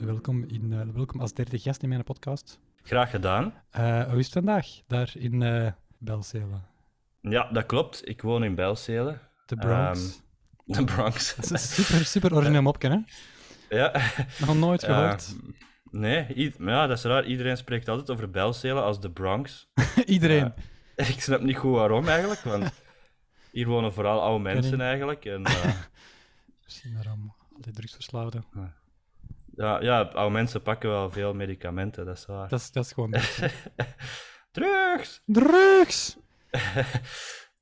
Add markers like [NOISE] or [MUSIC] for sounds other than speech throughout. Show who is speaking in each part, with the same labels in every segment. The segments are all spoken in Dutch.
Speaker 1: Welkom, in, eh, welkom als derde gast in mijn podcast.
Speaker 2: Graag gedaan.
Speaker 1: Eh, hoe is het vandaag daar in eh Belzele?
Speaker 2: Ja, dat klopt. Ik woon in Bijlselen,
Speaker 1: De Bronx.
Speaker 2: Ehm, de Bronx.
Speaker 1: [LAUGHS] Dat is een super, super origineel mopje, hè?
Speaker 2: [LAUGHS] ja.
Speaker 1: Nog nooit gehoord. [LAUGHS]
Speaker 2: Ehm, nee, i- maar ja, dat is raar. Iedereen spreekt altijd over Bijlselen als de Bronx.
Speaker 1: Iedereen.
Speaker 2: Ik snap niet goed waarom eigenlijk, want hier wonen vooral oude mensen eigenlijk.
Speaker 1: [LAUGHS]
Speaker 2: En, eh,
Speaker 1: Misschien daarom. Al die drugsverslaafden.
Speaker 2: ja, ja, oude mensen pakken wel veel medicamenten, dat is waar.
Speaker 1: Dat is, dat is
Speaker 2: [LAUGHS]
Speaker 1: gewoon...
Speaker 2: Drugs!
Speaker 1: Drugs!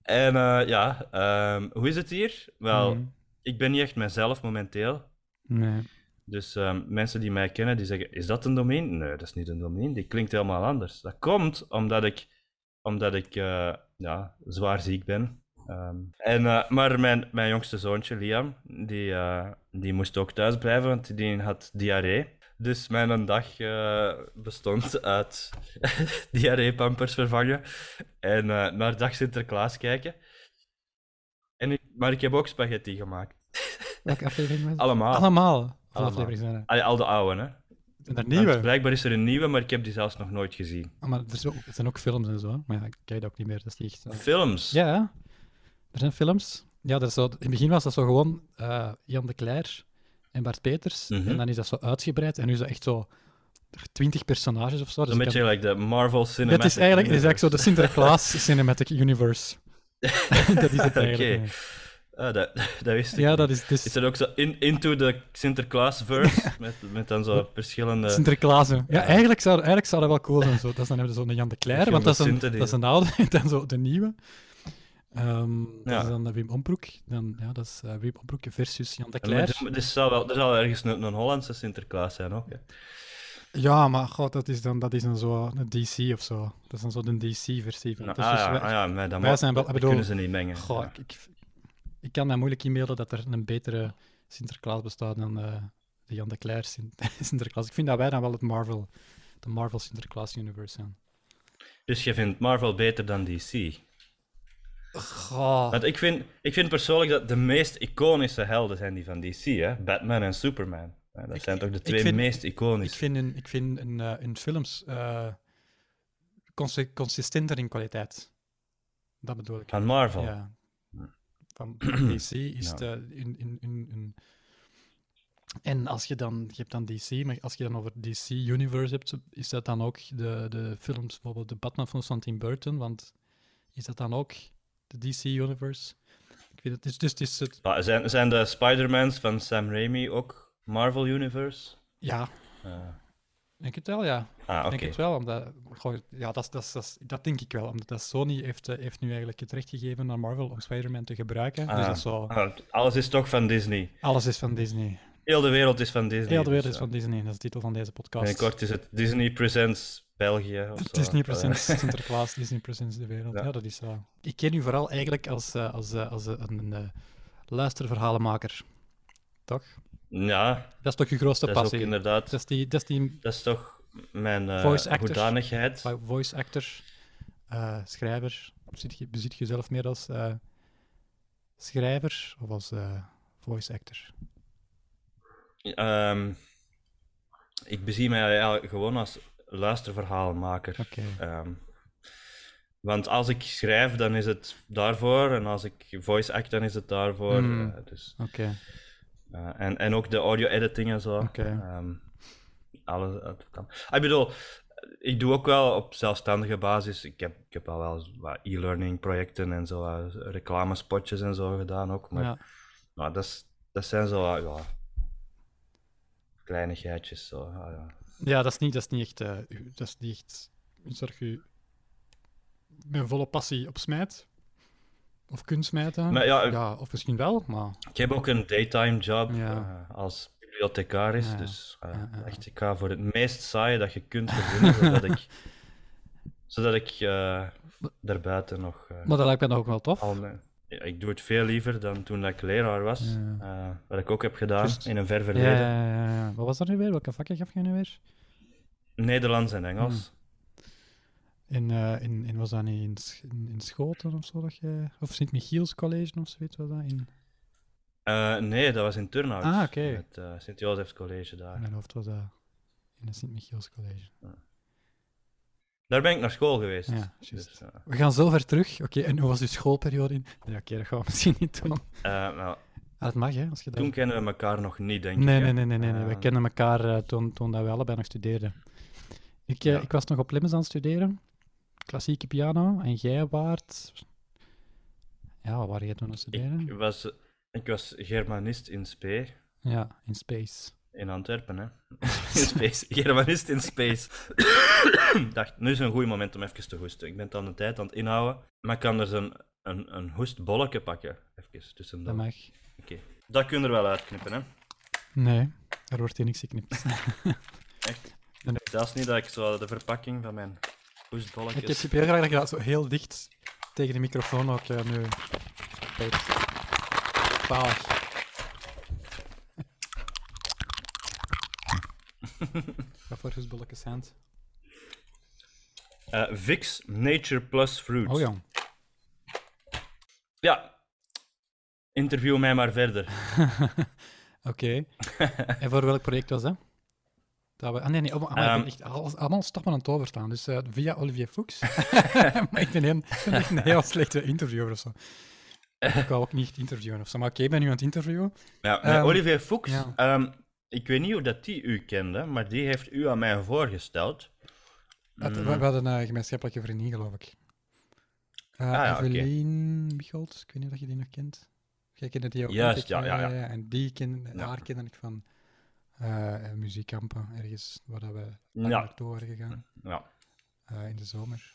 Speaker 2: En eh, ja, ehm, hoe is het hier? Wel,
Speaker 1: Mm,
Speaker 2: ik ben niet echt mezelf momenteel.
Speaker 1: Nee.
Speaker 2: Dus ehm, mensen die mij kennen, die zeggen: Is dat een domein? Nee, dat is niet een domein. Die klinkt helemaal anders. Dat komt omdat ik, omdat ik eh, ja, zwaar ziek ben. Ehm, en, eh, maar mijn, mijn jongste zoontje, Liam, die, eh, die moest ook thuis blijven, want die had diarree. Dus mijn dag eh, bestond uit [LAUGHS] diarreepampers vervangen en eh, naar dag Sinterklaas kijken. En ik, maar ik heb ook spaghetti gemaakt.
Speaker 1: Welke aflevering was het?
Speaker 2: Allemaal.
Speaker 1: Allemaal. Hoeveel
Speaker 2: Allemaal.
Speaker 1: afleveringen zijn er?
Speaker 2: Allee, al de oude, hè?
Speaker 1: En daar
Speaker 2: Want
Speaker 1: nieuwe.
Speaker 2: blijkbaar is er een nieuwe, maar ik heb die zelfs nog nooit gezien.
Speaker 1: Ah, maar er is ook- er zijn ook films en zo, hè. maar ja, ik kijk dat ook niet meer. Dat is niet echt... eh.
Speaker 2: Films.
Speaker 1: Ja, ja. er zijn films. Ja, dat is zo, in het begin was dat zo gewoon eh, Jan de Cler en Bart Peters.
Speaker 2: Mhm.
Speaker 1: En dan is dat zo uitgebreid. En nu is dat echt zo twintig personages of zo. Dus
Speaker 2: Een
Speaker 1: ik
Speaker 2: beetje
Speaker 1: heb-
Speaker 2: like de Marvel Cinematic
Speaker 1: het is eigenlijk, het is eigenlijk zo de
Speaker 2: Universe. [LAUGHS]
Speaker 1: Sinterklaas Cinematic Universe. dat is het eigenlijk. ja.
Speaker 2: Oké. Ah, dat, [LAUGHS] dat wist ik
Speaker 1: Ja,
Speaker 2: niet.
Speaker 1: dat is, dus het
Speaker 2: Is
Speaker 1: is
Speaker 2: dat ook zo in, into the
Speaker 1: [LAUGHS]
Speaker 2: Sinterklaas-verse? met, met dan zo verschillende...
Speaker 1: Sinterklaas. hè. Ja,
Speaker 2: eh, Ja.
Speaker 1: eigenlijk zou, eigenlijk zou dat wel cool zijn. Zo. Dat is dan hebben we zo'n Jan de Cler, want dat is, een,
Speaker 2: Sinter
Speaker 1: dat
Speaker 2: die-
Speaker 1: is een oude. [LAUGHS] En dan zo de nieuwe. Ehm,
Speaker 2: Ja.
Speaker 1: Dat is dan de Wim Ombroek. Dan, ja, dat is eh, Wim Ombroek versus Jan de
Speaker 2: Ja, maar
Speaker 1: Cler.
Speaker 2: er- er, zal wel, er zal ergens een, een Hollandse Sinterklaas zijn ook. Hè?
Speaker 1: Ja, maar god, dat is dan, dat is dan zo een DC of zo. Dat is dan zo de DC-versie van.
Speaker 2: Nou,
Speaker 1: Dus
Speaker 2: ah,
Speaker 1: dus
Speaker 2: ja,
Speaker 1: wij-
Speaker 2: ah, ja, maar dat
Speaker 1: wij
Speaker 2: mag-
Speaker 1: zijn wel- ik
Speaker 2: dat
Speaker 1: bedoel-
Speaker 2: kunnen ze niet mengen.
Speaker 1: goh,
Speaker 2: Ja.
Speaker 1: ik, ik, ik kan mij moeilijk inbeelden dat er een betere Sinterklaas bestaat dan eh, de Jan de Cler Sin- [LAUGHS] Sinterklaas. Ik vind dat wij dan wel het Marvel, de Marvel Sinterklaas Universe zijn.
Speaker 2: Dus je vindt Marvel beter dan DC?
Speaker 1: Goh,
Speaker 2: Want ik vind, ik vind persoonlijk dat de meest iconische helden zijn die van DC, hè? Batman en Superman. Ja, dat zijn toch de twee
Speaker 1: vind-
Speaker 2: meest
Speaker 1: ik
Speaker 2: iconische.
Speaker 1: vind in, ik vind in, eh, in films eh, consi- consistenter in kwaliteit. Dat bedoel ik.
Speaker 2: Van Marvel.
Speaker 1: Ja.
Speaker 2: [CLEARS THROAT]
Speaker 1: Van DC is
Speaker 2: Ja.
Speaker 1: het eh, in, in, in, in- En als je dan... Je hebt dan DC, maar als je dan over DC Universe hebt, is dat dan ook de, de films, bijvoorbeeld de Batman films van Tim Burton, want is dat dan ook de DC Universe? Ik weet het, dus, dus het is het...
Speaker 2: Ja, Ah, zijn, zijn de Spider-Mans van Sam Raimi ook Marvel Universe?
Speaker 1: Ja,
Speaker 2: Eh,
Speaker 1: ik denk het wel, ja.
Speaker 2: ah,
Speaker 1: Ik
Speaker 2: oké.
Speaker 1: denk het wel, omdat... goh, ja, dat, is- dat, is- dat, is- dat denk ik wel, omdat dat Sony heeft, eh, heeft nu eigenlijk het recht gegeven aan Marvel om Spider-Man te gebruiken. Dus
Speaker 2: Ah.
Speaker 1: dat is zo...
Speaker 2: Ah, alles is toch van Disney.
Speaker 1: Alles is van Disney.
Speaker 2: Heel de wereld is van Disney.
Speaker 1: Heel de wereld
Speaker 2: dus,
Speaker 1: is van Disney, dat is de titel van deze
Speaker 2: eh,
Speaker 1: podcast. [LAUGHS]
Speaker 2: Binnenkort is het Disney Presents België. Of zo.
Speaker 1: Disney
Speaker 2: Eh,
Speaker 1: Presents
Speaker 2: [LAUGHS]
Speaker 1: Sinterklaas, Disney Presents de wereld. Ja.
Speaker 2: Ja.
Speaker 1: dat is zo. Ik ken u vooral eigenlijk als, eh, als, eh, als eh, een, eh, luisterverhalenmaker. Toch?
Speaker 2: ja,
Speaker 1: Dat is toch je grootste
Speaker 2: dat is ook
Speaker 1: passie?
Speaker 2: inderdaad.
Speaker 1: dat, is die, dat is die
Speaker 2: Dat is toch mijn eh
Speaker 1: Voice actors.
Speaker 2: hoedanigheid.
Speaker 1: voice actor, eh, schrijver. Bezit je, bezit je zelf meer als eh, schrijver of als eh, voice actor?
Speaker 2: Ehm, ik bezie mij eigenlijk gewoon als luisterverhaalmaker.
Speaker 1: Oké.
Speaker 2: Ehm, want als ik schrijf, dan is het daarvoor. En als ik voice act, dan is het daarvoor.
Speaker 1: Mm.
Speaker 2: Eh, dus,
Speaker 1: Oké.
Speaker 2: eh, en, en ook de audio editing en zo.
Speaker 1: Oké.
Speaker 2: Ehm, alles dat kan. Ah, Ik bedoel, ik doe ook wel op zelfstandige basis. Ik heb, ik heb al wel eens wat e-learning projecten en zo, eh, reclamespotjes en zo gedaan ook. Maar
Speaker 1: Ja.
Speaker 2: nou, dat, is- dat zijn zo wat, ja, kleinigheidjes. Zo. ah, ja.
Speaker 1: Ja, dat is niet, dat is niet echt. eh, u- dat is niet echt. iets waar je mijn volle passie op smijt. Of kunt smijten.
Speaker 2: Maar eh, ja, ik-
Speaker 1: of misschien wel, maar.
Speaker 2: Ik heb ook een daytime job
Speaker 1: Ja.
Speaker 2: eh, als bibliothecaris.
Speaker 1: Ja, ja.
Speaker 2: Dus eh,
Speaker 1: Ja, ja, ja.
Speaker 2: echt, ik ga voor het meest saaie dat je kunt verzinnen, zodat
Speaker 1: [LAUGHS]
Speaker 2: ik, zodat ik eh, daarbuiten nog... eh,
Speaker 1: Maar dat lijkt mij dan ook wel tof.
Speaker 2: al mijn- Ja, ik doe het veel liever dan toen dat ik leraar was.
Speaker 1: Ja.
Speaker 2: eh, wat ik ook heb gedaan
Speaker 1: Juist.
Speaker 2: in een ver
Speaker 1: Ja,
Speaker 2: verleden.
Speaker 1: ja, ja, ja. Wat was dat nu weer? Welke vakken gaf je nu weer?
Speaker 2: Nederlands en Engels.
Speaker 1: Hmm. In, eh, in, in was dat niet in, Sch- in, in Schoten of zo? Dat je, of Sint-Michiels College of zoiets was dat? In,
Speaker 2: Eh, nee, dat was in Turnhout.
Speaker 1: Ah, oké.
Speaker 2: Het eh, Sint-Jozefs College daar.
Speaker 1: in mijn hoofd was dat in het Sint-Michiels College.
Speaker 2: Daar ben ik naar school geweest.
Speaker 1: Ja, juist.
Speaker 2: Dus, eh,
Speaker 1: We gaan zo ver terug. Oké, en hoe was uw schoolperiode in? Nee, oké, dat gaan we [LAUGHS] misschien niet doen.
Speaker 2: eh, nou,
Speaker 1: Ah, dat mag, hè? Als je dat...
Speaker 2: toen kennen we elkaar nog niet, denk ik.
Speaker 1: Nee,
Speaker 2: hè.
Speaker 1: nee, nee, nee, nee. nee.
Speaker 2: Eh,
Speaker 1: We kennen elkaar eh, toen, toen dat we allebei nog studeerden. Ik, eh,
Speaker 2: Ja.
Speaker 1: ik was nog op Lemmens aan het studeren, klassieke piano, en jij waart... Ja, waar waren jij toen aan het studeren?
Speaker 2: Ik was, ik was Germanist in Spee,
Speaker 1: Ja, in space.
Speaker 2: in Antwerpen, hè. [LAUGHS] In space. Germanist in space. dacht, nu is een goed moment om even te hoesten. Ik ben het aan de tijd aan het inhouden, maar ik kan er zo'n een, een hoestbolletje pakken. Even tussen
Speaker 1: Dat
Speaker 2: dat.
Speaker 1: mag.
Speaker 2: Dat kun je er wel uitknippen, hè.
Speaker 1: Nee, er wordt hier niks geknipt.
Speaker 2: [LAUGHS] Dat is niet dat ik zo de verpakking van mijn hoestbolletjes...
Speaker 1: ik heb super graag dat je dat zo heel dicht tegen de microfoon ook eh, nu... Kijk.
Speaker 2: [LAUGHS]
Speaker 1: Zalig. Wat voor hoesbolletjes zijn het?
Speaker 2: Eh, Vicks Nature Plus Fruit.
Speaker 1: Oh jong.
Speaker 2: Ja. Interview mij maar verder.
Speaker 1: Oké. [LAUGHS] en voor welk project was dat? dat we... Ah, nee, nee. Oh, maar ik ben
Speaker 2: Ehm.
Speaker 1: echt alles, allemaal stappen aan het overstaan. Dus eh, via Olivier
Speaker 2: [LAUGHS]
Speaker 1: Fuchs. [LAUGHS] maar ik ben, een, ik ben echt een heel slechte interviewer of zo. Ik wou ook niet interviewen of zo. Maar oké, ik ben nu aan het interviewen.
Speaker 2: Ja, met
Speaker 1: Ehm,
Speaker 2: Olivier Fuchs,
Speaker 1: ja.
Speaker 2: ehm, ik weet niet hoe dat die u kende, maar die heeft u aan mij voorgesteld. Mm,
Speaker 1: Het- we, we hadden een gemeenschappelijke vriendin, geloof ik. Eh
Speaker 2: Ah, ja, oké.
Speaker 1: Evelien Michels, ik weet niet of je die nog kent. Jij kende die ook. denk
Speaker 2: Juist,
Speaker 1: ik.
Speaker 2: ja, ja, ja.
Speaker 1: En die ken,
Speaker 2: Ja.
Speaker 1: haar kende ik van eh muziekkampen, ergens waar dat we
Speaker 2: Ja.
Speaker 1: naartoe waren gegaan.
Speaker 2: Ja.
Speaker 1: Eh, in de zomer.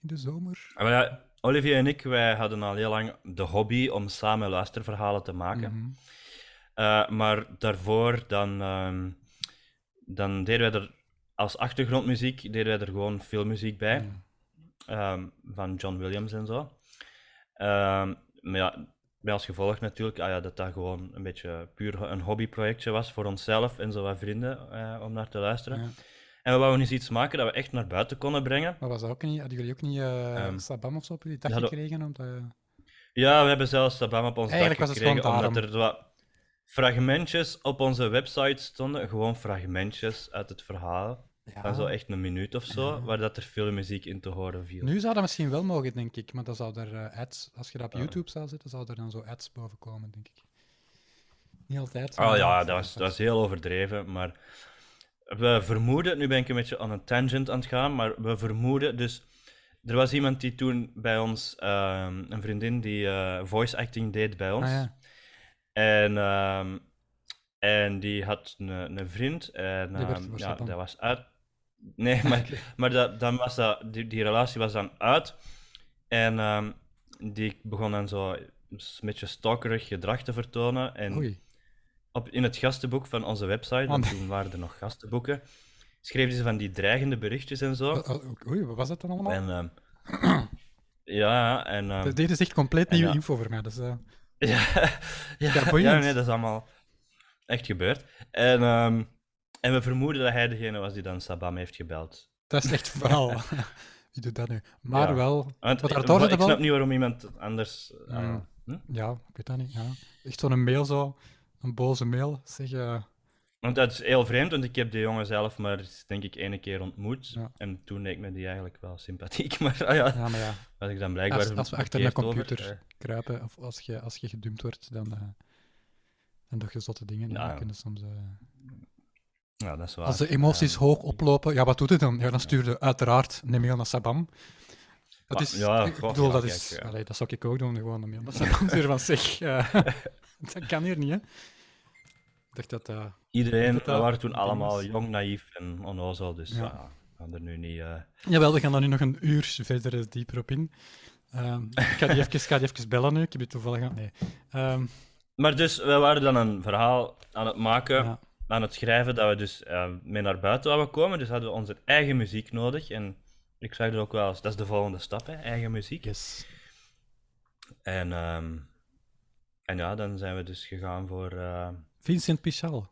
Speaker 1: In de zomer?
Speaker 2: Maar ja, Olivier en ik, wij hadden al heel lang de hobby om samen luisterverhalen te maken.
Speaker 1: Mhm.
Speaker 2: Eh, maar daarvoor dan, ehm, dan deden wij er als achtergrondmuziek deden wij er gewoon filmmuziek bij. Ehm, van John Williams en zo. Ehm, maar ja, met als gevolg natuurlijk ah ja, dat dat gewoon een beetje puur een hobbyprojectje was voor onszelf en zo wat vrienden eh, om naar te luisteren.
Speaker 1: Ja.
Speaker 2: En we wouden eens iets maken dat we echt naar buiten konden brengen.
Speaker 1: Maar was dat ook niet, hadden jullie ook niet eh,
Speaker 2: Ehm,
Speaker 1: Sabam of zo op jullie dag
Speaker 2: ja, dat-
Speaker 1: gekregen? Omdat,
Speaker 2: Ja, we hebben zelfs Sabam op ons
Speaker 1: Eigenlijk
Speaker 2: dak
Speaker 1: was het
Speaker 2: gekregen,
Speaker 1: gewoon
Speaker 2: omdat er wat fragmentjes op onze website stonden. Gewoon fragmentjes uit het verhaal.
Speaker 1: ja.
Speaker 2: Van zo echt een minuut of zo,
Speaker 1: Ja.
Speaker 2: waar dat er filmmuziek in te horen viel.
Speaker 1: Ah. Nu zou dat misschien wel mogen, denk ik. Maar dan zou er eh, ads, als je dat op
Speaker 2: Ja.
Speaker 1: YouTube zou zetten, zou er dan zo ads boven komen, denk ik. Niet altijd.
Speaker 2: Oh
Speaker 1: maar
Speaker 2: ja,
Speaker 1: soms
Speaker 2: dat is,
Speaker 1: wel.
Speaker 2: dat is heel overdreven, maar we vermoeden, nu ben ik een beetje aan een tangent aan het gaan, maar we vermoeden dus. Er was iemand die toen bij ons, ehm, een vriendin die eh, voice acting deed bij ons.
Speaker 1: Ah, ja.
Speaker 2: En, ehm, en die had een, een vriend. En
Speaker 1: Die werkte
Speaker 2: ehm,
Speaker 1: voor
Speaker 2: ja,
Speaker 1: Saban.
Speaker 2: dat was uit. Nee, [LAUGHS] maar, maar dat, dan was dat, die, die relatie was dan uit. En ehm, die begon dan zo een beetje stalkerig gedrag te vertonen. En
Speaker 1: Oei.
Speaker 2: op, in het gastenboek van onze website, want
Speaker 1: Oh,
Speaker 2: toen waren er nog gastenboeken, schreven ze van die dreigende berichtjes en zo.
Speaker 1: Wa- wa- Oh, Oei, wat was dat dan allemaal?
Speaker 2: Oh. En, ehm, [CLEARS THROAT] ja, en... ehm,
Speaker 1: Dit is echt compleet
Speaker 2: en
Speaker 1: nieuwe
Speaker 2: ja.
Speaker 1: info voor mij. Dus, eh,
Speaker 2: ja,
Speaker 1: [LAUGHS] Ja,
Speaker 2: ja,
Speaker 1: boeiend.
Speaker 2: ja, nee, dat is allemaal echt gebeurd. En, ehm, en we vermoeden dat hij degene was die dan Sabam heeft gebeld.
Speaker 1: dat is
Speaker 2: [LAUGHS]
Speaker 1: echt verhaal. [LAUGHS] Wie doet dat nu? Maar
Speaker 2: Ja.
Speaker 1: wel,
Speaker 2: Want
Speaker 1: Wat
Speaker 2: ik,
Speaker 1: daar toch
Speaker 2: ik
Speaker 1: de bal-
Speaker 2: snap niet waarom iemand anders... ah,
Speaker 1: Ja.
Speaker 2: hm?
Speaker 1: ja, ik weet dat niet. Ja. Echt zo'n mail zo, een boze mail. Zeg, eh,
Speaker 2: Want dat is heel vreemd, want ik heb die jongen zelf maar denk ik ene keer ontmoet.
Speaker 1: Ja.
Speaker 2: En toen leek me die eigenlijk wel sympathiek, [LAUGHS] maar ah, ja,
Speaker 1: ja, maar ja.
Speaker 2: was ik dan blijkbaar
Speaker 1: Als, als we achter de
Speaker 2: verkeerd over,
Speaker 1: computer
Speaker 2: eh.
Speaker 1: kruipen of als je, als je gedumpt wordt, dan, eh dan doe je zotte dingen.
Speaker 2: Ja,
Speaker 1: Ja,
Speaker 2: ja.
Speaker 1: kunnen soms, eh,
Speaker 2: Ja, dat is waar.
Speaker 1: als de emoties
Speaker 2: Ja.
Speaker 1: hoog oplopen, ja, wat doet het dan? Ja, dan stuur je uiteraard een mail naar Sabam. Dat
Speaker 2: Ah,
Speaker 1: is,
Speaker 2: ja,
Speaker 1: ik
Speaker 2: goh,
Speaker 1: bedoel,
Speaker 2: ja,
Speaker 1: dat,
Speaker 2: kijk,
Speaker 1: is
Speaker 2: ja.
Speaker 1: allee, dat zou ik ook doen, gewoon een mail naar Sabam [LAUGHS] sturen van zeg. eh, [LAUGHS] dat kan hier niet, hè? Ik dacht dat... eh,
Speaker 2: Iedereen,
Speaker 1: dat
Speaker 2: we
Speaker 1: dat
Speaker 2: waren toen
Speaker 1: een ding
Speaker 2: allemaal
Speaker 1: was.
Speaker 2: jong, naïef en onnozel, dus
Speaker 1: Ja.
Speaker 2: ja. we gaan er nu niet... eh,
Speaker 1: Jawel, we gaan daar nu nog een uur verder eh, dieper op in. Ehm, ik ga
Speaker 2: [LAUGHS]
Speaker 1: die, even, ik ga die even bellen nu, ik heb die toevallig aan... Nee. Ehm,
Speaker 2: Maar dus, we waren dan een verhaal aan het maken,
Speaker 1: ja.
Speaker 2: aan het schrijven, dat we dus eh, mee naar buiten wouden komen. Dus hadden we onze eigen muziek nodig. En ik zag dat ook wel eens, dat is de volgende stap, hè, eigen muziek.
Speaker 1: Yes.
Speaker 2: En, ehm, en ja, dan zijn we dus gegaan voor... eh, [LAUGHS]
Speaker 1: Vincent Pichal.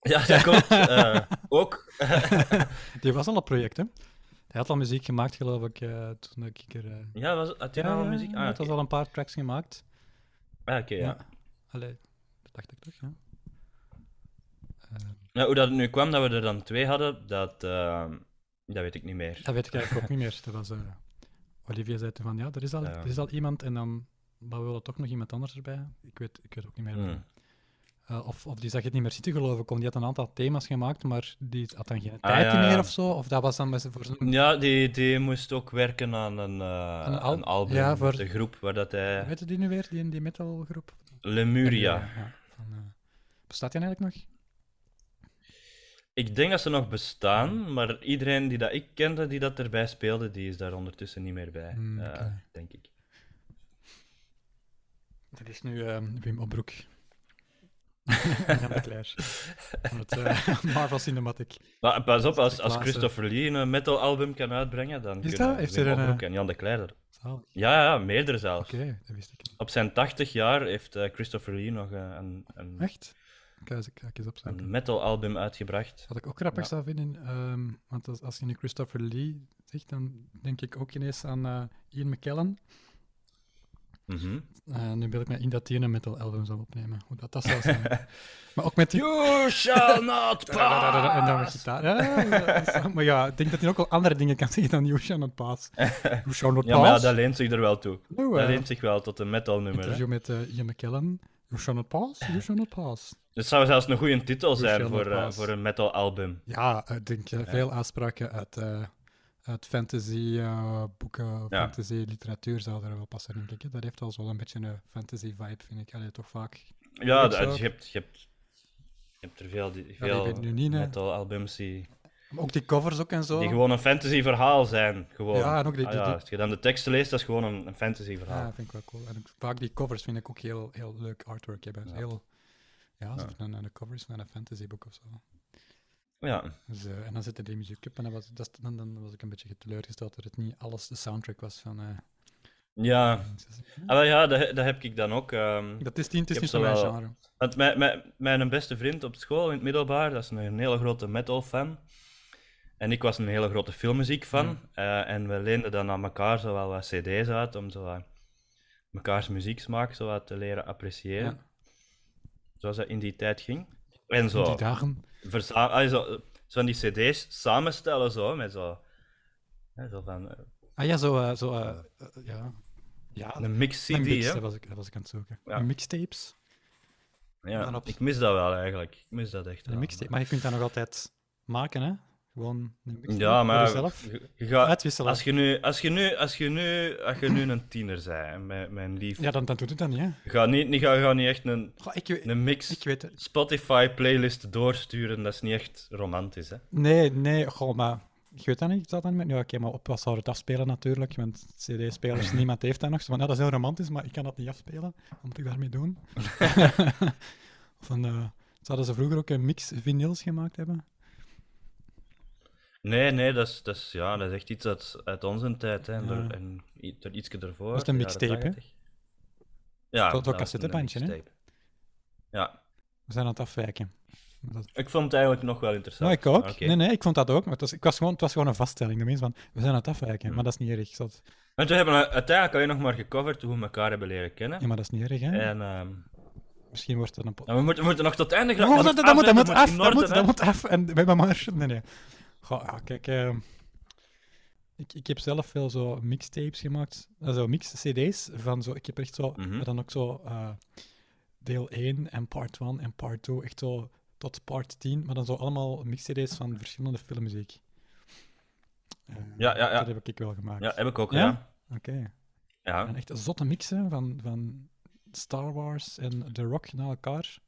Speaker 2: Ja, dat klopt. eh,
Speaker 1: [LAUGHS]
Speaker 2: ook.
Speaker 1: Die was al een project, hè? Hij had al muziek gemaakt, geloof ik, eh, toen ik er... eh,
Speaker 2: Ja, was, had hij al muziek?
Speaker 1: hij
Speaker 2: Ah,
Speaker 1: had
Speaker 2: oké.
Speaker 1: al een paar tracks gemaakt.
Speaker 2: Ah, oké, ja.
Speaker 1: Allee, dat dacht ik toch, ja.
Speaker 2: Ja, Nou, hoe dat het nu kwam dat we er dan twee hadden, dat, eh, dat weet ik niet meer.
Speaker 1: Dat weet ik eigenlijk ook niet meer. Dat was, eh, Olivier zei toen van, ja, er is, al,
Speaker 2: Ja.
Speaker 1: er is al iemand en dan maar we willen toch nog iemand anders erbij. Ik weet, ik weet ook niet meer. waarom.
Speaker 2: Hmm.
Speaker 1: Eh, of, of die zag het niet meer zitten, geloof ik. Om die had een aantal thema's gemaakt, maar die had dan geen
Speaker 2: Ah,
Speaker 1: tijd
Speaker 2: ja,
Speaker 1: meer
Speaker 2: ja.
Speaker 1: of zo. Of dat was dan met z'n- voor zo'n...
Speaker 2: Ja, die, die moest ook werken aan een, eh,
Speaker 1: Een al-
Speaker 2: een album,
Speaker 1: ja,
Speaker 2: met
Speaker 1: voor-
Speaker 2: de groep waar dat hij...
Speaker 1: Weet je die nu weer, die, die metalgroep?
Speaker 2: Lemuria.
Speaker 1: Ja, van, eh, bestaat die eigenlijk nog?
Speaker 2: Ik denk dat ze nog bestaan, maar iedereen die dat ik kende, die dat erbij speelde, die is daar ondertussen niet meer bij,
Speaker 1: Hmm,
Speaker 2: eh,
Speaker 1: oké.
Speaker 2: denk ik.
Speaker 1: Dat is nu eh, Wim Obroek. en [LAUGHS] Jan de Kleijer. Van het eh, [LAUGHS] Marvel Cinematic.
Speaker 2: Maar pas op, als, als
Speaker 1: Sinterklaas,
Speaker 2: Christopher Lee een metalalbum kan uitbrengen, dan
Speaker 1: Is
Speaker 2: kunnen
Speaker 1: dat? Heeft
Speaker 2: Wim
Speaker 1: hij er een-
Speaker 2: Horbroek en Jan de Kleijer.
Speaker 1: Zalig.
Speaker 2: Ja, ja, meerdere zelfs.
Speaker 1: Oké, dat wist ik niet.
Speaker 2: Op zijn 80 jaar heeft eh, Christopher Lee nog eh, een, een,
Speaker 1: Echt? Kijk eens, ik ga ik eens opzoeken.
Speaker 2: een metalalbum uitgebracht.
Speaker 1: Wat ik ook grappig
Speaker 2: Mm. Ja.
Speaker 1: zou vinden, ehm, want als, als je nu Christopher Lee zegt, dan denk ik ook ineens aan eh, Ian McKellen.
Speaker 2: Mhm.
Speaker 1: Eh, nu beeld ik me in dat hij een metal album zou opnemen. Hoe dat, dat zou
Speaker 2: [LAUGHS]
Speaker 1: zijn. maar ook met die...
Speaker 2: You shall not pass!
Speaker 1: [LAUGHS] En dan met gitaar. Ja, ja, ja, dat is- maar ja, ik denk dat hij ook wel andere dingen kan [LAUGHS] zeggen dan You Shall Not
Speaker 2: [LAUGHS]
Speaker 1: Pass. You Shall Not
Speaker 2: Ja, maar ja,
Speaker 1: Pass.
Speaker 2: dat leent zich er wel toe.
Speaker 1: Nou, eh,
Speaker 2: Dat leent zich wel tot een metalnummer. hè.
Speaker 1: interview met eh, Ian McKellen. You Shall Not Pass,
Speaker 2: [LAUGHS]
Speaker 1: You Shall Not Pass.
Speaker 2: Dat zou zelfs een goede titel zijn
Speaker 1: shall
Speaker 2: voor,
Speaker 1: not
Speaker 2: eh,
Speaker 1: pass.
Speaker 2: voor een metalalbum.
Speaker 1: Ja, ik denk eh, veel aanspraken uit, eh, uit eh, fantasy-boeken, fantasy-literatuur zou er wel passen, denk ik. hè. Dat heeft wel zo'n beetje een fantasy-vibe, vind ik. Allee, toch vaak.
Speaker 2: Ja,
Speaker 1: Ook
Speaker 2: dat-
Speaker 1: zo.
Speaker 2: je, hebt, je, hebt, je hebt er veel, die,
Speaker 1: die
Speaker 2: veel
Speaker 1: weet nu niet, hè.
Speaker 2: metalalbums die,
Speaker 1: Maar ook die covers ook en zo.
Speaker 2: die gewoon een fantasy verhaal zijn. Gewoon.
Speaker 1: Ja, en ook die-
Speaker 2: Ah
Speaker 1: die-
Speaker 2: ja,
Speaker 1: die-
Speaker 2: als je dan de teksten leest, dat is gewoon een, een fantasy verhaal.
Speaker 1: Ja, vind ik wel cool. En ook vaak die covers vind ik ook heel, heel leuk artwork hebben. Heel, ja, alsof het een, een cover is van een fantasyboek of zo.
Speaker 2: Ja.
Speaker 1: Dus, eh, en dan zette die muziek op en dan was, dat, is- dan, dan was ik een beetje teleurgesteld dat het niet alles de soundtrack was van... eh,
Speaker 2: Ja,
Speaker 1: Princess.
Speaker 2: Ah, wel, ja dat, dat heb ik dan ook. ehm.
Speaker 1: dat is, die- het is
Speaker 2: Ik
Speaker 1: niet
Speaker 2: heb
Speaker 1: van mijn
Speaker 2: zowel-
Speaker 1: genre.
Speaker 2: Want mijn, mijn, mijn beste vriend op school in het middelbaar, dat is een hele grote metal fan. En ik was een hele grote filmmuziek fan. Eh, en we leenden dan aan elkaar zo wel wat cd's uit om zo wat mekaars muzieksmaak zo wat te leren appreciëren.
Speaker 1: Ja.
Speaker 2: Zoals dat in die tijd ging. En
Speaker 1: In
Speaker 2: zo,
Speaker 1: die dagen.
Speaker 2: verza- ah, zo, eh, zo van die cd's samenstellen zo, met zo... hè, zo van, eh,
Speaker 1: Ah ja, zo... eh, zo eh, eh, ja. ja,
Speaker 2: een mix
Speaker 1: Een
Speaker 2: cd,
Speaker 1: mix,
Speaker 2: hè.
Speaker 1: dat, was ik, dat was ik aan het zoeken.
Speaker 2: Ja.
Speaker 1: Een Mixtapes. dan
Speaker 2: Ja,
Speaker 1: op-
Speaker 2: ik mis dat wel eigenlijk. Ik mis dat echt
Speaker 1: Een
Speaker 2: wel.
Speaker 1: mixtape. Maar je kunt dat nog altijd maken, hè? Gewoon een mixtape
Speaker 2: Ja,
Speaker 1: voor
Speaker 2: maar...
Speaker 1: jezelf.
Speaker 2: je- je gaat-
Speaker 1: Uitwisselen.
Speaker 2: Als je nu, als je nu, als je nu, als je nu een tiener bent, mijn, mijn lief,
Speaker 1: Ja, dan, dan doet het dan niet, hè?
Speaker 2: ga niet, niet, ga, ga niet echt een,
Speaker 1: Goh, ik, weet-
Speaker 2: een mix
Speaker 1: ik weet het.
Speaker 2: Spotify-playlist doorsturen, dat is niet echt romantisch, hè?
Speaker 1: Nee, nee, goh, maar... Ik weet dat niet, ik zat dan met... Ja, oké, maar op wat zou het afspelen natuurlijk, want cd-spelers, niemand heeft dat nog. Zo van, ja, dat is heel romantisch, maar ik kan dat niet afspelen. Wat moet ik daarmee doen? van, eh zouden ze vroeger ook een mix vinyls gemaakt hebben?
Speaker 2: Nee, nee, dat is, dat is, ja, dat is echt iets uit, uit onze tijd, hè? En,
Speaker 1: Ja.
Speaker 2: er, en i- er ietsje ervoor.
Speaker 1: Dat is een
Speaker 2: jaren
Speaker 1: mixtape, hè?
Speaker 2: 80. Ja,
Speaker 1: Tot- tot
Speaker 2: dat was
Speaker 1: cassettebandje,
Speaker 2: een
Speaker 1: hè?
Speaker 2: mixtape. Ja,
Speaker 1: We zijn aan het afwijken. Maar dat-
Speaker 2: ik vond het eigenlijk nog wel interessant.
Speaker 1: Nou, ik ook.
Speaker 2: Oké.
Speaker 1: Nee, nee, ik vond dat ook. Maar het, was, ik was gewoon, het was gewoon een vaststelling. De mensen van, we zijn aan het afwijken, maar dat is niet erg. Dat,
Speaker 2: Want we hebben eh, uiteindelijk alleen nog maar gecoverd hoe we elkaar hebben leren kennen.
Speaker 1: ja, maar dat is niet erg, hè?
Speaker 2: En, ehm,
Speaker 1: Misschien wordt het een pot.
Speaker 2: en we, moeten, we moeten nog tot het einde
Speaker 1: Dat
Speaker 2: gaan.
Speaker 1: moet, dat, dat moet, dat moet af,
Speaker 2: in
Speaker 1: dat moet,
Speaker 2: orde, hè.
Speaker 1: dat moet af. En bij mijn maar... Nee, nee. Goh, ja, kijk, eh, ik, ik heb zelf veel zo mixtapes gemaakt, eh, zo mix-cd's van zo, ik heb echt zo,
Speaker 2: Mhm.
Speaker 1: maar dan ook zo eh, deel 1 en part 1 en part 2, echt zo tot part 10, maar dan zo allemaal mix-cd's van verschillende filmmuziek. Eh,
Speaker 2: Ja, ja, ja.
Speaker 1: Dat heb ik wel gemaakt.
Speaker 2: Ja, heb ik ook,
Speaker 1: Ja?
Speaker 2: ja.
Speaker 1: Oké.
Speaker 2: Ja,
Speaker 1: En echt zotte mixen van, van Star Wars en The Rock na elkaar.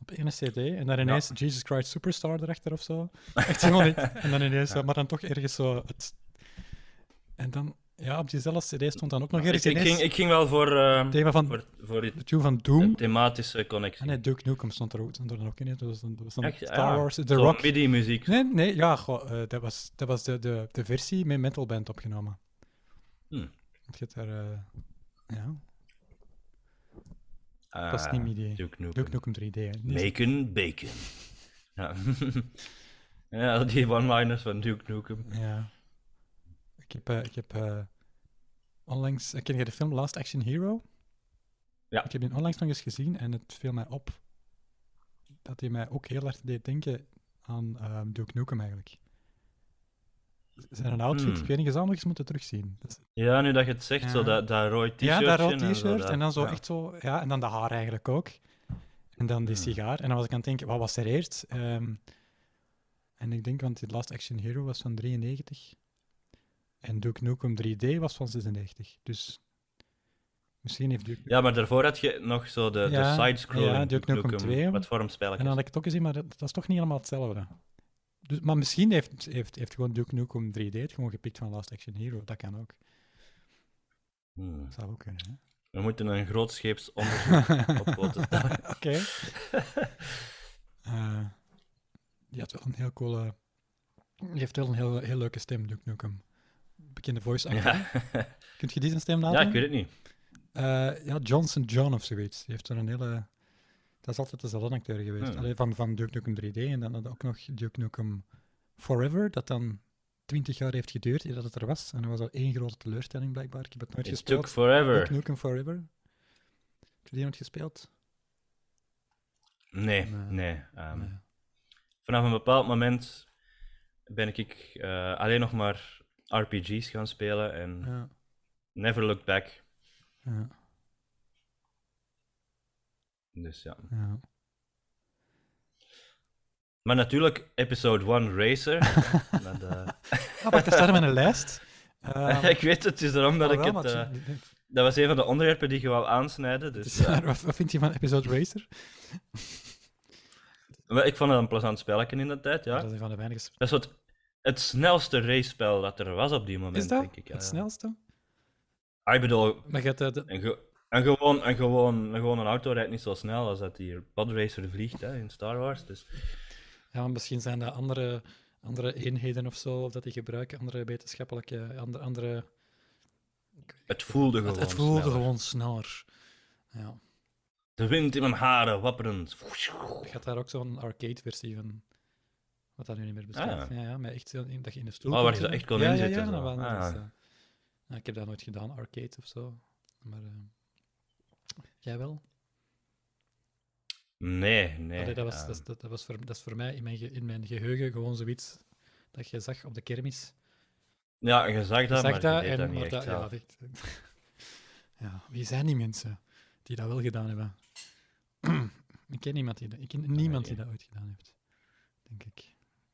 Speaker 1: Op ene CD. En dan ineens Jesus Christ Superstar erachter of zo. Echt gewoon. echt- en dan ineens, maar dan toch ergens zo. Het... En dan, ja, op diezelfde CD stond dan ook nog
Speaker 2: Ik,
Speaker 1: ergens.
Speaker 2: ik,
Speaker 1: ineens
Speaker 2: ging, ik ging wel voor, eh,
Speaker 1: het thema van
Speaker 2: voor, voor die
Speaker 1: de tune van Doom.
Speaker 2: thematische connectie.
Speaker 1: En nee, Duke Nukem stond er ook, stond er ook in. hè. Dat was dan, dat was dan
Speaker 2: Echt, Ah.
Speaker 1: Star
Speaker 2: ja.
Speaker 1: Wars, The
Speaker 2: Zo'n
Speaker 1: Rock.
Speaker 2: MIDI-muziek.
Speaker 1: Nee, nee, ja, goh, eh, dat was, dat was de, de, de versie met Metal Band opgenomen.
Speaker 2: Hmm.
Speaker 1: Want je hebt daar, eh, ja,
Speaker 2: Ah,
Speaker 1: dat is niet mijn idee.
Speaker 2: Duke Nukem.
Speaker 1: Duke Nukem 3D. hè. Niet
Speaker 2: Bacon, bacon. Ja. [LAUGHS] ja, die one-liners van Duke Nukem.
Speaker 1: Ja. Ik heb, eh, ik heb eh, onlangs... eh, ken je de film Last Action Hero?
Speaker 2: Ja.
Speaker 1: Ik heb die onlangs nog eens gezien en het viel mij op dat hij mij ook heel hard deed denken aan ehm Duke Nukem eigenlijk. Zijn outfit,
Speaker 2: Hmm.
Speaker 1: ik weet niet, je zou nog eens moeten terugzien. Dat is-
Speaker 2: Ja, nu dat je het zegt, zo
Speaker 1: Ja.
Speaker 2: dat, dat rood t-shirt.
Speaker 1: ja, dat rood
Speaker 2: en zo.
Speaker 1: t-shirt
Speaker 2: dat-
Speaker 1: en dan zo
Speaker 2: ja.
Speaker 1: echt zo, ja, en dan de haar eigenlijk ook. En dan die
Speaker 2: Hmm.
Speaker 1: sigaar. En dan was ik aan het denken, wat was er eerst? Ehm, en ik denk, want die Last Action Hero was van 93. En Duke Nukem 3D was van 96. Dus misschien heeft Duke
Speaker 2: Ja, maar daarvoor had je nog zo de,
Speaker 1: Ja,
Speaker 2: de side-scrolling.
Speaker 1: ja, Duke Nukem 2.
Speaker 2: Platformspelletjes.
Speaker 1: En dan had ik het ook gezien, maar dat, dat is toch niet helemaal hetzelfde. Dus, maar misschien heeft, heeft, heeft gewoon Duke Nukem 3D het gewoon gepikt van Last Action Hero. Dat kan ook.
Speaker 2: Hmm.
Speaker 1: Dat zou ook kunnen. Hè?
Speaker 2: We moeten een
Speaker 1: [LAUGHS]
Speaker 2: grootscheeps onderzoek op poten stellen.
Speaker 1: Oké. [LAUGHS] Eh, die had wel een heel coole... Die heeft wel een heel, heel leuke stem, Duke Nukem. Bekende voice actor.
Speaker 2: Ja.
Speaker 1: [LAUGHS] Kunt je die zijn stem laten? Eh,
Speaker 2: ja, ik weet het niet.
Speaker 1: ja, Johnson John of zoiets. Die heeft er een hele... Dat is altijd dezelfde acteur geweest.
Speaker 2: Hmm.
Speaker 1: Allee, van, van Duke Nukem 3D en dan had ook nog Duke Nukem Forever, dat dan 20 jaar heeft geduurd eer dat het er was. En dat was al één grote teleurstelling blijkbaar. Ik heb het nooit
Speaker 2: It
Speaker 1: gespeeld.
Speaker 2: took forever.
Speaker 1: Duke Nukem Forever. Heb je die nooit gespeeld?
Speaker 2: Nee,
Speaker 1: Nee.
Speaker 2: nee. ehm,
Speaker 1: Nee.
Speaker 2: Vanaf een bepaald moment ben ik eh, alleen nog maar RPG's gaan spelen en
Speaker 1: Ja,
Speaker 2: never looked back.
Speaker 1: ja,
Speaker 2: Dus ja.
Speaker 1: ja.
Speaker 2: Maar natuurlijk, episode 1
Speaker 1: [LAUGHS]
Speaker 2: Racer. dat, eh,
Speaker 1: Ah, maar het staat in mijn [LAUGHS] lijst. Ehm,
Speaker 2: [LAUGHS] ik weet het, het is daarom dat
Speaker 1: ah,
Speaker 2: ik
Speaker 1: wel,
Speaker 2: het...
Speaker 1: maar het- [LAUGHS]
Speaker 2: eh,
Speaker 1: het- het-
Speaker 2: dat was een van de onderwerpen die je wou aansnijden.
Speaker 1: het [LAUGHS]
Speaker 2: Dus,
Speaker 1: is- Wat wat vind je van Episode Racer?
Speaker 2: eh, ik vond het een plezant spelletje in de tijd, ja.
Speaker 1: Dat is een van de weinige... sp-
Speaker 2: Dat is het, het snelste racespel dat er was op die moment,
Speaker 1: Is dat
Speaker 2: denk ik. ja,
Speaker 1: het
Speaker 2: ja.
Speaker 1: snelste?
Speaker 2: Ah, Ik bedoel,
Speaker 1: Maar je hebt, eh, de-
Speaker 2: een, ge- een gewoon, een, gewoon, een, gewoon een auto rijdt niet zo snel als dat die podracer vliegt hè, in Star Wars. Dus
Speaker 1: Ja, maar misschien zijn dat andere, andere eenheden of zo, of dat die gebruiken, andere wetenschappelijke, andere... andere
Speaker 2: het voelde gewoon
Speaker 1: het, het voelde
Speaker 2: sneller.
Speaker 1: gewoon sneller. Ja,
Speaker 2: De wind in mijn haren, wapperend.
Speaker 1: je had daar ook zo'n arcade-versie van, wat dat nu niet meer bestaat.
Speaker 2: Ah.
Speaker 1: Ja, ja, maar echt zo in, dat je in de stoel
Speaker 2: Oh, waar
Speaker 1: kon
Speaker 2: je zo
Speaker 1: zitten.
Speaker 2: echt kon
Speaker 1: ja,
Speaker 2: inzitten,
Speaker 1: Ja, ja,
Speaker 2: zo.
Speaker 1: dat wel, dat
Speaker 2: Ah.
Speaker 1: is, eh, nou, ik heb dat nooit gedaan, arcade of zo. Maar eh, jij wel?
Speaker 2: Nee, nee.
Speaker 1: Allee, dat, was,
Speaker 2: ehm,
Speaker 1: dat, is- dat, dat was voor, dat is voor mij in mijn, ge- in mijn geheugen gewoon zoiets dat je zag op de kermis.
Speaker 2: Ja, je zag dat,
Speaker 1: zag
Speaker 2: maar
Speaker 1: dat
Speaker 2: je deed
Speaker 1: en
Speaker 2: dat niet
Speaker 1: maar
Speaker 2: echt
Speaker 1: dat- ja,
Speaker 2: zelf.
Speaker 1: dat- [LAUGHS] ja, wie zijn die mensen die dat wel gedaan hebben? [CLEARS THROAT] ik ken niemand die dat, ik ken niemand die
Speaker 2: idee.
Speaker 1: dat ooit gedaan heeft, denk ik.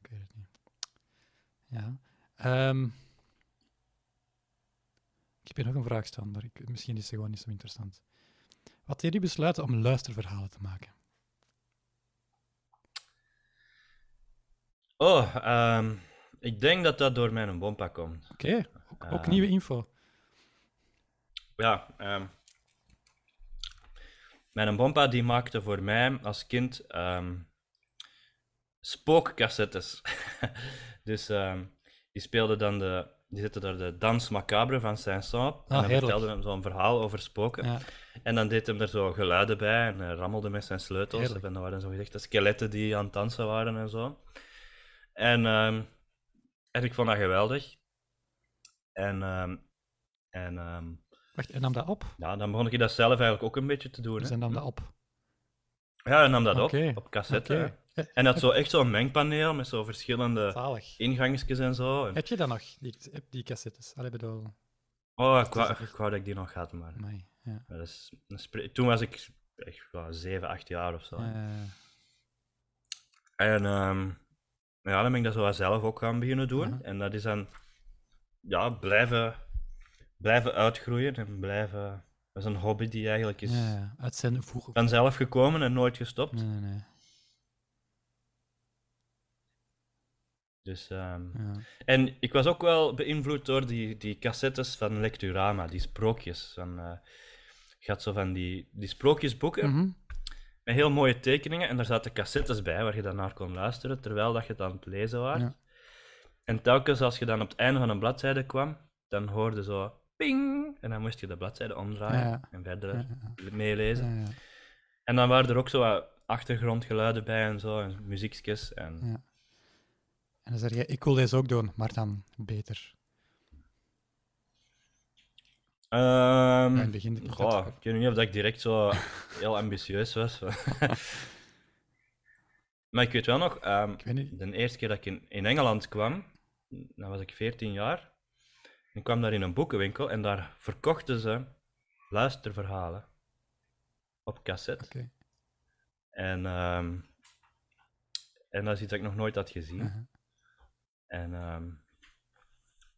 Speaker 1: Ik weet het niet. Ja. ehm, ik heb hier nog een vraag staan, maar ik, misschien is ze gewoon niet zo interessant. Wat deed u besluiten om luisterverhalen te maken?
Speaker 2: Oh, ehm, ik denk dat dat door mijn bompa komt.
Speaker 1: Oké, ook, ook
Speaker 2: Ehm,
Speaker 1: nieuwe info.
Speaker 2: Ja, ehm, mijn bompa die maakte voor mij als kind ehm spookcassettes. [LAUGHS] dus ehm, die speelde dan de, die zette daar de Dans Macabre van Saint-Saëns. en dan
Speaker 1: heerlijk.
Speaker 2: vertelde hem zo'n verhaal over spoken.
Speaker 1: Ja,
Speaker 2: En dan deed hem er zo geluiden bij en hij rammelde met zijn sleutels.
Speaker 1: Heerlijk.
Speaker 2: En dan waren zo gezegd de skeletten die aan het dansen waren en zo. En, ehm, en ik vond dat geweldig. En, ehm, en ehm,
Speaker 1: wacht, en nam dat op?
Speaker 2: ja, dan begon ik dat zelf eigenlijk ook een beetje te doen.
Speaker 1: Dus
Speaker 2: hè.
Speaker 1: hij nam dat op.
Speaker 2: Ja, hij nam dat
Speaker 1: Oké,
Speaker 2: op, op cassette.
Speaker 1: Oké.
Speaker 2: hè. En dat zo echt zo'n mengpaneel met zo verschillende
Speaker 1: Zalig.
Speaker 2: ingangetjes en zo. En-
Speaker 1: Heb je dat nog, die, heb die cassettes? Allee, bedoel...
Speaker 2: Oh, ik
Speaker 1: is
Speaker 2: wou,
Speaker 1: echt-
Speaker 2: ik wou dat ik die nog had, maar...
Speaker 1: Amai, ja.
Speaker 2: maar dat is, dat is pre- Toen was ik echt wel 7, 8 jaar of zo.
Speaker 1: Eh,
Speaker 2: En ehm, ja, dan ben ik dat zo zelf ook gaan beginnen doen.
Speaker 1: Ja.
Speaker 2: En dat is dan ja, blijven, blijven uitgroeien en blijven. Dat is een hobby die eigenlijk is
Speaker 1: ja, ja, uit zijn vroeger.
Speaker 2: vanzelf gekomen en nooit gestopt.
Speaker 1: Nee, nee, nee.
Speaker 2: Dus, ehm,
Speaker 1: Ja.
Speaker 2: En ik was ook wel beïnvloed door die, die cassettes van Lecturama, die sprookjes. Van, eh, je had zo van die, die sprookjesboeken
Speaker 1: Mhm.
Speaker 2: met heel mooie tekeningen. En daar zaten cassettes bij waar je dan naar kon luisteren terwijl dat je het aan het lezen was.
Speaker 1: Ja.
Speaker 2: En telkens als je dan op het einde van een bladzijde kwam, dan hoorde zo ping. En dan moest je de bladzijde omdraaien
Speaker 1: Ja, ja.
Speaker 2: en verder
Speaker 1: Ja, ja,
Speaker 2: meelezen.
Speaker 1: ja, ja.
Speaker 2: En dan waren er ook zo wat achtergrondgeluiden bij en zo, en muziekjes. En...
Speaker 1: Ja. En dan zeg je, ik wil deze ook doen, maar dan beter.
Speaker 2: Mm. Ehm,
Speaker 1: In het begin ik
Speaker 2: goh,
Speaker 1: dat- [LAUGHS]
Speaker 2: ik weet niet of dat ik direct zo heel ambitieus was. [LAUGHS] Maar ik weet wel nog, ehm,
Speaker 1: Ik weet niet.
Speaker 2: de eerste keer dat ik in, in Engeland kwam, dan was ik 14 jaar. Ik kwam daar in een boekenwinkel en daar verkochten ze luisterverhalen op cassette.
Speaker 1: Oké.
Speaker 2: En, ehm, en dat is iets dat ik nog nooit had gezien.
Speaker 1: aha.
Speaker 2: En, ehm,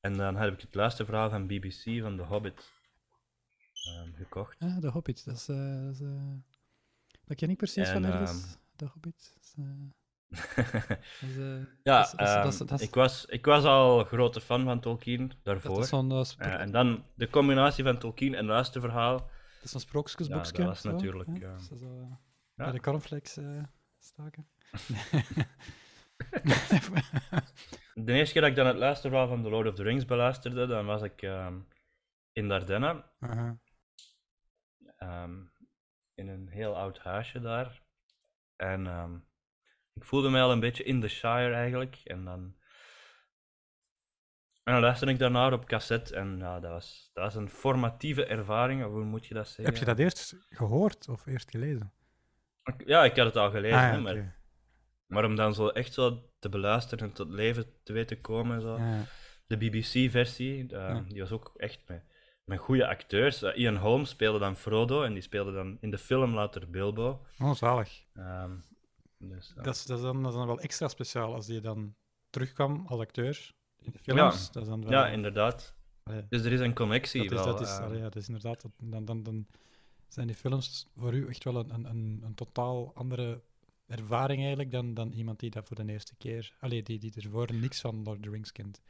Speaker 2: en dan heb ik het luisterverhaal van BBC van The Hobbit ehm, gekocht.
Speaker 1: Ah, de Hobbit. Dat, is, eh, dat, is, eh, dat ken ik precies
Speaker 2: En,
Speaker 1: van ergens.
Speaker 2: ehm,
Speaker 1: De Hobbit. Dat is, eh,
Speaker 2: [LAUGHS]
Speaker 1: dat is, eh,
Speaker 2: ja,
Speaker 1: dat is- dat is- dat is-
Speaker 2: ehm,
Speaker 1: dat is-
Speaker 2: ik, was, ik was al grote fan van Tolkien daarvoor.
Speaker 1: dat is zo'n eh, spro-
Speaker 2: Eh, en dan de combinatie van Tolkien en luisterverhaal.
Speaker 1: dat is zo'n sprookjesboekje.
Speaker 2: Ja, dat was
Speaker 1: of zo,
Speaker 2: natuurlijk,
Speaker 1: hè?
Speaker 2: ja.
Speaker 1: Dus dat is al, eh,
Speaker 2: Ja.
Speaker 1: Bij de cornflakes eh, staken.
Speaker 2: De eerste keer dat ik dan het luisterverhaal van The Lord of the Rings beluisterde, dan was ik ehm, in
Speaker 1: [LAUGHS]
Speaker 2: Dardenne,
Speaker 1: Aha.
Speaker 2: ehm, in een heel oud huisje daar. En ehm, ik voelde mij al een beetje in the Shire eigenlijk. En dan, en dan luisterde ik daarnaar op cassette. En ja, dat, was, dat was een formatieve ervaring, of hoe moet je dat zeggen?
Speaker 1: Heb je dat eerst gehoord of eerst gelezen?
Speaker 2: Ik- Ja, ik had het al gelezen,
Speaker 1: Ah, ja,
Speaker 2: hè, maar,
Speaker 1: oké.
Speaker 2: maar om dan zo echt zo te beluisteren en tot leven te weten komen. en Zo.
Speaker 1: Ja, ja.
Speaker 2: De BBC-versie,
Speaker 1: Ja.
Speaker 2: eh, die was ook echt met, met goede acteurs. Eh, Ian Holmes speelde dan Frodo en die speelde dan in de film later Bilbo.
Speaker 1: Oh, zalig.
Speaker 2: Ehm, dus, ja.
Speaker 1: Dat, is, dat, is dan, dat is dan wel extra speciaal als die dan terugkwam als acteur in de films.
Speaker 2: Ja.
Speaker 1: Dat is dan wel,
Speaker 2: ja, inderdaad.
Speaker 1: Allee,
Speaker 2: Dus er is een connectie
Speaker 1: dat, is,
Speaker 2: wel.
Speaker 1: dat, is,
Speaker 2: eh.
Speaker 1: allee, ja, dat is inderdaad. dat- dan, dan, dan zijn die films voor u echt wel een, een, een, een totaal andere ervaring eigenlijk dan, dan iemand die dat voor de eerste keer. Allee, die, die ervoor niks van Lord of the Rings kent.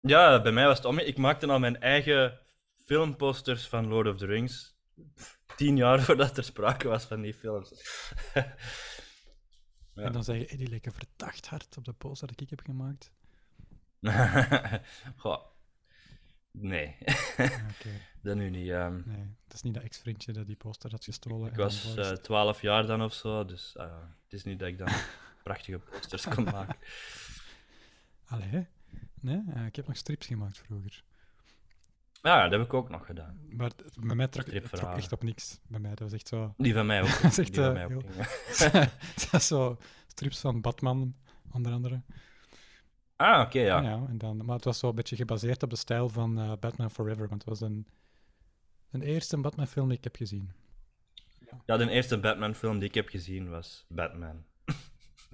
Speaker 2: Ja, bij mij was het om. Ik maakte al mijn eigen filmposters van Lord of the Rings. Pff, Tien jaar [LAUGHS] voordat er sprake was van die films. [LAUGHS] Ja.
Speaker 1: En dan zeg je, hey, die lijken verdacht hard op de poster dat ik heb
Speaker 2: [LAUGHS]
Speaker 1: gemaakt.
Speaker 2: Goh. Nee, [LAUGHS]
Speaker 1: Ah, Oké,
Speaker 2: dat nu niet. ehm.
Speaker 1: nee. Het is niet dat ex-vriendje dat die poster had gestolen.
Speaker 2: Ik was eh 12 jaar dan of zo, dus ah ja, het is niet dat
Speaker 1: [LAUGHS]
Speaker 2: ik dan prachtige posters kon maken.
Speaker 1: Allee? Nee, eh, ik heb nog strips gemaakt vroeger.
Speaker 2: Ja, dat heb ik ook nog gedaan.
Speaker 1: Maar het- het- bij mij trok het trok
Speaker 2: Stripverhalen.
Speaker 1: echt op niks. Bij mij, dat was echt zo... [LAUGHS]
Speaker 2: Die van mij ook.
Speaker 1: Dat is echt,
Speaker 2: die van
Speaker 1: eh,
Speaker 2: mij ook.
Speaker 1: [LAUGHS] Het was zo strips van Batman, onder andere.
Speaker 2: Ah, oké, ja.
Speaker 1: en dan, maar het was zo een beetje gebaseerd op de stijl van eh, Batman Forever, want het was een, een eerste Batman-film die ik heb gezien.
Speaker 2: Ja, de eerste Batman-film die ik heb gezien was Batman.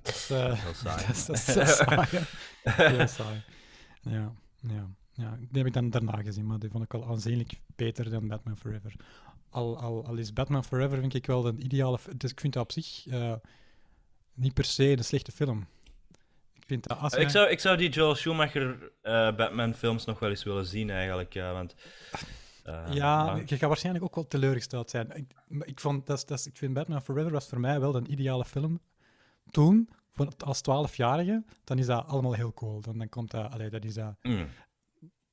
Speaker 1: Dat is, eh, [LAUGHS]
Speaker 2: Heel saai.
Speaker 1: dat is, dat is heel saai, hè.
Speaker 2: [LAUGHS]
Speaker 1: Heel saai. Ja, ja, ja, die heb ik dan daarna gezien, maar die vond ik al aanzienlijk beter dan Batman Forever. Al, al, al is Batman Forever, vind ik wel een ideale... f- Dus ik vind dat op zich eh, niet per se een slechte film. Ik vind dat als
Speaker 2: ik,
Speaker 1: hij-
Speaker 2: zou, ik zou die Joel Schumacher eh, Batman-films nog wel eens willen zien, eigenlijk. eh, want, eh,
Speaker 1: Ja,
Speaker 2: lang-
Speaker 1: je gaat waarschijnlijk ook wel teleurgesteld zijn. Ik, maar ik, vond, dat, is- dat, is- ik vind Batman Forever was voor mij wel een ideale film. Toen, voor- als 12-jarige, dan is dat allemaal heel cool. Dan, dan komt dat, allee, dat is dat
Speaker 2: Mm.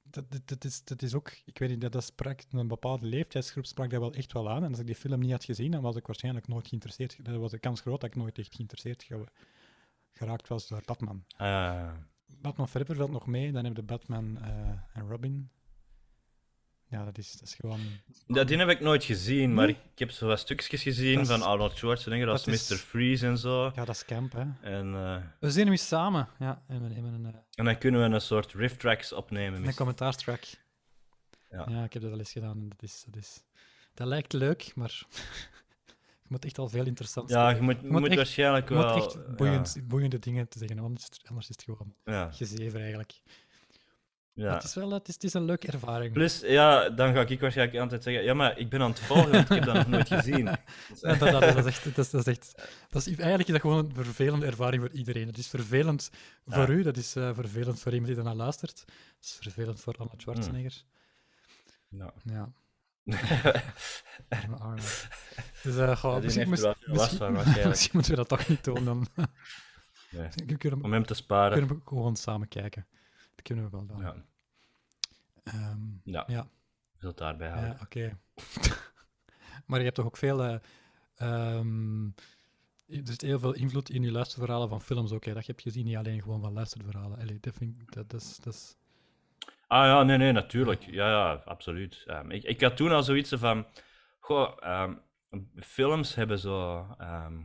Speaker 1: dat, dat, dat is, dat is ook, ik weet niet, dat, dat sprak, een bepaalde leeftijdsgroep sprak dat wel echt wel aan. En als ik die film niet had gezien, dan was ik waarschijnlijk nooit geïnteresseerd. Dan was de kans groot dat ik nooit echt geïnteresseerd ge- geraakt was door Batman.
Speaker 2: Ah,
Speaker 1: Batman Forever valt nog mee, dan heb je Batman eh, en Robin. Ja, dat is, dat is gewoon...
Speaker 2: ja, die heb ik nooit gezien, maar
Speaker 1: Nee?
Speaker 2: ik, ik heb zo wat stukjes gezien
Speaker 1: Dat is-
Speaker 2: van Arnold Schwarzenegger als
Speaker 1: dat is-
Speaker 2: Mr. Freeze en zo.
Speaker 1: Ja, dat is camp, hè.
Speaker 2: En, eh,
Speaker 1: We zien hem eens samen. Ja, en we hebben een, eh,
Speaker 2: En dan kunnen we een soort riff tracks opnemen.
Speaker 1: een
Speaker 2: misschien.
Speaker 1: commentaartrack.
Speaker 2: Ja.
Speaker 1: Ja. ik heb dat al eens gedaan. en Dat, is, dat, is, dat lijkt leuk, maar [LAUGHS] je moet echt al veel interessant
Speaker 2: Ja, je moet, moet
Speaker 1: echt-
Speaker 2: waarschijnlijk
Speaker 1: Je
Speaker 2: wel.
Speaker 1: moet echt boeiend, boeiende dingen te zeggen, anders is het, anders is het gewoon
Speaker 2: Ja,
Speaker 1: gezever eigenlijk.
Speaker 2: ja.
Speaker 1: Maar
Speaker 2: ja.
Speaker 1: het is wel het is, het is een leuke ervaring.
Speaker 2: Plus, ja, dan ga ik waarschijnlijk altijd zeggen: Ja, maar ik ben aan het volgen, want ik heb dat nog nooit
Speaker 1: [LAUGHS]
Speaker 2: gezien. Dus,
Speaker 1: Ja, dat, dat, dat is echt, dat, is, dat is echt, dat is, eigenlijk is dat gewoon een vervelende ervaring voor iedereen. Het is vervelend voor
Speaker 2: Ja.
Speaker 1: u, dat is eh, vervelend voor iemand die daarna luistert. Het is vervelend voor Arnold Schwarzenegger. [LAUGHS]
Speaker 2: nou.
Speaker 1: Ja, arme Arnold. Dus eh, goh,
Speaker 2: Die
Speaker 1: misschien,
Speaker 2: heeft er
Speaker 1: moest-
Speaker 2: wel veel last van,
Speaker 1: misschien-
Speaker 2: waarschijnlijk.
Speaker 1: [LAUGHS] misschien moeten we dat toch niet doen dan.
Speaker 2: [LAUGHS] Nee.
Speaker 1: We kunnen,
Speaker 2: Om hem te sparen.
Speaker 1: kunnen we gewoon samen kijken. Dat kunnen we wel dan.
Speaker 2: Ja,
Speaker 1: Ehm,
Speaker 2: ja.
Speaker 1: ja.
Speaker 2: ik zal het daarbij
Speaker 1: Ja,
Speaker 2: houden.
Speaker 1: oké. [LAUGHS] maar je hebt toch ook veel. eh, ehm, er zit heel veel invloed in je luisterverhalen van films ook. Hè? Dat heb je gezien, niet alleen gewoon van luisterverhalen. Allee, dat, vind ik, dat, dat is, dat is...
Speaker 2: Ah ja, nee, nee, natuurlijk. Ja, ja, absoluut. Ehm, ik, ik had toen al zoiets van... Goh, ehm, films hebben zo... ehm,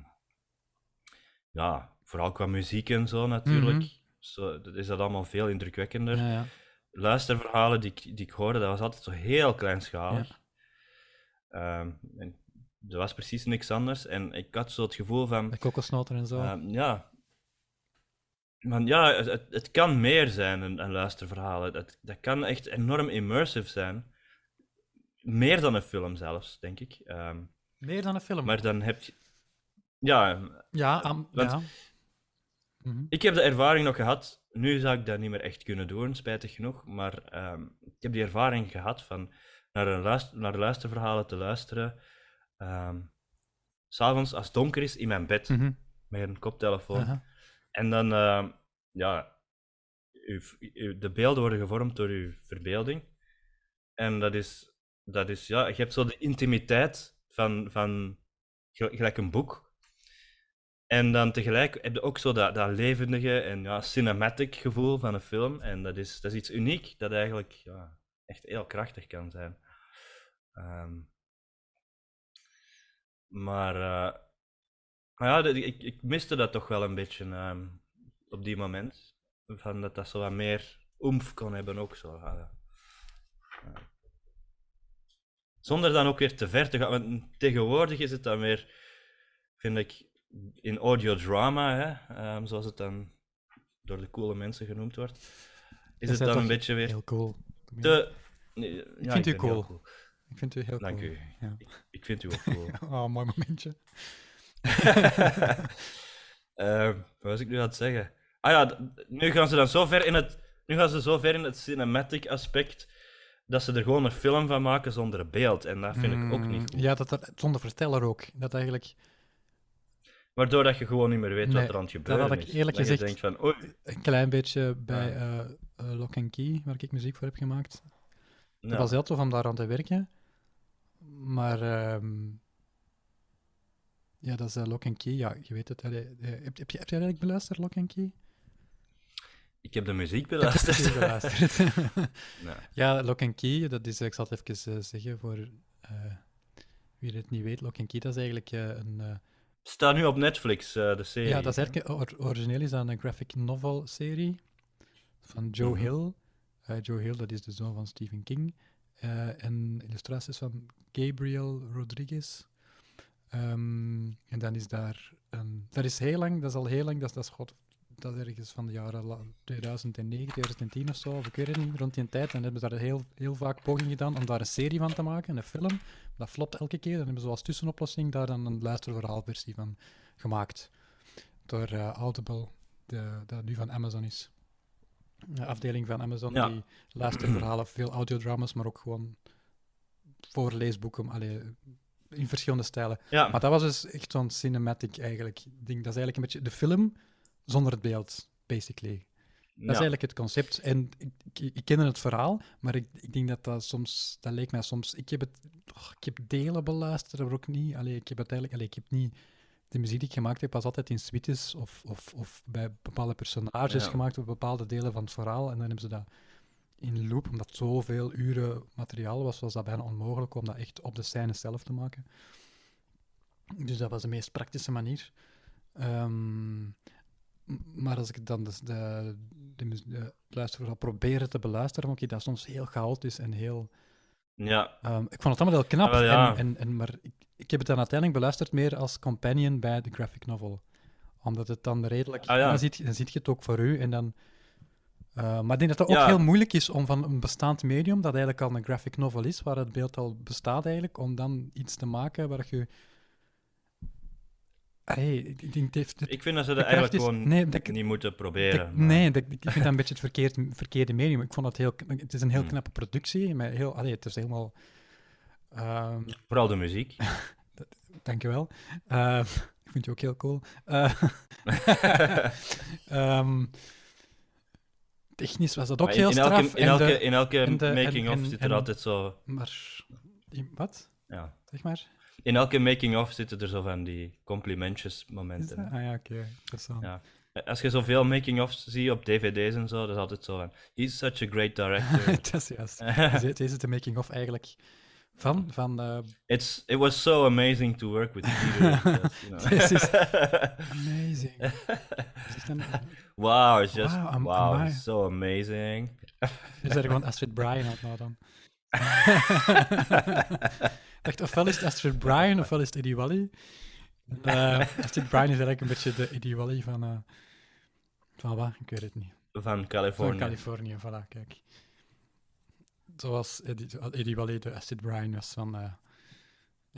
Speaker 2: ja, vooral qua muziek en zo natuurlijk, zo, dat is dat allemaal veel indrukwekkender.
Speaker 1: Ja, ja.
Speaker 2: Luisterverhalen die, ik- die ik hoorde, dat was altijd zo heel kleinschalig. Ehm, en er was precies niks anders. En ik had zo het gevoel van,
Speaker 1: De kokosnoten en zo.
Speaker 2: Ehm, ja. Want ja, het- het, het kan meer zijn, een, een luisterverhaal. Dat, dat kan echt enorm immersive zijn. Meer dan een film zelfs, denk ik. Ehm,
Speaker 1: Meer dan een film.
Speaker 2: maar dan heb je... Ja,
Speaker 1: ja, am-
Speaker 2: want-
Speaker 1: ja. Mhm.
Speaker 2: ik heb de ervaring nog gehad. Nu zou ik dat niet meer echt kunnen doen, spijtig genoeg. Maar ehm, ik heb die ervaring gehad van naar, een luister, naar luisterverhalen te luisteren. ehm, s S'avonds, als het donker is, in mijn bed.
Speaker 1: Mhm.
Speaker 2: Met een koptelefoon.
Speaker 1: Aha.
Speaker 2: En dan, eh, ja, uw- uw- de beelden worden gevormd door uw verbeelding. En dat is, dat is ja, je hebt zo de intimiteit van, van gel- gelijk een boek. En dan tegelijk heb je ook zo dat, dat levendige en ja, cinematic gevoel van een film. En dat is, dat is iets uniek dat eigenlijk ja, echt heel krachtig kan zijn. Ehm, maar eh, maar ja, dat- ik, ik miste dat toch wel een beetje ehm, op die moment. Van dat dat zo wat meer oemf kon hebben ook zo. Ah, ja. Ja. Zonder dan ook weer te ver te gaan. Want tegenwoordig is het dan weer, vind ik, in audiodrama, hè, ehm, zoals het dan door de coole mensen genoemd wordt,
Speaker 1: Dat
Speaker 2: is het dan
Speaker 1: toch
Speaker 2: een beetje weer
Speaker 1: Heel cool. Kom hier.
Speaker 2: te... nee, ja, ik
Speaker 1: vind u
Speaker 2: ben heel
Speaker 1: cool. Ik vind u heel
Speaker 2: Dank
Speaker 1: cool.
Speaker 2: u.
Speaker 1: Ja.
Speaker 2: Ik, ik vind u
Speaker 1: [LAUGHS]
Speaker 2: ook cool.
Speaker 1: Oh, mooi momentje.
Speaker 2: Eh, wat was ik nu aan het zeggen? Ah ja, d- nu gaan ze dan zo ver in het, nu gaan ze zo ver in het cinematic aspect dat ze er gewoon een film van maken zonder een beeld. En dat vind
Speaker 1: Mm.
Speaker 2: ik ook niet goed.
Speaker 1: Hmm, Ja, dat er, zonder verteller ook. Dat eigenlijk,
Speaker 2: Waardoor dat je gewoon niet meer weet
Speaker 1: Nee,
Speaker 2: wat er aan het
Speaker 1: dat
Speaker 2: gebeuren
Speaker 1: had ik
Speaker 2: is.
Speaker 1: eerlijk
Speaker 2: dat
Speaker 1: gezegd-
Speaker 2: je denkt van, oei,
Speaker 1: een klein beetje bij eh eh, Lock and Key, waar ik muziek voor heb gemaakt.
Speaker 2: nou,
Speaker 1: Het was heel tof om daar aan te werken. Maar ehm, ja, dat is eh, Lock and Key. Ja, je weet het. allee, eh, heb, heb, je, heb jij eigenlijk beluisterd, Lock and Key?
Speaker 2: ik heb de
Speaker 1: [LAUGHS]
Speaker 2: muziek
Speaker 1: Ik heb
Speaker 2: beluisterd.
Speaker 1: beluisterd. [LAUGHS]
Speaker 2: Nou,
Speaker 1: ja, Lock and Key, dat is, eh, ik zal het even eh, zeggen voor eh, wie het niet weet. Lock and Key, dat is eigenlijk eh, een... eh,
Speaker 2: [LAUGHS] staat nu op Netflix, eh, de serie.
Speaker 1: Ja, dat is eigenlijk or- origineel is dat een graphic novel serie van Joe
Speaker 2: Mhm.
Speaker 1: Hill. Eh, Joe Hill, dat is de zoon van Stephen King. Eh, en illustraties van Gabriel Rodriguez. Ehm, en dan is daar een. Dat is heel lang, dat is al heel lang, dat is, dat is, god, dat is ergens van de jaren la- 2009, 2010 of zo, of ik weet het niet, rond die tijd. En hebben ze daar heel, heel vaak poging gedaan om daar een serie van te maken, een film. Dat flopt elke keer. Dan hebben ze als tussenoplossing daar dan een luisterverhaalversie van gemaakt door eh, Audible, de, dat nu van Amazon is. Een afdeling van Amazon
Speaker 2: Ja.
Speaker 1: die luisterverhalen, veel audiodramas, maar ook gewoon voorleesboeken, allee, in verschillende stijlen.
Speaker 2: Ja,
Speaker 1: Maar dat was dus echt zo'n cinematic eigenlijk ding. Dat is eigenlijk een beetje de film zonder het beeld, basically. Dat
Speaker 2: ja.
Speaker 1: is eigenlijk het concept. En ik, ik, ik kende het verhaal, maar ik, ik denk dat dat soms, dat leek mij soms. Ik heb het, och, ik heb delen beluisterd, maar ook niet. Allee, ik heb uiteindelijk, allee, ik heb niet. De muziek die ik gemaakt heb, was altijd in suites of, of, of bij bepaalde personages
Speaker 2: Ja.
Speaker 1: gemaakt op bepaalde delen van het verhaal. En dan hebben ze dat in loop, omdat het zoveel uren materiaal was, was dat bijna onmogelijk om dat echt op de scène zelf te maken. Dus dat was de meest praktische manier. Ehm, M- Maar als ik dan dus de, de, mus- de luisterverhaal probeerde te beluisteren, vond ik dat soms heel chaotisch en heel...
Speaker 2: ja.
Speaker 1: ehm, ik vond het allemaal heel knap,
Speaker 2: Ah, wel, ja.
Speaker 1: en, en, en, maar ik, ik heb het dan uiteindelijk beluisterd meer als companion bij de graphic novel. Omdat het dan redelijk...
Speaker 2: Ah, ja.
Speaker 1: dan, ziet, dan ziet je het ook voor u en dan... eh, maar ik denk dat het ook
Speaker 2: Ja.
Speaker 1: heel moeilijk is om van een bestaand medium, dat eigenlijk al een graphic novel is, waar het beeld al bestaat eigenlijk, om dan iets te maken waar je... Allee, ik ik denk, het heeft, het
Speaker 2: Ik vind dat ze
Speaker 1: de
Speaker 2: dat eigenlijk
Speaker 1: kracht is-
Speaker 2: gewoon
Speaker 1: nee, dat-
Speaker 2: niet moeten
Speaker 1: ik-
Speaker 2: proberen. maar-
Speaker 1: nee, dat, ik vind dat
Speaker 2: [LAUGHS]
Speaker 1: een beetje het verkeerd, verkeerde medium. Ik vond dat heel, kn- het is een heel
Speaker 2: Hmm.
Speaker 1: knappe productie. Met heel, allee, het is helemaal. ehm,
Speaker 2: Vooral de muziek.
Speaker 1: dankjewel. Eh, [LAUGHS] ik vind je ook heel cool. Eh,
Speaker 2: [LAUGHS]
Speaker 1: [LAUGHS] ehm, technisch was dat ook
Speaker 2: Maar in,
Speaker 1: heel
Speaker 2: in
Speaker 1: straf.
Speaker 2: elke, in
Speaker 1: en
Speaker 2: elke,
Speaker 1: de-
Speaker 2: in elke
Speaker 1: en de- en-
Speaker 2: making-of
Speaker 1: en-
Speaker 2: zit er
Speaker 1: en-
Speaker 2: altijd zo...
Speaker 1: maar die- wat?
Speaker 2: Ja.
Speaker 1: Zeg maar.
Speaker 2: In elke making-of zitten er zo van die complimentjes
Speaker 1: Is dat?
Speaker 2: momenten.
Speaker 1: Ah ja, oké. [LAUGHS] interessant.
Speaker 2: Ja. Als je zoveel making-ofs ziet op dvd's en zo, dat is
Speaker 1: [LAUGHS]
Speaker 2: altijd zo van... He's such a great director. [LAUGHS]
Speaker 1: dat is juist. Dus dit- Deze is de making-of eigenlijk Van? Van eh, [LAUGHS]
Speaker 2: It's it was so amazing to work with Peter.
Speaker 1: [LAUGHS]
Speaker 2: That's, you know.
Speaker 1: This
Speaker 2: [LAUGHS]
Speaker 1: is- amazing. Dat is echt een-
Speaker 2: wow, it's just
Speaker 1: Wow, am-
Speaker 2: wow,
Speaker 1: amai.
Speaker 2: it's so amazing.
Speaker 1: Is er gewoon Astrid Bryan uit nou dan? Echt, ofwel is het Astrid Bryan, ofwel is het Eddie Wally. En, eh, Astrid Bryan is eigenlijk een beetje de Eddie Wally van... eh, van wat? Ik weet het niet.
Speaker 2: Van
Speaker 1: Van
Speaker 2: California.
Speaker 1: Californië, voilà, kijk. Zoals Eddie, zoals Eddie Wally de Astrid Bryan was van... eh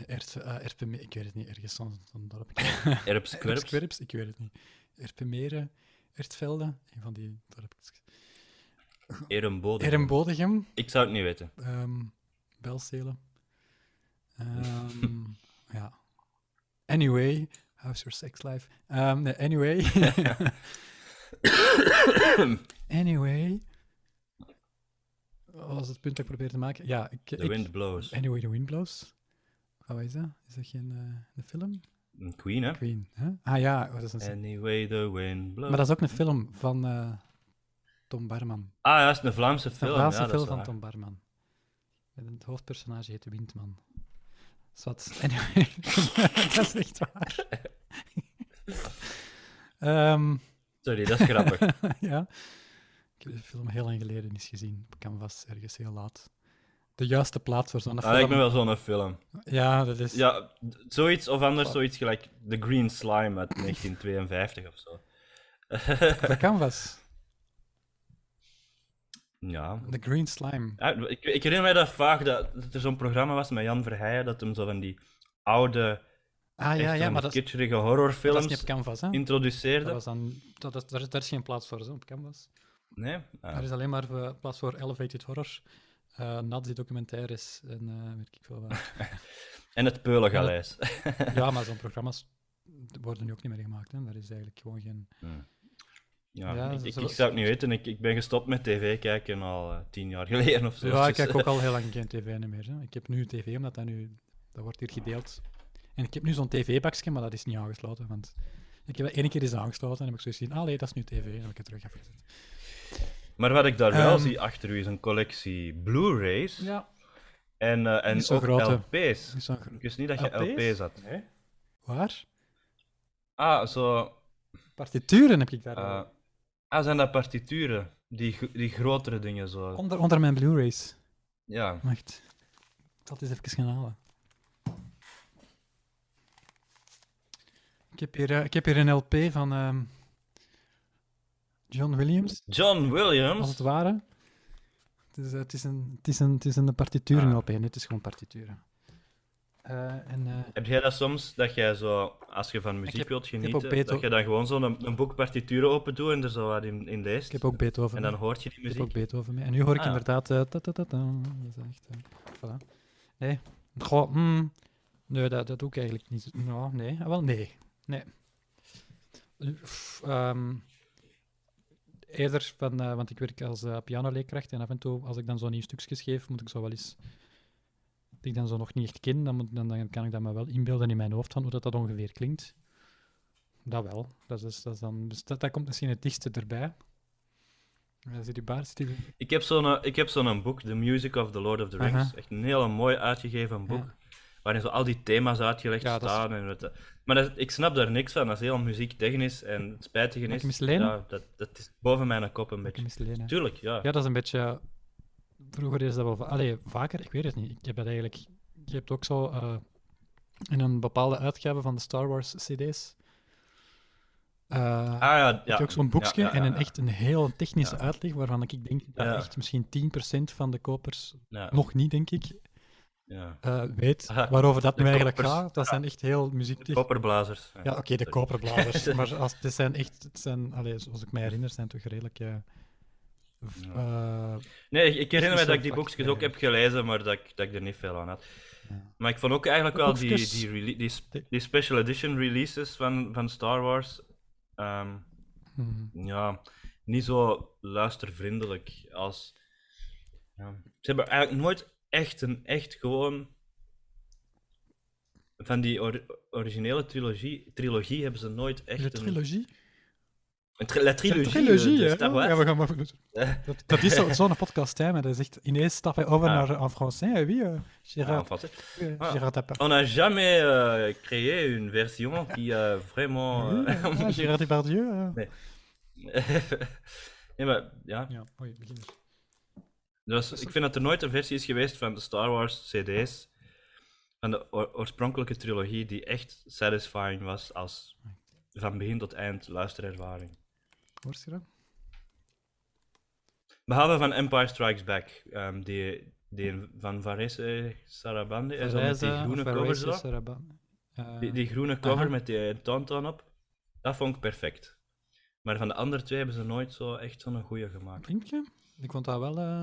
Speaker 1: Erp, eh, Erpe- ik weet het niet, ergens zo'n zo'n dorp.
Speaker 2: Erps Quirps.
Speaker 1: Erpskwerps? Ik weet het niet. Erpemeren, Ertvelde, een van die dorpjes. Erm
Speaker 2: Erembode.
Speaker 1: Erembodegem,
Speaker 2: Ik zou het niet weten.
Speaker 1: Ehm Belzelen. Ehm,
Speaker 2: [LAUGHS]
Speaker 1: ja. Anyway, how's your sex life? Ehm, nee, anyway.
Speaker 2: [COUGHS]
Speaker 1: anyway. Wat was het punt dat ik probeerde te maken? Ja, ik,
Speaker 2: The
Speaker 1: ik-
Speaker 2: Wind Blows.
Speaker 1: Anyway, The Wind Blows. Wat is dat? Is dat geen eh, een film?
Speaker 2: Een Queen, hè?
Speaker 1: Queen, hè? Ah ja, oh, dat is een
Speaker 2: Anyway, the wind blows.
Speaker 1: Maar dat is ook een film van eh, Tom Barman.
Speaker 2: Ah, ja, dat is een Vlaamse
Speaker 1: De
Speaker 2: film.
Speaker 1: laatste
Speaker 2: ja, dat
Speaker 1: film
Speaker 2: is
Speaker 1: van
Speaker 2: waar.
Speaker 1: Tom Barman. En het hoofdpersonage heet Windman. Zwat. [LAUGHS] Anyway, dat is echt
Speaker 2: [LAUGHS]
Speaker 1: waar. Ehm, [LAUGHS]
Speaker 2: Sorry, dat is grappig.
Speaker 1: ja. Ik heb de film heel lang geleden eens gezien. Op Canvas, ergens heel laat. De juiste plaats voor zo'n
Speaker 2: Dat lijkt me
Speaker 1: film.
Speaker 2: Ah, wel zo'n film.
Speaker 1: Ja, dat is...
Speaker 2: Ja, d- zoiets of anders zoiets gelijk The Green Slime uit 1952 of zo.
Speaker 1: De Canvas.
Speaker 2: Ja.
Speaker 1: The Green Slime.
Speaker 2: Ja, ik, ik herinner mij dat vaag dat, dat er zo'n programma was met Jan Verheijen dat hem zo van die oude,
Speaker 1: Ah ja,
Speaker 2: echt
Speaker 1: ja
Speaker 2: zo'n
Speaker 1: maar dat, is-
Speaker 2: kitscherige
Speaker 1: dat
Speaker 2: horrorfilms
Speaker 1: is niet op Canvas, hè?
Speaker 2: introduceerde.
Speaker 1: Dat was dan, dat, dat, daar, is- daar is geen plaats voor, zo, op Canvas.
Speaker 2: Nee? Ah.
Speaker 1: Er is alleen maar eh, plaats voor elevated horror, eh nazi-documentaires en eh weet ik veel wat.
Speaker 2: [LAUGHS] En het Peulengaleis.
Speaker 1: ja, maar zo'n programma's worden nu ook niet meer gemaakt. Hè. Daar is eigenlijk gewoon geen...
Speaker 2: [LAUGHS] Ja,
Speaker 1: Ja,
Speaker 2: ik,
Speaker 1: zo-
Speaker 2: ik,
Speaker 1: zo-
Speaker 2: ik zou het niet weten. Ik, ik ben gestopt met tv kijken al eh, tien jaar geleden of zo.
Speaker 1: Ja, ik
Speaker 2: Dus,
Speaker 1: kijk
Speaker 2: eh,
Speaker 1: ook al heel lang geen tv meer. Hè. Ik heb nu tv, omdat dat nu... Dat wordt hier gedeeld. En ik heb nu zo'n tv-bakje, maar dat is niet aangesloten, want... Ik heb dat één keer eens aangesloten en heb ik zoiets gezien, ah nee, dat is nu tv, en heb ik het terug afgezet.
Speaker 2: Maar wat ik daar wel
Speaker 1: Ehm.
Speaker 2: zie achter u is een collectie Blu-rays
Speaker 1: Ja,
Speaker 2: en, eh, en
Speaker 1: Niet zo
Speaker 2: ook
Speaker 1: grote.
Speaker 2: LP's.
Speaker 1: dat is zo'n...
Speaker 2: [LAUGHS]
Speaker 1: gro-
Speaker 2: Ik wist niet dat je
Speaker 1: LP's?
Speaker 2: LP's, had.
Speaker 1: Dus Waar?
Speaker 2: Ah, zo.
Speaker 1: Partituren heb ik daar.
Speaker 2: eh,
Speaker 1: al.
Speaker 2: ah, zijn dat partituren? Die, gro- die grotere dingen zo.
Speaker 1: onder, onder mijn Blu-rays.
Speaker 2: Ja.
Speaker 1: Wacht. Ik zal het eens even gaan halen. Ik heb hier, eh, ik heb hier een LP van ehm, John Williams,
Speaker 2: John
Speaker 1: als
Speaker 2: Williams.
Speaker 1: het ware. Het is, eh, het is, een, het is, een, het is een
Speaker 2: Ah.
Speaker 1: partituren LP, dit is gewoon partituren. Eh, en, eh,
Speaker 2: Heb jij dat soms dat jij zo, als je van muziek
Speaker 1: heb-
Speaker 2: wilt
Speaker 1: heb ook
Speaker 2: genieten, dat
Speaker 1: Beethoven.
Speaker 2: je dan gewoon zo een, een boek partituren open doet en er zo wat in, in leest?
Speaker 1: ik heb ook Beethoven.
Speaker 2: En
Speaker 1: mee.
Speaker 2: dan hoort je die
Speaker 1: ik heb ook
Speaker 2: muziek.
Speaker 1: Beethoven mee. En nu hoor ik
Speaker 2: Ah.
Speaker 1: inderdaad. eh, ta, ta, ta, ta. dat is echt. eh, voilà. Nee. Goh, mm, nee, dat, dat doe ik eigenlijk niet. Nou, nee. Ah, wel, nee. Nee. Eh, pff, ehm, eerder van, eh, want ik werk als eh, pianoleerkracht en af en toe, als ik dan zo'n nieuw stukje geef, moet ik zo wel eens, dat ik dan zo nog niet echt ken, dan, moet, dan, dan kan ik dat me wel inbeelden in mijn hoofd van hoe dat, dat ongeveer klinkt. Dat wel. Dat, is, dat, is dan, dus dat, dat komt misschien het dichtste erbij. Ja, zit die baard, zit die...
Speaker 2: Ik heb zo'n eh, ik heb zo'n boek, The Music of the Lord of the Rings.
Speaker 1: Aha.
Speaker 2: Echt een heel mooi uitgegeven boek.
Speaker 1: Ja.
Speaker 2: Waarin zo al die thema's uitgelegd
Speaker 1: Ja, dat is-
Speaker 2: staan. En wat, eh, maar dat, ik snap daar niks van. Dat is heel muziektechnisch en het spijtige
Speaker 1: Mag
Speaker 2: is.
Speaker 1: ik hem eens lenen?
Speaker 2: ja, dat, dat is boven mijn kop een beetje.
Speaker 1: Mislenen.
Speaker 2: Tuurlijk, ja.
Speaker 1: Ja, dat is een beetje. Vroeger is dat wel. va- Allee, vaker, ik weet het niet. Ik heb dat eigenlijk. Je hebt ook zo. eh, in een bepaalde uitgave van de Star Wars CD's. eh,
Speaker 2: Ah ja,
Speaker 1: heb
Speaker 2: ja.
Speaker 1: je ook zo'n boekje
Speaker 2: Ja, ja, ja,
Speaker 1: en een,
Speaker 2: ja.
Speaker 1: echt een heel technische
Speaker 2: Ja.
Speaker 1: uitleg waarvan ik denk dat
Speaker 2: Ja.
Speaker 1: echt misschien 10% van de kopers,
Speaker 2: Ja,
Speaker 1: nog niet denk ik,
Speaker 2: ja.
Speaker 1: eh, weet
Speaker 2: Ah,
Speaker 1: waarover dat
Speaker 2: de
Speaker 1: nu eigenlijk
Speaker 2: kopers.
Speaker 1: gaat. Dat zijn echt heel muziektechnisch.
Speaker 2: Popperblazers. Ja.
Speaker 1: Ja, oké, de
Speaker 2: [LAUGHS]
Speaker 1: koperblazers. maar als, dit zijn echt, dit zijn, allee, zoals ik mij herinner, zijn toch redelijk. eh, v- eh,
Speaker 2: Nee, ik- ik herinner mij
Speaker 1: zo'n
Speaker 2: dat ik die
Speaker 1: vak,
Speaker 2: boekjes ook heb gelezen, maar dat ik, dat ik er niet veel aan had. Maar ik vond ook eigenlijk wel die,
Speaker 1: Boekjes.
Speaker 2: die, rele- die, sp- die special edition releases van, van Star Wars. ehm,
Speaker 1: mhm.
Speaker 2: ja, niet zo luistervriendelijk als. Ja. Ze hebben eigenlijk nooit echt een echt gewoon. Van die or- originele trilogie, trilogie hebben ze nooit
Speaker 1: Is het
Speaker 2: echt een.
Speaker 1: trilogie?
Speaker 2: Een tri- la
Speaker 1: Een
Speaker 2: eh, trilogie.
Speaker 1: trilogie,
Speaker 2: eh, de
Speaker 1: hè?
Speaker 2: Star Wars. Eh.
Speaker 1: Ja, we gaan maar... dat, dat is zo- zo'n podcast, hè. Maar dat is echt... Ineens stap je over
Speaker 2: Ah.
Speaker 1: naar en français, hè, wie? eh,
Speaker 2: Ah, en
Speaker 1: Gérard,
Speaker 2: français.
Speaker 1: eh,
Speaker 2: Ah.
Speaker 1: Gérard Depardieu.
Speaker 2: On n'a jamais euh, créé une version qui a vraiment.
Speaker 1: Oui,
Speaker 2: euh, [LAUGHS]
Speaker 1: ah, Gérard Depardieu. eh.
Speaker 2: nee, maar ja.
Speaker 1: Ja, oei, begin.
Speaker 2: Dus, ik vind dat er nooit een versie is geweest van de Star Wars CD's. Van de oor- oorspronkelijke trilogie, die echt satisfying was als van begin tot eind luisterervaring.
Speaker 1: Hoor je dat?
Speaker 2: Behalve van Empire Strikes Back, ehm, die, die van Varese Sarabande is, met die groene cover. zo.
Speaker 1: eh,
Speaker 2: Die, die groene cover
Speaker 1: Aha.
Speaker 2: met die tauntaun op, dat vond ik perfect. Maar van de andere twee hebben ze nooit zo echt zo'n goeie gemaakt.
Speaker 1: Vriendje? Ik vond dat wel... eh,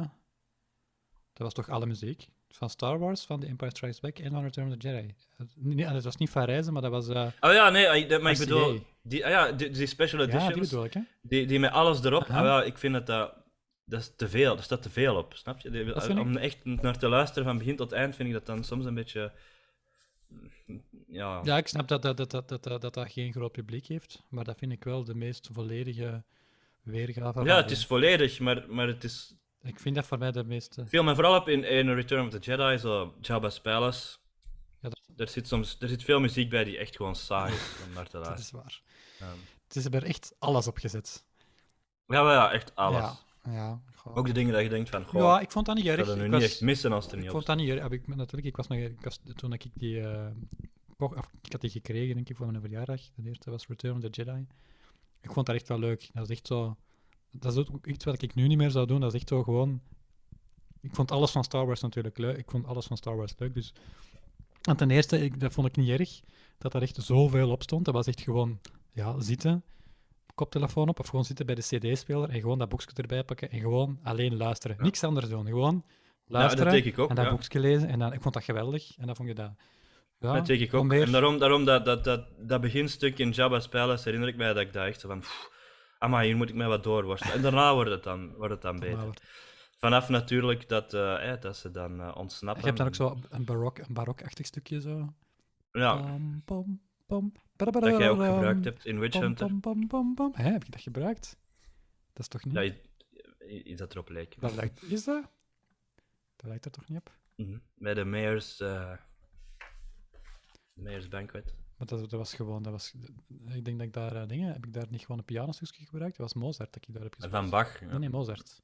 Speaker 1: Dat was toch alle muziek? Van Star Wars, van The Empire Strikes Back en van Return of the Jedi. Eh, Nee, dat was niet Van Reizen, maar dat was... eh,
Speaker 2: Oh ja, nee, ik- dat- maar ik
Speaker 1: RCA.
Speaker 2: bedoel, die, ah ja, die, die special
Speaker 1: ja,
Speaker 2: editions,
Speaker 1: die bedoel ik, hè.
Speaker 2: die, die met alles erop,
Speaker 1: Aha.
Speaker 2: ah ja, ik vind dat dat, dat is te veel, er staat te veel op, snap je? Die-
Speaker 1: Dat vind ik-
Speaker 2: om echt naar te luisteren van begin tot eind vind ik dat dan soms een beetje, ja,
Speaker 1: Ja, ik snap dat dat, dat, dat, dat, dat, dat, dat geen groot publiek heeft, maar dat vind ik wel de meest volledige weergave. van
Speaker 2: ja het
Speaker 1: de-
Speaker 2: is volledig, maar, maar het is,
Speaker 1: Ik vind dat voor mij de eh, meeste...
Speaker 2: viel me vooral op in, in Return of the Jedi, zo Jabba's Palace.
Speaker 1: Ja, dat-
Speaker 2: Er zit, soms, er zit veel muziek bij die echt gewoon saai is om naar
Speaker 1: [LAUGHS]
Speaker 2: te
Speaker 1: Dat
Speaker 2: luisteren.
Speaker 1: is waar.
Speaker 2: Ehm,
Speaker 1: Het is er echt alles op gezet.
Speaker 2: ja, maar ja, echt alles.
Speaker 1: Ja, ja. goh.
Speaker 2: Ook de dingen dat je denkt van, goh,
Speaker 1: ja,
Speaker 2: ik
Speaker 1: ik vond dat niet
Speaker 2: zou
Speaker 1: erg.
Speaker 2: dat nu
Speaker 1: Ik
Speaker 2: niet
Speaker 1: was-
Speaker 2: echt missen als het er niet
Speaker 1: Ik
Speaker 2: op
Speaker 1: vond dat niet erg. Heb Ik, natuurlijk, ik was nog, ik was, toen ik die. eh, kocht- of ik had die gekregen, denk ik, voor mijn verjaardag. De eerste was Return of the Jedi. Ik vond dat echt wel leuk. Dat is echt zo. Dat is ook iets wat ik nu niet meer zou doen. Dat is echt zo gewoon. Ik vond alles van Star Wars natuurlijk leuk. Ik vond alles van Star Wars leuk. Dus. En ten eerste, ik, dat vond ik niet erg dat er echt zoveel op stond. Dat was echt gewoon ja, zitten, koptelefoon op, of gewoon zitten bij de CD-speler en gewoon dat boekje erbij pakken en gewoon alleen luisteren.
Speaker 2: Ja.
Speaker 1: Niks anders doen. Gewoon
Speaker 2: Ja,
Speaker 1: luisteren.
Speaker 2: dat denk ik ook.
Speaker 1: En dat
Speaker 2: ja.
Speaker 1: boekje lezen. En dan, ik vond dat geweldig. En dan vond je dat... Ja,
Speaker 2: Dat denk ik ook.
Speaker 1: om weer-
Speaker 2: En daarom, daarom dat, dat, dat, dat beginstuk in Jabba's Palace herinner ik mij dat ik daar echt zo van, pff, amai, hier moet ik mij wat doorworstelen. En daarna wordt het dan, wordt het dan
Speaker 1: Doe maar
Speaker 2: beter.
Speaker 1: wat.
Speaker 2: Vanaf natuurlijk dat, eh, hè, dat ze dan eh, ontsnappen.
Speaker 1: Je hebt dan ook zo een barok, een barokachtig stukje zo.
Speaker 2: Ja,
Speaker 1: Pam, pam, pam,
Speaker 2: dat jij ook gebruikt hebt in Witch
Speaker 1: Pam,
Speaker 2: Hunter.
Speaker 1: pam, pam, pam, pam. Hè, heb je dat gebruikt? Dat is toch niet?
Speaker 2: Ja, i- iets dat erop leek.
Speaker 1: Dat lijkt... Is dat? Dat lijkt er toch niet op?
Speaker 2: Mhm. Bij de Mayor's, eh Mayor's Banquet.
Speaker 1: Maar dat, dat was gewoon... Dat was, ik denk dat ik daar eh, dingen... Heb ik daar niet gewoon een pianostukje gebruikt? Dat was Mozart dat ik daar heb gespeeld.
Speaker 2: Van Bach.
Speaker 1: Nee, nee, Mozart.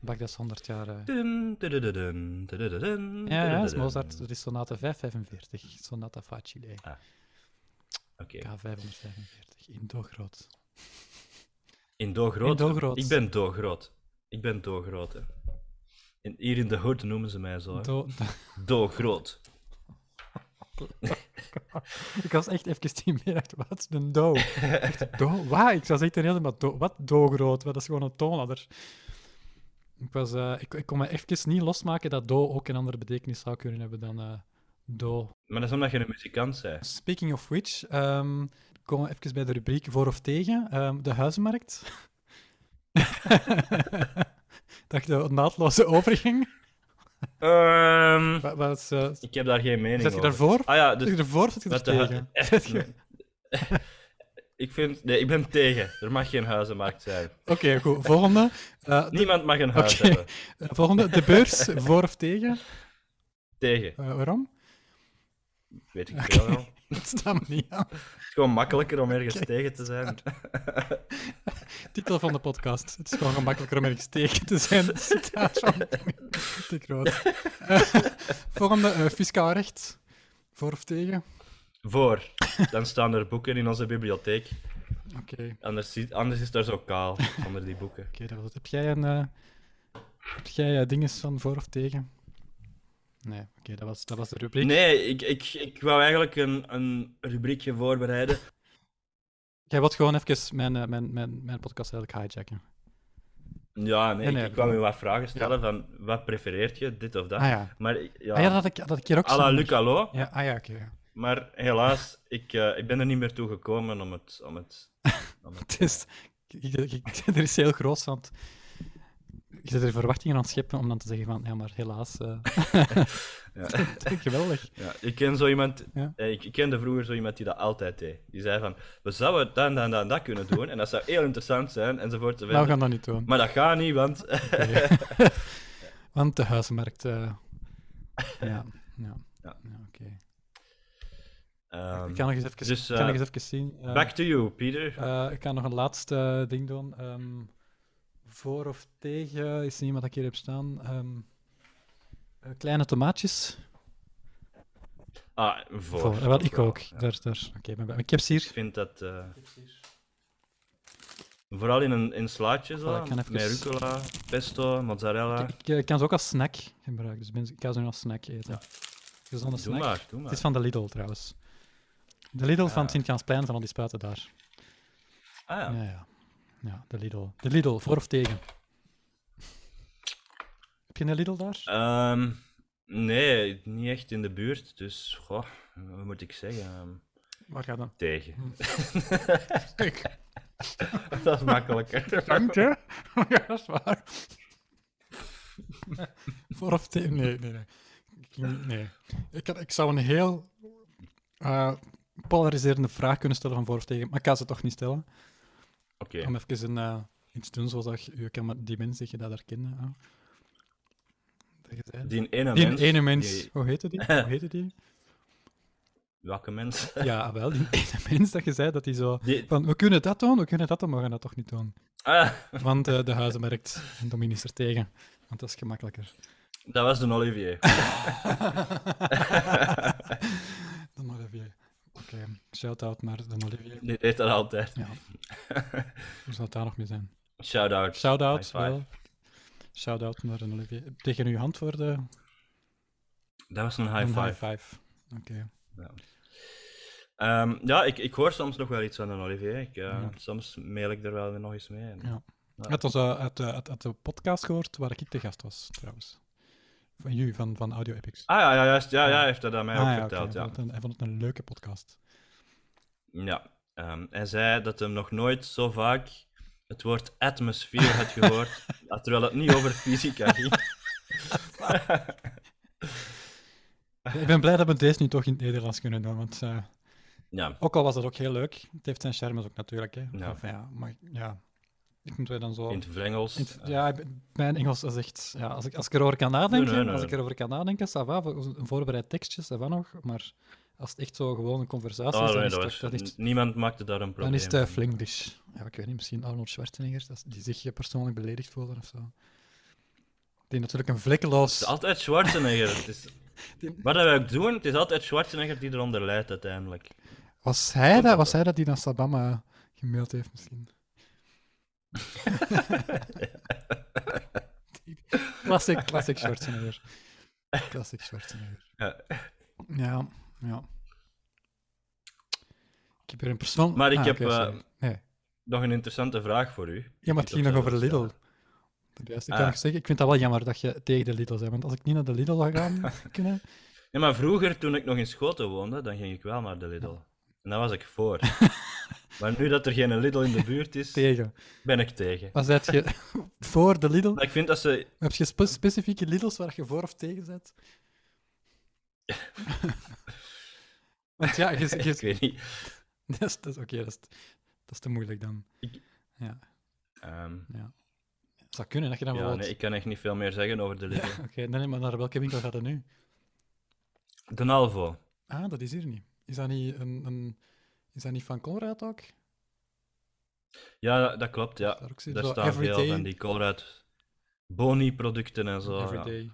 Speaker 1: Bach, dat is 100 jaar... eh,
Speaker 2: Dun, dudududun, dudududun,
Speaker 1: Ja, ja, dat is
Speaker 2: dudududun.
Speaker 1: Mozart. Dat is sonate 545. Sonata facile.
Speaker 2: Oké.
Speaker 1: K545. In do groot.
Speaker 2: In Dogroot.
Speaker 1: In Dogroot.
Speaker 2: Ik ben Dogroot. Ik ben Dogroot. hè. In, hier in de hood noemen ze mij zo. hè.
Speaker 1: Do- [LAUGHS]
Speaker 2: Dogroot.
Speaker 1: ik was echt even niet meer uit. Wat? Een
Speaker 2: [LAUGHS]
Speaker 1: do. Echt, do? Waar? Ik was echt een hele maar do. Wat do groot? Wat? Dat is gewoon een toonladder. Ik, was, eh, ik, ik kon me even niet losmaken dat do ook een andere betekenis zou kunnen hebben dan eh, do.
Speaker 2: Maar dat is omdat je een muzikant bent.
Speaker 1: Speaking of which, ehm, komen we even bij de rubriek voor of tegen. Ehm, de huizenmarkt. [LAUGHS] Dacht de naadloze overgang.
Speaker 2: Ehm,
Speaker 1: Wat, wat is, eh,
Speaker 2: ik heb daar geen mening
Speaker 1: zet je
Speaker 2: over.
Speaker 1: daarvoor?
Speaker 2: Ah ja,
Speaker 1: Zet je
Speaker 2: dus...
Speaker 1: ervoor of zet je er
Speaker 2: wat de hu-
Speaker 1: tegen?
Speaker 2: [LAUGHS] Echt, nee. ik, vind, nee, ik ben tegen. Er mag geen huizenmarkt
Speaker 1: [LAUGHS]
Speaker 2: zijn.
Speaker 1: Oké, goed. Volgende. Eh, de,
Speaker 2: Niemand mag een huis
Speaker 1: Oké.
Speaker 2: hebben.
Speaker 1: volgende. De beurs, voor of tegen?
Speaker 2: Tegen.
Speaker 1: Eh, waarom?
Speaker 2: Weet ik veel wel.
Speaker 1: Dat staat me niet aan.
Speaker 2: Het is gewoon makkelijker om ergens tegen te zijn.
Speaker 1: Titel van de podcast. Het is gewoon gemakkelijker om ergens tegen te zijn. Citaat van te groot. Eh, volgende. eh, fiscaal recht. Voor of tegen?
Speaker 2: Voor. Dan staan er boeken in onze bibliotheek.
Speaker 1: Oké.
Speaker 2: Anders, zie- anders is daar zo kaal, onder die boeken.
Speaker 1: Oké, dat was het. Heb jij een. eh, heb jij eh, dinges van voor of tegen? Nee, oké, dat, was, dat was de rubriek.
Speaker 2: Nee, ik, ik, ik wou eigenlijk een, een rubriekje voorbereiden.
Speaker 1: Jij wilt gewoon even mijn, eh, mijn, mijn, mijn podcast eigenlijk hijacken.
Speaker 2: Ja, nee,
Speaker 1: Nee, nee.
Speaker 2: ik, ik kwam u wat vragen stellen van wat prefereert je, dit of dat.
Speaker 1: Ah ja.
Speaker 2: Maar ik- ja,
Speaker 1: Ah ja, dat had ik, dat had ik hier ook
Speaker 2: à la
Speaker 1: zo-
Speaker 2: Lucalo.
Speaker 1: Ja, ah ja, oké. ja. [LAUGHS]
Speaker 2: Maar helaas, ik, eh, ik ben er niet meer toe gekomen om het... Om het, om het
Speaker 1: [LAUGHS] Het is, ik- ik- ik- er is heel groot, want ik zit er verwachtingen aan het scheppen om dan te zeggen van, ja, maar helaas, [LAUGHS] eh,
Speaker 2: Ja.
Speaker 1: [LAUGHS] geweldig.
Speaker 2: Ja, ik ken zo iemand.
Speaker 1: Ja.
Speaker 2: eh, Ik, ik kende vroeger zo iemand die dat altijd deed. Die zei van, we zouden dan, dan, dan, dat kunnen doen en dat zou heel interessant zijn enzovoort.
Speaker 1: Nou, we gaan dat niet doen.
Speaker 2: Maar dat gaat niet, want
Speaker 1: [LAUGHS] Oké. Want de huismarkt. eh, [LAUGHS] ja, ja.
Speaker 2: Ja.
Speaker 1: ja. oké.
Speaker 2: ehm,
Speaker 1: ik kan nog eens even,
Speaker 2: dus,
Speaker 1: ik kan nog
Speaker 2: eh,
Speaker 1: eens even zien. eh,
Speaker 2: back to you, Peter.
Speaker 1: eh, ik kan nog een laatste ding doen. ehm, voor of tegen is er iemand dat ik hier heb staan. Ehm, eh, kleine tomaatjes.
Speaker 2: Ah, voor.
Speaker 1: Voor, eh, wel, ik
Speaker 2: Voor.
Speaker 1: ook.
Speaker 2: Ja.
Speaker 1: Daar, daar. Oké, maar ik heb ze
Speaker 2: Ik
Speaker 1: hier.
Speaker 2: vind dat eh, vooral in een in slaatjes
Speaker 1: Voilà,
Speaker 2: zo,
Speaker 1: ik kan even-
Speaker 2: met rucola, pesto, mozzarella.
Speaker 1: Ik, ik kan ze ook als snack gebruiken. Dus mensen- ik kan ze nu als snack eten. Gezonde
Speaker 2: Doe
Speaker 1: snack.
Speaker 2: maar, doe maar.
Speaker 1: Het is van de Lidl trouwens. De Lidl van
Speaker 2: Ah.
Speaker 1: het Sint-Jansplein van al die spuiten daar.
Speaker 2: Ah ja.
Speaker 1: Ja, ja. ja de Lidl. De Lidl, voor of tegen? Heb je een Lidl daar?
Speaker 2: Ehm, nee, niet echt in de buurt, dus goh, wat moet ik zeggen? Ehm,
Speaker 1: Waar gaat dan?
Speaker 2: tegen.
Speaker 1: Kijk,
Speaker 2: [LAUGHS] Dat is
Speaker 1: [LAUGHS]
Speaker 2: makkelijker.
Speaker 1: dank je. ja, dat is waar. [LAUGHS] voor of tegen? Nee, nee, nee. Ik, nee. Ik, had- ik zou een heel eh, polariserende vraag kunnen stellen van voor of tegen, maar ik kan ze toch niet stellen.
Speaker 2: Oké.
Speaker 1: Om even een, eh, iets te doen zoals dat je je kan met die mensen, dat je dat herkennen. hè. Dat je zei.
Speaker 2: Die ene
Speaker 1: Die
Speaker 2: mens.
Speaker 1: ene mens,
Speaker 2: die-
Speaker 1: hoe heette
Speaker 2: [LAUGHS]
Speaker 1: die? Hoe heette die?
Speaker 2: welke mens?
Speaker 1: Ja, ah, wel, die [LAUGHS] ene mens dat je zei dat hij zo.
Speaker 2: Die-
Speaker 1: Van, we kunnen dat doen, we kunnen dat doen, maar we gaan dat toch niet doen.
Speaker 2: Ah,
Speaker 1: Want eh, de huizenmarkt, en de minister tegen. Want dat is gemakkelijker.
Speaker 2: dat was de Olivier.
Speaker 1: Dan Olivier. Oké, shout-out naar de Olivier.
Speaker 2: Die deed dat altijd.
Speaker 1: Ja. Hoe zou het daar nog mee zijn?
Speaker 2: Shout-out.
Speaker 1: Shout-out,
Speaker 2: High five.
Speaker 1: wel. Shout-out naar de Olivier. Tegen uw hand voor de
Speaker 2: Dat was een
Speaker 1: een
Speaker 2: high five.
Speaker 1: five. Oké.
Speaker 2: Ehm, ja, ik, ik hoor soms nog wel iets van de Olivier. Ik, eh,
Speaker 1: Ja.
Speaker 2: Soms mail ik er wel weer nog eens mee. En-
Speaker 1: Ja. Had ons eh, uit, eh, uit, uit de podcast gehoord waar ik de gast was, trouwens. Van jullie, van, van Audio Epics.
Speaker 2: Ah ja, ja, juist. Ja, ja, hij heeft dat aan mij
Speaker 1: Ah,
Speaker 2: ook
Speaker 1: ja, oké,
Speaker 2: verteld.
Speaker 1: hij,
Speaker 2: ja.
Speaker 1: vond het een, hij vond het een leuke podcast.
Speaker 2: Ja, ehm, hij zei dat hem nog nooit zo vaak het woord atmosfeer had
Speaker 1: [LAUGHS]
Speaker 2: gehoord, terwijl het niet over fysica ging.
Speaker 1: Ik ben blij dat we deze nu toch in het Nederlands kunnen doen, want eh,
Speaker 2: Ja,
Speaker 1: ook al was dat ook heel leuk, het heeft zijn charmes ook natuurlijk. Hè.
Speaker 2: Ja.
Speaker 1: Of ja, maar ja, ik moet wij dan zo...
Speaker 2: in het Vrengels.
Speaker 1: in het-
Speaker 2: eh,
Speaker 1: ja, ik ben- mijn Engels is echt... Ja, als, ik, als ik erover kan nadenken,
Speaker 2: Nee, nee, nee,
Speaker 1: als ik
Speaker 2: nee.
Speaker 1: erover kan nadenken, ça va, voor- een voorbereid tekstje, ça va nog, maar als het echt zo gewoon een conversatie
Speaker 2: oh,
Speaker 1: is, dan
Speaker 2: nee,
Speaker 1: is
Speaker 2: dat
Speaker 1: het
Speaker 2: was-
Speaker 1: toch- dat is-
Speaker 2: Niemand maakte daar een probleem
Speaker 1: dan is het eh,
Speaker 2: van.
Speaker 1: Flinglish. Ja, ik weet niet, misschien Arnold Schwarzenegger, dat is- die zich eh, persoonlijk beledigd voelde of zo. Die natuurlijk een
Speaker 2: Het
Speaker 1: vlekkeloos...
Speaker 2: is altijd Schwarzenegger. het
Speaker 1: [LAUGHS]
Speaker 2: is... Wat dat wij ook doen, het is altijd Schwarzenegger die eronder leidt uiteindelijk.
Speaker 1: Was hij dat, was hij dat die naar Sabama gemaild heeft,
Speaker 2: [LAUGHS]
Speaker 1: misschien? classic, classic Schwarzenegger. Classic Schwarzenegger.
Speaker 2: Ja.
Speaker 1: Ja, ja. Ik heb hier een persoon... Ah,
Speaker 2: Maar ik heb,
Speaker 1: oké,
Speaker 2: eh,
Speaker 1: sorry. nee.
Speaker 2: Nog een interessante vraag voor u.
Speaker 1: Ja, maar het ging nog over Lidl. Juist, ik, kan
Speaker 2: Ah.
Speaker 1: nog zeggen, ik vind dat wel jammer dat je tegen de Lidl bent, want als ik niet naar de Lidl zou
Speaker 2: [LAUGHS]
Speaker 1: gaan kunnen...
Speaker 2: Ja, maar vroeger, toen ik nog in Schoten woonde, dan ging ik wel naar de Lidl. En daar was ik
Speaker 1: [LAUGHS]
Speaker 2: voor. maar nu dat er geen Lidl in de buurt is,
Speaker 1: Tegen.
Speaker 2: ben ik tegen.
Speaker 1: Maar zet je voor de Lidl?
Speaker 2: Maar ik vind dat ze...
Speaker 1: Heb je spe- specifieke Lidl's waar je voor of tegen zet? [LAUGHS] Want ja, je, je-
Speaker 2: Ik weet niet.
Speaker 1: dat is, [LAUGHS] dat is- oké, dat, is, dat is te moeilijk dan. Ja,
Speaker 2: Ehm,
Speaker 1: het zou kunnen dat je dan
Speaker 2: ja, nee,
Speaker 1: bijvoorbeeld...
Speaker 2: ik kan echt niet veel meer zeggen over de
Speaker 1: [LAUGHS]
Speaker 2: Lidl.
Speaker 1: Oké, nee, nee, maar naar welke winkel gaat het nu?
Speaker 2: De Nalvo.
Speaker 1: Ah, dat is hier niet. Is dat niet, een, een, is dat niet van Conrad ook?
Speaker 2: Ja, dat klopt, ja.
Speaker 1: Daar, ook zit
Speaker 2: Daar
Speaker 1: zo
Speaker 2: staan veel van die Colruyt Boni-producten en zo. Ja.
Speaker 1: everyday.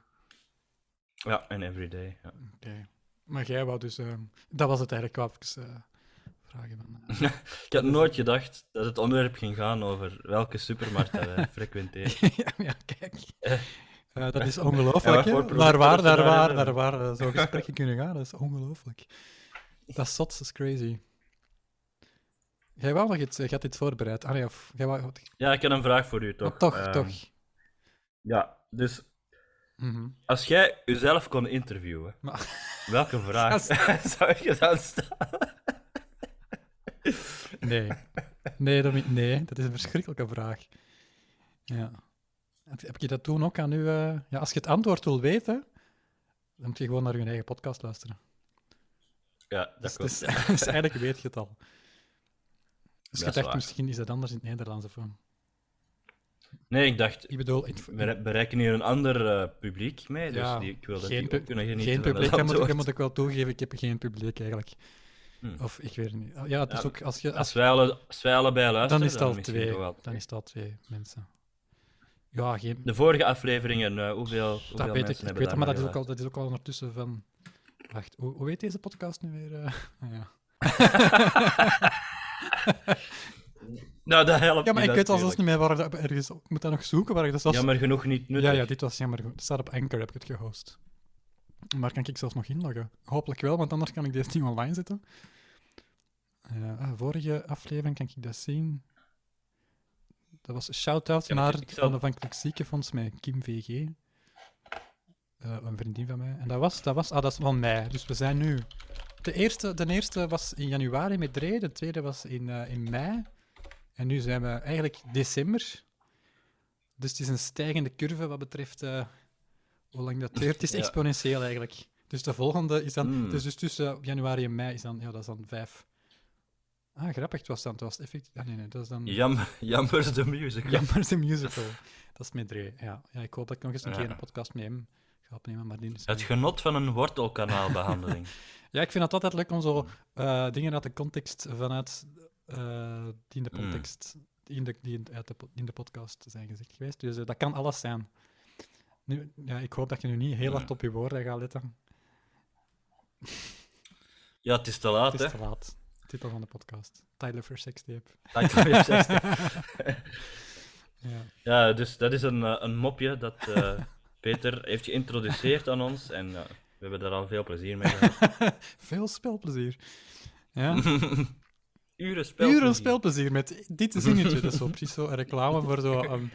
Speaker 2: ja, en Everyday. Ja.
Speaker 1: Oké. Maar jij wou dus... ehm, dat was het eigenlijk, wou ik eens, eh, vragen. Van, eh.
Speaker 2: Ik had nooit gedacht dat het onderwerp ging gaan over welke supermarkt dat
Speaker 1: [LAUGHS]
Speaker 2: wij frequenteren.
Speaker 1: ja, ja,
Speaker 2: [LAUGHS]
Speaker 1: kijk. Eh, dat is ongelooflijk.
Speaker 2: Ja,
Speaker 1: hè?
Speaker 2: voor
Speaker 1: naar
Speaker 2: producten
Speaker 1: waar,
Speaker 2: dat
Speaker 1: naar
Speaker 2: ze
Speaker 1: waar,
Speaker 2: daar
Speaker 1: naar
Speaker 2: hebben.
Speaker 1: waar eh, zo'n gesprekken kunnen gaan, dat is ongelooflijk. Dat is zot, dat is crazy. Jij wou nog iets, eh, je had dit voorbereid. Ah nee, of, jij wou, wat-
Speaker 2: Ja, ik had een vraag voor u, toch?
Speaker 1: maar Oh, toch,
Speaker 2: Ehm,
Speaker 1: toch.
Speaker 2: Ja, dus
Speaker 1: Mhm.
Speaker 2: als jij uzelf kon interviewen,
Speaker 1: Maar-
Speaker 2: welke
Speaker 1: [LAUGHS]
Speaker 2: vraag zou je dan stellen? [LAUGHS]
Speaker 1: Nee. Nee, dat, nee, dat is een verschrikkelijke vraag. Ja. Heb je dat toen ook aan u... eh, ja, als je het antwoord wil weten, dan moet je gewoon naar je eigen podcast luisteren.
Speaker 2: Ja, dat
Speaker 1: Dus,
Speaker 2: klopt.
Speaker 1: dus- dus eigenlijk weet je [LAUGHS] het al. Dus
Speaker 2: is
Speaker 1: je dacht,
Speaker 2: waar.
Speaker 1: misschien is dat anders in het Nederlands. Of, wat.
Speaker 2: Nee, ik dacht,
Speaker 1: ik bedoel... het-
Speaker 2: we re- bereiken hier een ander eh, publiek mee, dus
Speaker 1: Ja,
Speaker 2: die, ik wil dat
Speaker 1: geen
Speaker 2: die
Speaker 1: pu-
Speaker 2: ook kunnen genieten
Speaker 1: geen
Speaker 2: van
Speaker 1: publiek,
Speaker 2: het
Speaker 1: dat moet, ik- dat
Speaker 2: antwoord.
Speaker 1: moet ik wel toegeven. Ik heb geen publiek eigenlijk.
Speaker 2: Hm.
Speaker 1: Of ik weet het niet. Ja, het is
Speaker 2: Ja,
Speaker 1: ook... Als je, als
Speaker 2: Als wij, alle, als wij allebei
Speaker 1: dan
Speaker 2: luisteren,
Speaker 1: is het al
Speaker 2: misschien
Speaker 1: twee.
Speaker 2: toch wel.
Speaker 1: Dan is het al twee mensen. Ja, geen...
Speaker 2: De vorige afleveringen, eh, hoeveel, hoeveel
Speaker 1: Dat
Speaker 2: mensen
Speaker 1: weet ik, ik
Speaker 2: hebben
Speaker 1: weet dat,
Speaker 2: daar eh,
Speaker 1: maar
Speaker 2: naar
Speaker 1: dat is, ook al,
Speaker 2: geluisterd?
Speaker 1: dat is ook al ondertussen van... Wacht, hoe, hoe heet deze podcast nu weer? eh? [LAUGHS] Ah, ja.
Speaker 2: Nou, dat helpt
Speaker 1: ja, maar
Speaker 2: niet
Speaker 1: ik weet al zelfs
Speaker 2: natuurlijk.
Speaker 1: niet meer waar dat ergens... Ik moet dat nog zoeken, waar ik dat zelfs...
Speaker 2: Jammer genoeg niet nuttig.
Speaker 1: ja, ja, dit was jammer. goed. Het staat op Anchor, heb ik het gehost. Maar kan ik zelfs nog inloggen? Hopelijk wel, want anders kan ik deze niet online zetten. Eh, ah, vorige aflevering kan ik dat zien. Dat was een shout-out
Speaker 2: Ja, maar
Speaker 1: naar
Speaker 2: ik- ik
Speaker 1: het
Speaker 2: zal-
Speaker 1: Onafhankelijk Ziekenfonds met Kim VG. Eh, een vriendin van mij. En dat was, dat was, ah, dat is van mei. Dus we zijn nu. De eerste, de eerste was in januari met Dree, de tweede was in, eh, in mei. En nu zijn we eigenlijk december. Dus het is een stijgende curve wat betreft eh, hoe lang dat duurt. Het is
Speaker 2: Ja.
Speaker 1: exponentieel eigenlijk. Dus de volgende is dan.
Speaker 2: Hmm.
Speaker 1: Dus, dus tussen januari en mei is dan. Ja, dat is dan vijf. Ah, grappig. Het was dan. Het was effectief. Ah, nee, nee, dat is dan.
Speaker 2: Jammer, jammer de musical.
Speaker 1: [LAUGHS] Jammer de Musical. Dat is met Dre. Ja. ja, ik hoop dat ik nog eens een
Speaker 2: Ja.
Speaker 1: keer een podcast met hem ga opnemen. Maar die is
Speaker 2: Het genot van een wortelkanaalbehandeling.
Speaker 1: Ja, ik vind het altijd leuk om zo eh, dingen uit de context vanuit. eh, die in de
Speaker 2: Mm.
Speaker 1: context. Die in de, die in, uit de, po- die in de podcast zijn gezegd geweest. Dus eh, dat kan alles zijn. Nu, ja, ik hoop dat je nu niet heel hard op je woorden gaat letten.
Speaker 2: ja, het is te laat,
Speaker 1: Het is te
Speaker 2: hè.
Speaker 1: laat. Titel van de podcast: Tyler for Sextape.
Speaker 2: Ik kan
Speaker 1: [LAUGHS]
Speaker 2: weer zeggen. [LAUGHS]
Speaker 1: Ja.
Speaker 2: ja, dus dat is een, eh, een mopje dat eh, Peter heeft geïntroduceerd aan ons. En eh, we hebben daar al veel plezier mee gehad.
Speaker 1: Veel spelplezier. Ja.
Speaker 2: Uren spel.
Speaker 1: [LAUGHS] Uren spelplezier met dit zinnetje.
Speaker 2: [LAUGHS]
Speaker 1: Dat is zo precies zo'n reclame voor zo'n um,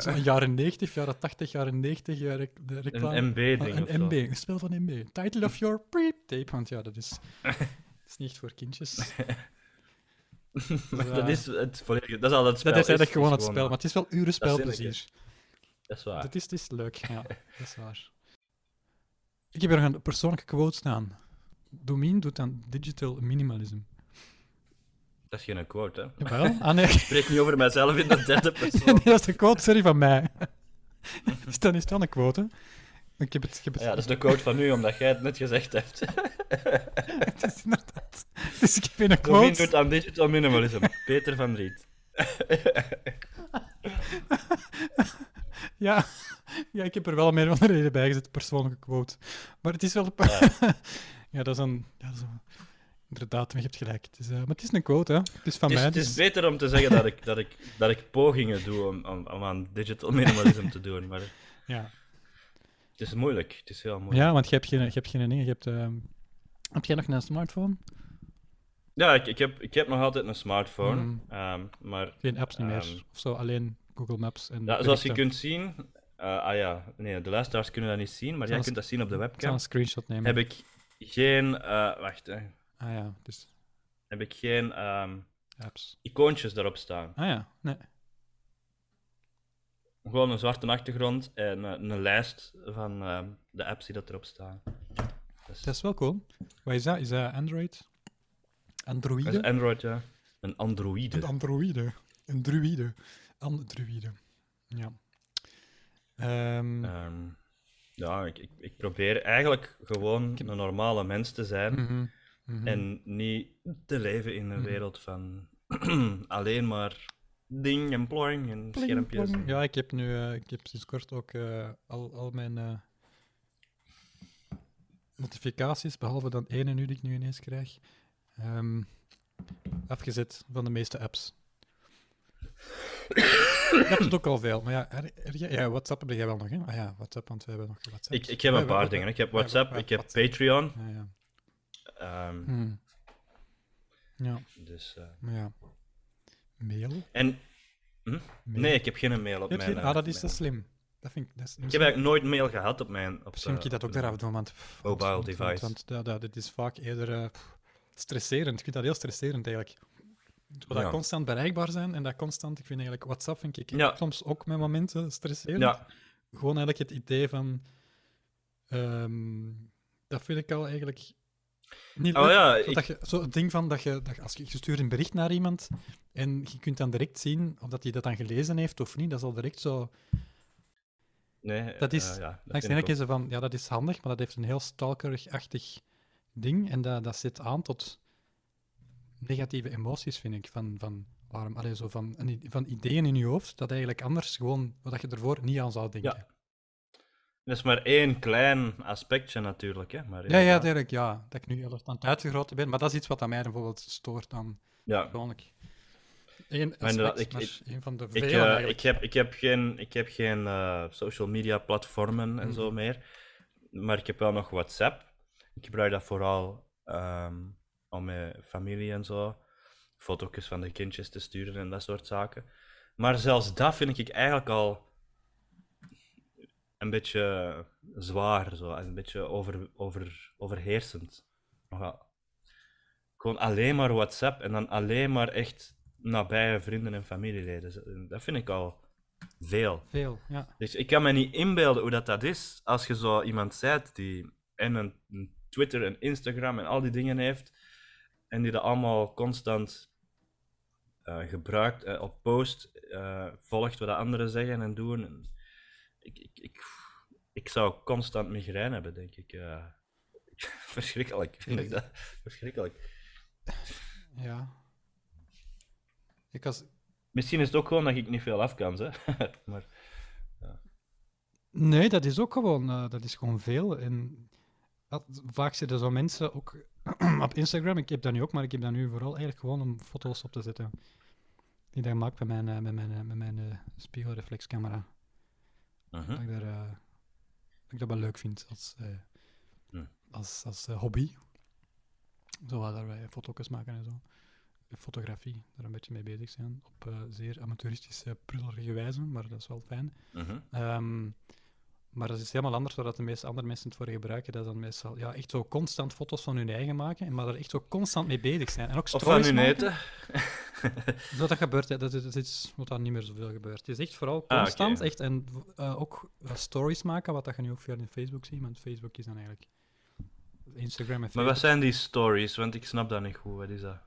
Speaker 1: zo jaren 90, jaren 80, jaren 90 eh, rec- de reclame.
Speaker 2: Een MB-ding
Speaker 1: Een
Speaker 2: [LAUGHS]
Speaker 1: MB, een spel van MB. Title of your pre-tape, want ja, dat is, [LAUGHS] dat is niet echt voor kindjes. Dus, eh,
Speaker 2: Dat is het volledige... Dat is al het spel.
Speaker 1: dat is eigenlijk gewoon
Speaker 2: is
Speaker 1: het spel, maar het is wel uren spelplezier.
Speaker 2: Dat is waar.
Speaker 1: Dat is, het is leuk, [LAUGHS] ja, dat is waar. Ik heb er nog een persoonlijke quote staan. Domin doet aan digital minimalism.
Speaker 2: Dat is geen quote, hè. Ik
Speaker 1: Wel? Ah nee, [LAUGHS]
Speaker 2: spreek niet over mijzelf in de derde
Speaker 1: Nee, [LAUGHS]
Speaker 2: persoon.
Speaker 1: dat is de quote, sorry, van mij. [LAUGHS] dus dan is het wel een quote. hè. Ik heb het, ik heb het,
Speaker 2: Ja, dat is de quote van nu, omdat jij het net gezegd hebt.
Speaker 1: [LAUGHS] het is inderdaad. Dus ik heb een
Speaker 2: Domin
Speaker 1: quote.
Speaker 2: doet aan digital minimalism. Peter van Riet.
Speaker 1: Ja. [LAUGHS] ja, ik heb er wel meer van de reden bij gezet, persoonlijke quote. Maar het is wel... Ja, dat, is een, [LAUGHS] ja dat is een... Inderdaad, je hebt gelijk. Het is, eh, maar het is een quote, hè. Het is van
Speaker 2: Het
Speaker 1: mij.
Speaker 2: is, het is
Speaker 1: dus-
Speaker 2: beter om te zeggen dat ik, dat ik, dat ik pogingen doe om, om, om aan digital minimalism te doen, maar het
Speaker 1: ja.
Speaker 2: is moeilijk. Het is heel moeilijk.
Speaker 1: ja, want je hebt geen... Je hebt geen dingen, je hebt... eh, heb jij nog een smartphone?
Speaker 2: Ja, ik, ik, heb, ik heb nog altijd een smartphone,
Speaker 1: Mm.
Speaker 2: ehm, maar
Speaker 1: Geen apps niet
Speaker 2: Ehm.
Speaker 1: meer. Of zo, alleen Google Maps en...
Speaker 2: ja, zoals je
Speaker 1: berichten.
Speaker 2: kunt zien... eh, ah ja, nee, de luisteraars kunnen dat niet zien, maar jij
Speaker 1: Zoals-
Speaker 2: kunt dat zien op de
Speaker 1: Ik zal
Speaker 2: webcam.
Speaker 1: een screenshot nemen.
Speaker 2: Heb ik geen... eh, wacht, hè.
Speaker 1: Ah ja, dus
Speaker 2: Heb ik geen ehm,
Speaker 1: apps.
Speaker 2: icoontjes daarop staan.
Speaker 1: Ah ja, nee.
Speaker 2: Gewoon een zwarte achtergrond en eh, een lijst van ehm, de apps die dat erop staan. Dus-
Speaker 1: Dat is wel cool. Wat is dat? Is dat Android?
Speaker 2: dat is
Speaker 1: Androide?
Speaker 2: Android, ja. Een androïde.
Speaker 1: Een androïde. Een druïde. Androïde. Ja. Ehm,
Speaker 2: Ehm, ja, ik, ik, ik probeer eigenlijk gewoon een normale mens te zijn
Speaker 1: mhm, mhm.
Speaker 2: en niet te leven in
Speaker 1: Mm.
Speaker 2: een wereld van [CLEARS THROAT] alleen maar ding en ploing en
Speaker 1: Pling,
Speaker 2: schermpjes.
Speaker 1: plong. Ja, ik heb nu eh, ik heb sinds kort ook eh, al, al mijn eh, notificaties, behalve dan ene nu die ik nu ineens krijg, ehm, afgezet van de meeste apps. Ik heb het ook al veel, maar ja, er, er- ja, ja, WhatsApp heb jij wel nog, hè? Ah ja, WhatsApp, want we hebben nog WhatsApp.
Speaker 2: Ik, ik heb een paar dingen. Ik heb WhatsApp, ik heb Patreon.
Speaker 1: Ja, ja.
Speaker 2: ehm,
Speaker 1: Hmm. ja,
Speaker 2: dus, eh,
Speaker 1: maar ja. Mail?
Speaker 2: en
Speaker 1: Mail.
Speaker 2: nee, ik heb geen mail op
Speaker 1: Heb je-
Speaker 2: mijn... eh,
Speaker 1: Ah, dat is
Speaker 2: mijn-
Speaker 1: te slim. Dat vind ik, dat is
Speaker 2: Ik heb eigenlijk nooit mail gehad op mijn... Op,
Speaker 1: Misschien moet je
Speaker 2: eh,
Speaker 1: dat ook
Speaker 2: op-
Speaker 1: daaraf doen, want... pff,
Speaker 2: Mobile
Speaker 1: want- want-
Speaker 2: device.
Speaker 1: Want, ja, dat, dit is vaak eerder eh, pff, stresserend. Ik vind dat heel stresserend, eigenlijk. Doordat
Speaker 2: Ja.
Speaker 1: constant bereikbaar zijn en dat constant, ik vind eigenlijk WhatsApp vind ik
Speaker 2: Ja.
Speaker 1: soms ook met momenten stresserend.
Speaker 2: Ja,
Speaker 1: Gewoon eigenlijk het idee van, ehm, dat vind ik al eigenlijk niet
Speaker 2: Ah,
Speaker 1: leuk.
Speaker 2: ja,
Speaker 1: Zo
Speaker 2: ik-
Speaker 1: dat je, zo het ding van dat je, dat je- als je, je stuurt een bericht naar iemand en je kunt dan direct zien of dat hij dat dan gelezen heeft of niet, dat is al direct zo.
Speaker 2: nee,
Speaker 1: Dat is-
Speaker 2: eh, ja,
Speaker 1: Dan
Speaker 2: vind ik
Speaker 1: denk je zo van, ja, dat is handig, maar dat heeft een heel stalkerig-achtig ding en dat, dat zit aan tot negatieve emoties, vind ik. Van, van waarom, allee, zo van, een i- van ideeën in je hoofd dat eigenlijk anders gewoon, wat je ervoor niet aan zou denken.
Speaker 2: Ja. Dat is maar één klein aspectje natuurlijk. Hè? Maar
Speaker 1: Ja, ja,
Speaker 2: inderdaad.
Speaker 1: Dirk, ja. Dat ik nu heel aan het uitgegroten ben. Maar dat is iets wat aan mij bijvoorbeeld stoort dan
Speaker 2: ja.
Speaker 1: gewoonlijk. Eén
Speaker 2: Maar inderdaad,
Speaker 1: aspect,
Speaker 2: ik-
Speaker 1: maar
Speaker 2: ik-
Speaker 1: één van de
Speaker 2: Ik,
Speaker 1: vele
Speaker 2: eh,
Speaker 1: eigenlijk.
Speaker 2: ik, heb, ik heb geen, ik heb geen eh, social media platformen en zo meer. Maar ik heb wel nog WhatsApp. Ik gebruik dat vooral ehm, om mijn familie en zo. Foto's van de kindjes te sturen en dat soort zaken. Maar zelfs dat vind ik eigenlijk al een beetje zwaar. Zo. en Een beetje over, over, overheersend. Ja. Gewoon alleen maar WhatsApp en dan alleen maar echt nabije vrienden en familieleden. Dat vind ik al veel.
Speaker 1: Veel, ja.
Speaker 2: Dus ik kan me niet inbeelden hoe dat, dat is als je zo iemand bent die en een een Twitter en Instagram en al die dingen heeft en die dat allemaal constant eh, gebruikt, eh, op post, eh, volgt wat de anderen zeggen en doen. En ik, ik, ik, ik zou constant migraine hebben, denk ik. eh. [LAUGHS] verschrikkelijk, vind ik dat. Verschrikkelijk.
Speaker 1: ja. Ik was...
Speaker 2: Misschien is het ook gewoon dat ik niet veel af kan, hè. [LAUGHS] maar
Speaker 1: Nee, dat is ook gewoon, eh, dat is gewoon veel. En dat, vaak zitten zo mensen ook [CLEARS THROAT] op Instagram. Ik heb dat nu ook, maar ik heb dat nu vooral eigenlijk gewoon om foto's op te zetten. Die dat ik maak met mijn, eh, met mijn, eh, met mijn eh, spiegelreflexcamera.
Speaker 2: Mhm,
Speaker 1: Dat
Speaker 2: Hm?
Speaker 1: ik, daar, eh, dat ik dat wel leuk vind als, eh,
Speaker 2: Hmm.
Speaker 1: als, als eh, hobby. Zo wat daar wij foto's maken en zo. Fotografie, daar een beetje mee bezig zijn. Op eh, zeer amateuristische, prullerige wijze, maar dat is wel fijn.
Speaker 2: Mhm.
Speaker 1: Ehm, maar dat is helemaal anders dan dat de meeste andere mensen het voor gebruiken. Dat is dan meestal ja, echt zo constant foto's van hun eigen maken, en maar daar echt zo constant mee bezig zijn. En ook
Speaker 2: Of
Speaker 1: stories
Speaker 2: van hun
Speaker 1: maken.
Speaker 2: eten.
Speaker 1: Dat, dat gebeurt, hè. dat is, dat is iets wat daar niet meer zoveel gebeurt. Het is echt vooral
Speaker 2: Ah,
Speaker 1: constant,
Speaker 2: oké.
Speaker 1: echt, en eh, ook eh, stories maken, wat dat je nu ook veel in Facebook ziet, want Facebook is dan eigenlijk Instagram en
Speaker 2: Maar
Speaker 1: Facebook.
Speaker 2: wat zijn die stories? Want ik snap dat niet goed. Wat is dat?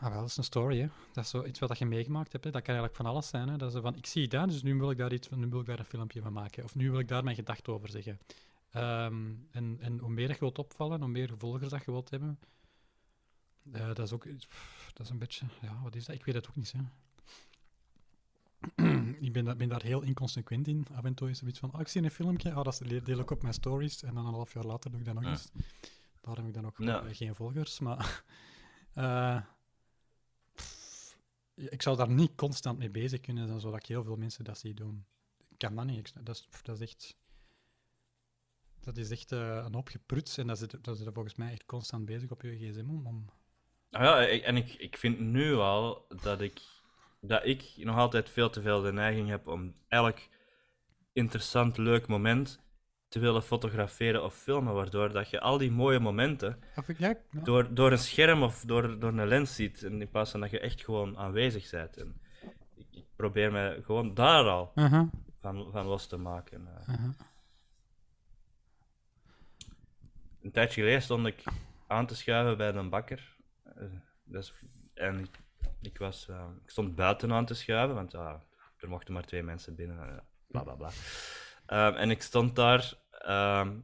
Speaker 1: Ah, wel, dat is een story, hè. Dat is zo iets wat dat je meegemaakt hebt, hè. Dat kan eigenlijk van alles zijn, hè. Dat is zo van, ik zie dat, dus nu wil ik daar iets van, nu wil ik daar een filmpje van maken. Of nu wil ik daar mijn gedachten over zeggen. Ehm, en, en hoe meer dat je wilt opvallen, hoe meer volgers dat je wilt hebben. eh, dat is ook... pff, dat is een beetje... Ja, wat is dat? Ik weet het ook niet, hè. ik ben, daar- ben daar heel inconsequent in. Af en toe is er iets van, ah, ik zie een filmpje, ah, dat deel ik op mijn stories. En dan een half jaar later doe ik dat nog
Speaker 2: Ja.
Speaker 1: eens. Daar heb ik dan ook
Speaker 2: Ja.
Speaker 1: eh, geen volgers, maar... [LAUGHS] eh, pff, ik zou daar niet constant mee bezig kunnen zijn, zodat ik heel veel mensen dat zie doen. Ik kan dat niet. Ik snap- dat, is, pff, dat is echt... Dat is echt eh, een hoop gepruts en dat zit, dat zit er volgens mij echt constant bezig op je gsm om. om-
Speaker 2: Ah ja, ik- en ik, ik vind nu al dat ik, dat ik nog altijd veel te veel de neiging heb om elk interessant, leuk moment te willen fotograferen of filmen. Waardoor dat je al die mooie momenten
Speaker 1: Of ik, ja, ik- ja.
Speaker 2: door, door een scherm of door, door een lens ziet. En in plaats van dat je echt gewoon aanwezig bent. En ik, ik probeer me gewoon daar al
Speaker 1: Aha,
Speaker 2: van, van los te maken. eh.
Speaker 1: aha.
Speaker 2: een tijdje geleden stond ik aan te schuiven bij een bakker. Eh, dat is- en ik, ik was, eh, ik stond buiten aan te schuiven, want ja, er mochten maar twee mensen binnen. eh, bla bla bla. Ehm, en ik stond daar. ehm,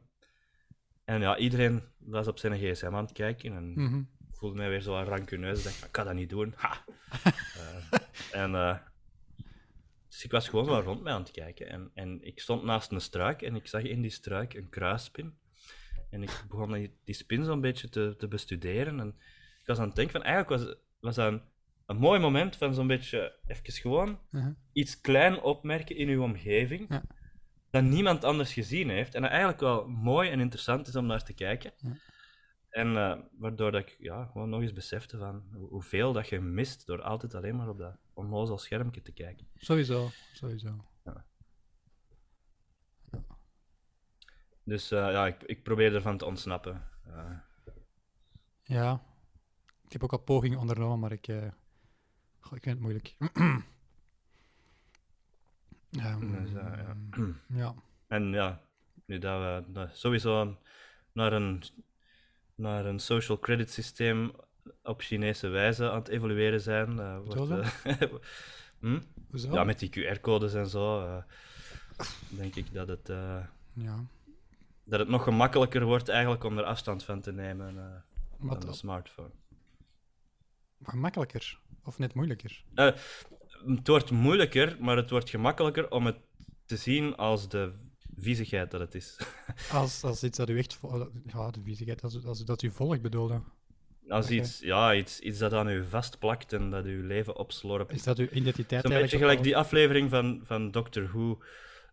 Speaker 2: en ja, iedereen was op zijn gsm aan het kijken. En
Speaker 1: Mhm.
Speaker 2: ik voelde mij weer zo rancuneus. Ik dacht, ik kan dat niet doen. Ha! Eh, en, eh, dus ik was gewoon wel rond mij aan het kijken. En, en ik stond naast een struik en ik zag in die struik een kruispin. En ik begon die, die spin zo'n beetje te, te bestuderen. En ik was aan het denken van, eigenlijk was, was dat een, een mooi moment van zo'n beetje even gewoon
Speaker 1: Aha.
Speaker 2: iets klein opmerken in uw omgeving.
Speaker 1: Ja.
Speaker 2: Dat niemand anders gezien heeft. En dat eigenlijk wel mooi en interessant is om naar te kijken.
Speaker 1: Ja.
Speaker 2: En eh, waardoor dat ik ja, gewoon nog eens besefte van hoe- hoeveel dat je mist door altijd alleen maar op dat onnozel schermpje te kijken.
Speaker 1: Sowieso, sowieso.
Speaker 2: Dus eh, ja, ik, ik probeer ervan te ontsnappen. Eh,
Speaker 1: Ja. Ik heb ook al pogingen ondernomen, maar ik, eh, Goh, ik vind het moeilijk. [CLEARS THROAT] Ehm,
Speaker 2: Dus, eh, ja.
Speaker 1: [CLEARS THROAT] ja.
Speaker 2: En ja, nu dat we dat sowieso naar een, naar een social credit systeem op Chinese wijze aan het evolueren zijn. eh, wordt,
Speaker 1: Hoezo
Speaker 2: eh, [LAUGHS] hm?
Speaker 1: Hoezo?
Speaker 2: Ja, met die QR-codes en zo. eh, denk ik dat het, eh,
Speaker 1: Ja.
Speaker 2: dat het nog gemakkelijker wordt eigenlijk om er afstand van te nemen eh
Speaker 1: Maar
Speaker 2: dan de
Speaker 1: dat-
Speaker 2: smartphone.
Speaker 1: gemakkelijker of net moeilijker.
Speaker 2: Eh, het wordt moeilijker, maar het wordt gemakkelijker om het te zien als de viezigheid dat het is. [LAUGHS]
Speaker 1: Als, als iets dat u echt... vo- Ja, de viezigheid. Als, als dat u volgt bedoelde.
Speaker 2: Als
Speaker 1: Oké.
Speaker 2: iets, ja, iets, iets dat aan u vastplakt en dat uw leven opslorpt.
Speaker 1: Is dat uw identiteit
Speaker 2: Zo'n beetje
Speaker 1: eigenlijk
Speaker 2: gelijk
Speaker 1: ook
Speaker 2: die aflevering van, van Doctor Who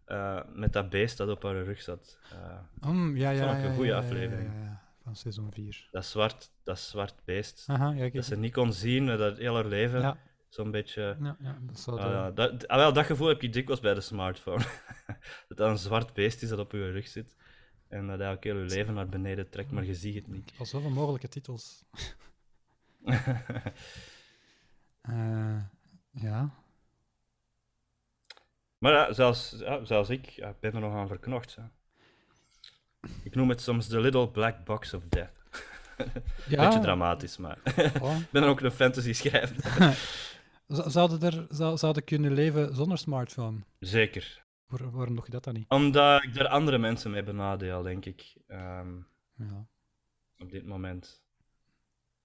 Speaker 2: eh, met dat beest dat op haar rug zat. Eh,
Speaker 1: al- Mm, ja, ja,
Speaker 2: vond ik
Speaker 1: ja,
Speaker 2: een
Speaker 1: ja,
Speaker 2: goeie
Speaker 1: ja, ja,
Speaker 2: aflevering.
Speaker 1: ja, ja, Van seizoen 4.
Speaker 2: dat, zwart, dat zwart beest.
Speaker 1: Aha, ja, ik
Speaker 2: Dat ze niet kon zien, eh, dat heel haar leven
Speaker 1: Ah, ja,
Speaker 2: zo'n beetje...
Speaker 1: ja, ja, dat zou de-
Speaker 2: Ah, ja, dat, ah, wel, dat gevoel heb ik dikwijls bij de smartphone. [LAUGHS] dat dat een zwart beest is dat op je rug zit. En dat eigenlijk heel je leven naar beneden trekt, maar je ziet het niet. [LAUGHS]
Speaker 1: Al zoveel mogelijke titels. Eh, ja.
Speaker 2: Maar ja, zelfs, ja, zelfs ik ja, ik ben er nog aan verknocht. Hè. Ik noem het soms de Little Black Box of Death.
Speaker 1: ja.
Speaker 2: Beetje dramatisch, maar [LAUGHS]
Speaker 1: oh.
Speaker 2: ik ben er ook een fantasy schrijver.
Speaker 1: Z- Zouden er zou, zouden kunnen leven zonder smartphone?
Speaker 2: Zeker.
Speaker 1: Waar- waarom doe je dat dan niet?
Speaker 2: Omdat ik daar andere mensen mee benadeel, denk ik. ehm,
Speaker 1: Ja.
Speaker 2: op dit moment.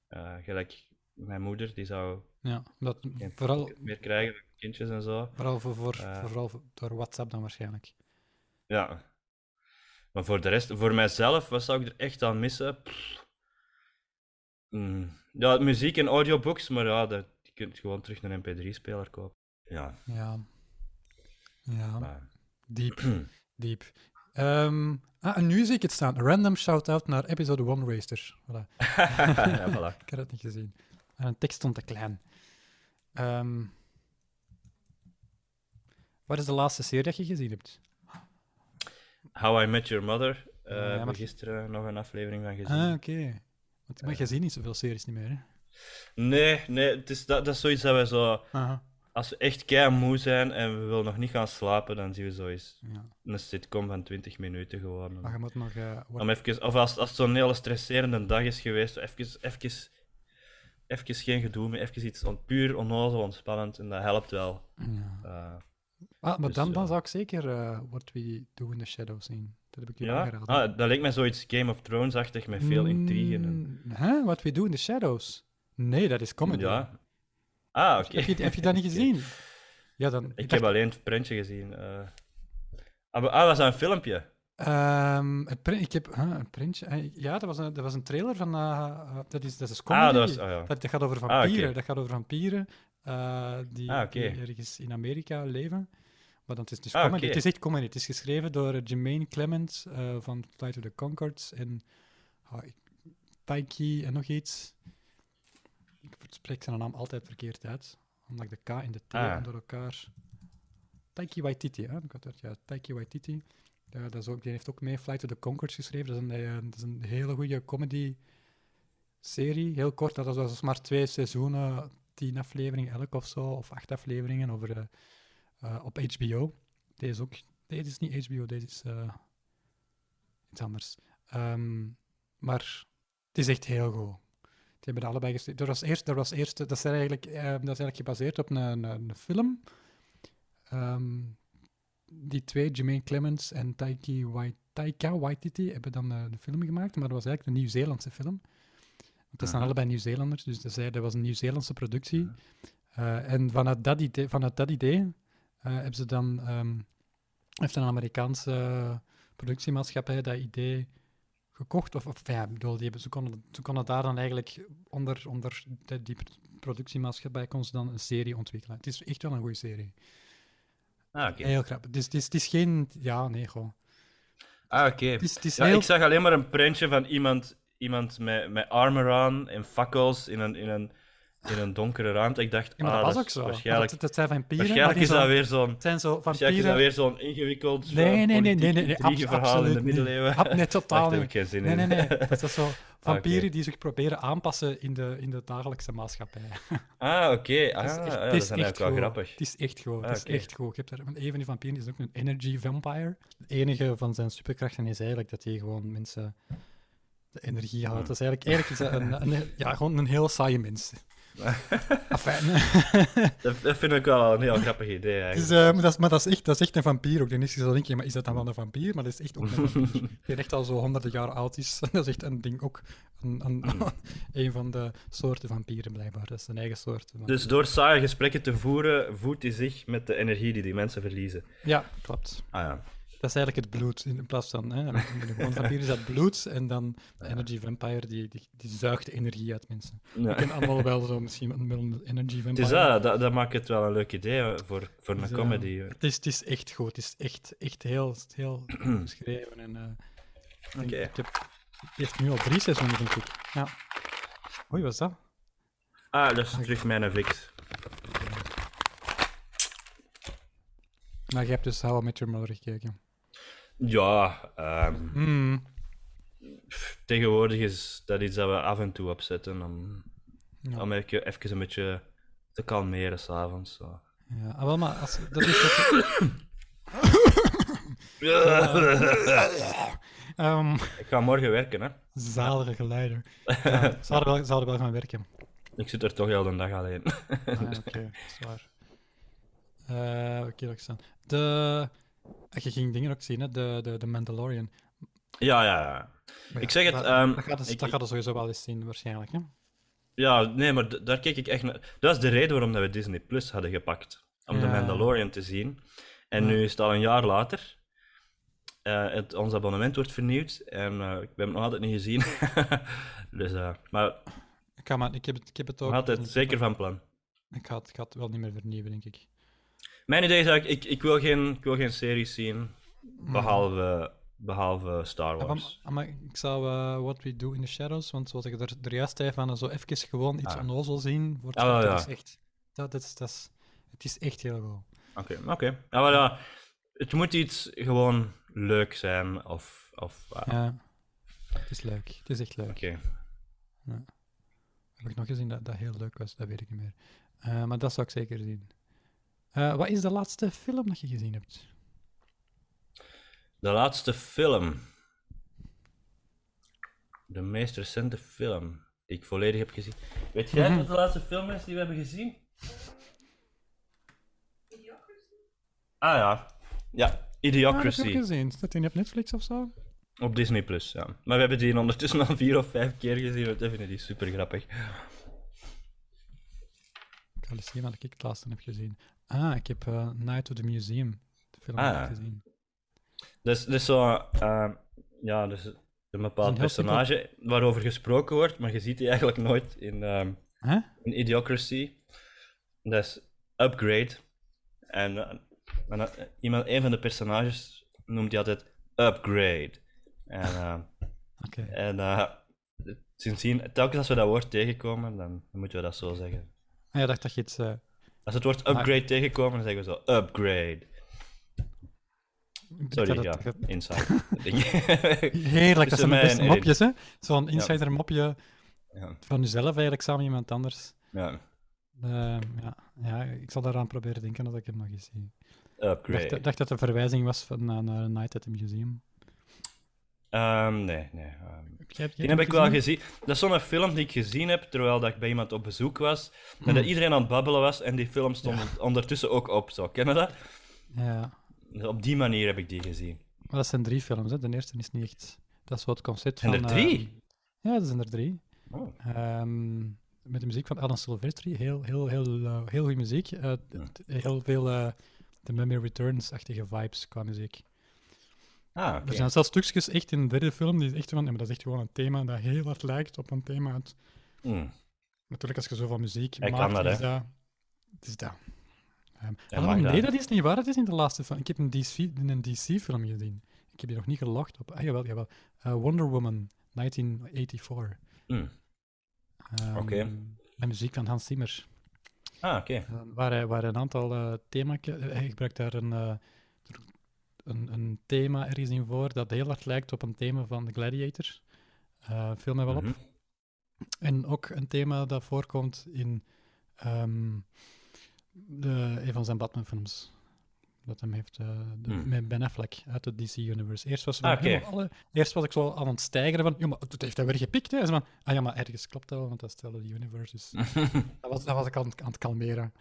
Speaker 2: Eh, gelijk mijn moeder, die zou
Speaker 1: ja dat,
Speaker 2: geen
Speaker 1: vooral
Speaker 2: ticket meer krijgen, kindjes en zo.
Speaker 1: vooral, voor, voor,
Speaker 2: Eh.
Speaker 1: vooral voor- door WhatsApp dan waarschijnlijk.
Speaker 2: Ja. Maar voor de rest, voor mijzelf, wat zou ik er echt aan missen? Pff. Mm. Ja, muziek en audiobooks, maar ja, dat, je kunt gewoon terug een mp3-speler kopen. Ja,
Speaker 1: Ja. Ja. [LAUGHS]
Speaker 2: maar...
Speaker 1: Diep,
Speaker 2: [CLEARS THROAT]
Speaker 1: diep. Ehm, ah, en nu zie ik het staan. Random shout-out naar episode 1 Racer. Voilà.
Speaker 2: ja, voilà.
Speaker 1: Ik had het niet gezien. En een tekst stond te klein. Ehm, wat is de laatste serie dat je gezien hebt?
Speaker 2: How I Met Your Mother. eh,
Speaker 1: Ja, maar-
Speaker 2: we Gisteren nog een aflevering van gezien. Eh.
Speaker 1: Ah, oké. Want maar je ziet niet zoveel series niet meer, hè?
Speaker 2: Nee, nee het is, dat, dat is zoiets dat we zo...
Speaker 1: Aha.
Speaker 2: Als we echt kei moe zijn en we willen nog niet gaan slapen, dan zien we zoiets.
Speaker 1: Ja.
Speaker 2: Een sitcom van 20 minuten gewoon.
Speaker 1: Maar je moet nog... eh, wat-
Speaker 2: Om even, of als, als het zo'n hele stresserende dag is geweest, even, even, even geen gedoe meer, even iets on, puur onnozel, ontspannend. En dat helpt wel.
Speaker 1: ja.
Speaker 2: Eh,
Speaker 1: Ah, maar
Speaker 2: Dus,
Speaker 1: dan, dan
Speaker 2: ja.
Speaker 1: zou ik zeker eh, What We Do in the Shadows zien. Dat heb ik je
Speaker 2: ja,
Speaker 1: aangeraden.
Speaker 2: ah, dat lijkt mij zoiets Game of Thrones-achtig met veel intrigue. En,
Speaker 1: Mm, hè? What We Do in the Shadows? Nee, dat is comedy.
Speaker 2: ja. Ah, oké.
Speaker 1: Heb, je, heb je dat
Speaker 2: [LAUGHS]
Speaker 1: niet
Speaker 2: Oké.
Speaker 1: gezien? Ja, dan...
Speaker 2: Ik
Speaker 1: dacht-
Speaker 2: heb alleen het prentje gezien. eh. Ah, we- ah, was dat een filmpje?
Speaker 1: Ehm, het print, ik heb huh, een printje. Eh, Ja, dat was een, dat was een trailer van. eh, eh, dat is, dat is een comedy.
Speaker 2: Ah, dat was... Oh, ja.
Speaker 1: dat, dat gaat over
Speaker 2: oké.
Speaker 1: vampieren. Dat gaat over vampieren eh, die,
Speaker 2: Ah, oké.
Speaker 1: die ergens in Amerika leven. Maar dan, het is dus
Speaker 2: Ah,
Speaker 1: comedy.
Speaker 2: oké.
Speaker 1: Het is echt comedy. Het is geschreven door eh, Jermaine Clement eh, van Flight of the Concords en ah, ik- Taiki en nog iets. Ik spreek zijn naam altijd verkeerd uit, omdat ik de K en de T
Speaker 2: Ah.
Speaker 1: door elkaar. Taiki Waititi, hè? Ik had het, ja, Taiki Waititi. Ja, dat is ook, die heeft ook mee Flight of the Conchords geschreven. Dat is een, eh, dat is een hele goede comedy-serie. Heel kort, dat was- dat was maar twee seizoenen, tien afleveringen elk of zo, of acht afleveringen over, eh, eh, op HBO. Deze is ook... Deze is niet HBO, deze is eh, iets anders. Ehm, maar het is echt heel goed. Die hebben dat allebei geschreven. Er was eerst, er was eerst, dat, is eigenlijk, eh, dat is eigenlijk gebaseerd op een, een, een film. Ehm, die twee, Jermaine Clements en Taiki Wai- Taika Waititi, hebben dan eh, een film gemaakt, maar dat was eigenlijk een Nieuw-Zeelandse film. Want dat zijn
Speaker 2: Aha.
Speaker 1: allebei Nieuw-Zeelanders, dus dat, zei- dat was een Nieuw-Zeelandse productie. Eh, en vanuit dat idee, vanuit dat idee eh, hebben ze dan, ehm, heeft een Amerikaanse productiemaatschappij dat idee gekocht. Of, of ja, ik bedoel, die hebben, ze, konden, ze konden daar dan eigenlijk onder, onder de- die productiemaatschappij kon ze dan een serie ontwikkelen. Het is echt wel een goede serie.
Speaker 2: Ah, oké.
Speaker 1: Heel grappig. Het is, het is, het is geen... Ja, nee, gewoon.
Speaker 2: Ah, oké.
Speaker 1: Het is, het is
Speaker 2: Ja,
Speaker 1: heel...
Speaker 2: ik zag alleen maar een prentje van iemand, iemand met, met armor aan en fakkels in een, in een, in een donkere ruimte. Ik dacht,
Speaker 1: Ja, maar
Speaker 2: ah,
Speaker 1: dat was
Speaker 2: is
Speaker 1: ook zo. Maar
Speaker 2: Waarschijnlijk,
Speaker 1: Dat, dat zijn vampieren.
Speaker 2: waarschijnlijk
Speaker 1: maar die
Speaker 2: is dat
Speaker 1: zijn-
Speaker 2: weer zo'n...
Speaker 1: Het zijn zo
Speaker 2: Waarschijnlijk is dat
Speaker 1: vampieren...
Speaker 2: weer zo'n ingewikkeld eh,
Speaker 1: Nee, nee, nee, nee,
Speaker 2: politiek
Speaker 1: nee, nee, abso-
Speaker 2: intrigeverhaal in
Speaker 1: absoluut
Speaker 2: de
Speaker 1: niet.
Speaker 2: [LAUGHS] middeleeuwen.
Speaker 1: Ab- nee, totaal
Speaker 2: Daar heb
Speaker 1: niet.
Speaker 2: ik geen zin
Speaker 1: Nee,
Speaker 2: in. [LAUGHS]
Speaker 1: nee, nee. Dat is zo Vampieren
Speaker 2: Ah, oké.
Speaker 1: die zich proberen aanpassen in de, in de dagelijkse maatschappij.
Speaker 2: Ah, oké. Ah,
Speaker 1: Het is echt-
Speaker 2: ja,
Speaker 1: het is
Speaker 2: dat is dan
Speaker 1: echt
Speaker 2: eigenlijk wel
Speaker 1: goed.
Speaker 2: grappig.
Speaker 1: Het is echt goed.
Speaker 2: Ah,
Speaker 1: het is
Speaker 2: oké.
Speaker 1: echt goed. Je hebt daar, want een van die vampieren is ook een energy vampire. Het enige van zijn superkrachten is eigenlijk dat hij gewoon mensen de energie houdt.
Speaker 2: Hmm.
Speaker 1: Dat is eigenlijk, eigenlijk is dat een, een- ja, gewoon een heel saaie
Speaker 2: [LAUGHS]
Speaker 1: mens. Enfin, [LAUGHS]
Speaker 2: Dat, dat vind ik wel een heel grappig idee,
Speaker 1: het is,
Speaker 2: eigenlijk.
Speaker 1: eh, maar, dat is, maar dat is echt, dat is echt een vampier ook. Dan is je zo denk je, maar is dat dan wel een vampier? Maar dat is echt ook een
Speaker 2: [LAUGHS]
Speaker 1: vampier. Die echt al zo honderden jaar oud is. [LAUGHS] Dat is echt een ding ook. Een, een,
Speaker 2: Hmm.
Speaker 1: [LAUGHS] een van de soorten vampieren blijkbaar. Dat is een eigen soort.
Speaker 2: Dus door saaie gesprekken te voeren, voedt hij zich met de energie die die mensen verliezen.
Speaker 1: Ja, klopt.
Speaker 2: Ah ja.
Speaker 1: Dat is eigenlijk het bloed in in plaats van. Hè, een gewone vampier is dat bloed en dan de Energy Vampire die, die, die zuigt energie uit mensen.
Speaker 2: Ja.
Speaker 1: We kennen allemaal wel zo misschien een- wel een Energy Vampire.
Speaker 2: Het is ah, dat, dat, dat maakt het wel een leuk idee eh, voor, voor
Speaker 1: Dus,
Speaker 2: een
Speaker 1: eh,
Speaker 2: comedy. eh.
Speaker 1: Het is, het is echt goed. Het is echt, echt heel, heel geschreven. En, eh, ik denk-
Speaker 2: Oké.
Speaker 1: ik heb, het heeft nu al drie seizoenen, denk ik. Ja. Oei, wat is dat?
Speaker 2: Ah, dat is terug mijn fix.
Speaker 1: Maar je hebt dus How I Met Your Mother gekeken.
Speaker 2: Ja, ehm,
Speaker 1: Hmm.
Speaker 2: tegenwoordig is dat iets dat we af en toe opzetten om,
Speaker 1: Ja.
Speaker 2: om even, even een beetje te kalmeren s'avonds. zo.
Speaker 1: Ja, ah, wel, maar als, dat is wat- Ehm,
Speaker 2: Ik ga morgen werken, hè.
Speaker 1: zalige geleider. Ja, ze hadden wel, ze hadden wel gaan werken.
Speaker 2: Ik zit er toch heel de dag alleen. [LAUGHS]
Speaker 1: Ah,
Speaker 2: Dus-
Speaker 1: ja, oké, dat is waar. Eh, oké, dat staan. De... ah, Je ging dingen ook zien, hè? De, de, de Mandalorian.
Speaker 2: ja, ja, ja.
Speaker 1: Maar
Speaker 2: Ik zeg het,
Speaker 1: Dat,
Speaker 2: ehm,
Speaker 1: dat, gaat het,
Speaker 2: ik-
Speaker 1: dat gaat het sowieso wel eens zien, waarschijnlijk. Hè?
Speaker 2: Ja, nee, maar d- daar keek ik echt naar. Dat is de reden waarom dat we Disney Plus hadden gepakt. Om de
Speaker 1: Ja.
Speaker 2: Mandalorian te zien. En nu is het al een jaar later. Eh, het, ons abonnement wordt vernieuwd. En eh, ik heb hem nog altijd niet gezien. [LAUGHS] dus, eh, maar
Speaker 1: Ik, ga maar, ik, heb het, ik heb het ook.
Speaker 2: nog altijd zeker van plan.
Speaker 1: Ik ga, het, ik ga het wel niet meer vernieuwen, denk ik.
Speaker 2: Mijn idee is eigenlijk, ik, ik, wil, geen, ik wil geen series zien. Behalve, behalve Star
Speaker 1: Ah,
Speaker 2: Wars.
Speaker 1: Mhm. Maar, maar ik zou eh, What We Do in the Shadows, want zoals ik er, er juist zei, van eh, zo even gewoon iets
Speaker 2: Ah.
Speaker 1: onnozel zien. Wordt,
Speaker 2: Ah, wel,
Speaker 1: dat
Speaker 2: ja.
Speaker 1: is echt, dat, dat is, dat is, het is echt heel goed.
Speaker 2: Oké, oké. Ja, maar ja, het moet iets gewoon leuk zijn. Of, of ah,
Speaker 1: Ja. Het is leuk. Het is echt leuk.
Speaker 2: oké.
Speaker 1: Heb ik nog gezien dat dat heel leuk was? Dat weet ik niet meer. Eh, maar dat zou ik zeker zien. Eh, wat is de laatste film dat je gezien hebt?
Speaker 2: De laatste film. De meest recente film die ik volledig heb gezien. Weet jij
Speaker 1: Mhm.
Speaker 2: wat de laatste film is die we hebben gezien? Ah ja. Ja,
Speaker 1: Ah, dat
Speaker 2: Idiocracy.
Speaker 1: heb ik gezien. Staat die op Netflix of zo?
Speaker 2: Op Disney Plus, ja. Maar we hebben die ondertussen al vier of vijf keer gezien. want Dat vinden die super grappig.
Speaker 1: Ik ga eens zien wat ik het laatste heb gezien. Ah, ik heb eh, Night to the Museum, de film
Speaker 2: Ah,
Speaker 1: heb ik
Speaker 2: ja.
Speaker 1: gezien.
Speaker 2: Dus, dus zo. eh, ja, dus een bepaald
Speaker 1: Een heel simpel-
Speaker 2: personage waarover gesproken wordt, maar je ziet die eigenlijk nooit in. ehm,
Speaker 1: Hè?
Speaker 2: een Idiocracy. Dat is Upgrade. En, eh, en, eh, iemand, een van de personages noemt hij altijd Upgrade. En, eh,
Speaker 1: Oké.
Speaker 2: en eh, sindsdien, telkens als we dat woord tegenkomen, dan moeten we dat zo zeggen.
Speaker 1: Ah, ja, dacht dat je iets... eh,
Speaker 2: Als het woord upgrade tegenkomen, dan zeggen we zo upgrade.
Speaker 1: ik dacht
Speaker 2: Sorry,
Speaker 1: dat
Speaker 2: ja,
Speaker 1: het-
Speaker 2: inside.
Speaker 1: Heerlijk, dat zijn de
Speaker 2: Tussen mij
Speaker 1: beste
Speaker 2: en Erin.
Speaker 1: mopjes, hè? Zo'n insider-mopje
Speaker 2: ja,
Speaker 1: van jezelf eigenlijk, samen met iemand anders.
Speaker 2: [LAUGHS] ja,
Speaker 1: Eh, ja. ja, ik zal daaraan proberen denken dat ik hem nog eens zie. Ik
Speaker 2: upgrade.
Speaker 1: dacht, dacht dat het een verwijzing was van, naar, naar Night at the Museum.
Speaker 2: Ehm, nee, nee. ehm.
Speaker 1: Heb jij- jij
Speaker 2: Die
Speaker 1: hem
Speaker 2: heb ik wel gezien. Dat is zo'n film die ik gezien heb terwijl dat ik bij iemand op bezoek was. En
Speaker 1: Hm.
Speaker 2: dat iedereen aan het babbelen was en die film stond [LAUGHS] ondertussen ook op. Zo, kennen dat?
Speaker 1: Ja,
Speaker 2: Dus op die manier heb ik die gezien.
Speaker 1: maar dat zijn drie films. Hè. De eerste is niet echt. Dat is zo het concept
Speaker 2: Zijn
Speaker 1: van.
Speaker 2: er
Speaker 1: eh,
Speaker 2: drie?
Speaker 1: ja, dat zijn er drie.
Speaker 2: Oh.
Speaker 1: Ehm, met de muziek van Alan Silvestri. Heel, heel, heel, eh, heel goede muziek. Eh, d- d- Heel veel eh The Memory Returns-achtige vibes qua muziek.
Speaker 2: Ah,
Speaker 1: Er
Speaker 2: oké.
Speaker 1: zijn zelfs stukjes echt in de derde film die is echt van. ja, maar dat is echt gewoon een thema dat heel hard lijkt op een thema uit.
Speaker 2: Hmm.
Speaker 1: Natuurlijk, als je zoveel muziek
Speaker 2: Hij
Speaker 1: maakt,
Speaker 2: kan dat,
Speaker 1: is
Speaker 2: hè.
Speaker 1: dat. Het is dat. Ehm,
Speaker 2: Hij
Speaker 1: ah,
Speaker 2: mag
Speaker 1: nee,
Speaker 2: dat.
Speaker 1: dat is niet waar. Dat is in de laatste film. Ik heb een DC in een DC-film gezien. Ik heb die nog niet gelogd op. Ah, jawel, jawel. Eh, Wonder Woman, 1984.
Speaker 2: Hmm.
Speaker 1: Ehm,
Speaker 2: Oké.
Speaker 1: Met muziek van Hans Zimmer.
Speaker 2: Ah, oké.
Speaker 1: Ehm, waar, hij, waar hij een aantal eh thema's... Hij gebruikt daar een, eh, er- een, een thema ergens in voor dat heel hard lijkt op een thema van The Gladiator. Eh, viel mij wel op.
Speaker 2: Mhm. [LAUGHS]
Speaker 1: En ook een thema dat voorkomt in ehm, de, een van zijn Batman-films. Dat hem heeft, eh, de-
Speaker 2: Hmm.
Speaker 1: met Ben Affleck uit het DC-universe. Eerst, was ze
Speaker 2: Ah,
Speaker 1: van,
Speaker 2: oké.
Speaker 1: "Ja, maar alle- eerst was ik zo aan het stijgeren van, ja, maar het heeft hij weer gepikt, hè. En ze van, ah ja, maar ergens klopt dat wel, want dat is hetzelfde universe. Dus
Speaker 2: Hmm.
Speaker 1: dat, was, dat was ik aan, het- aan het
Speaker 2: [LAUGHS]
Speaker 1: kalmeren.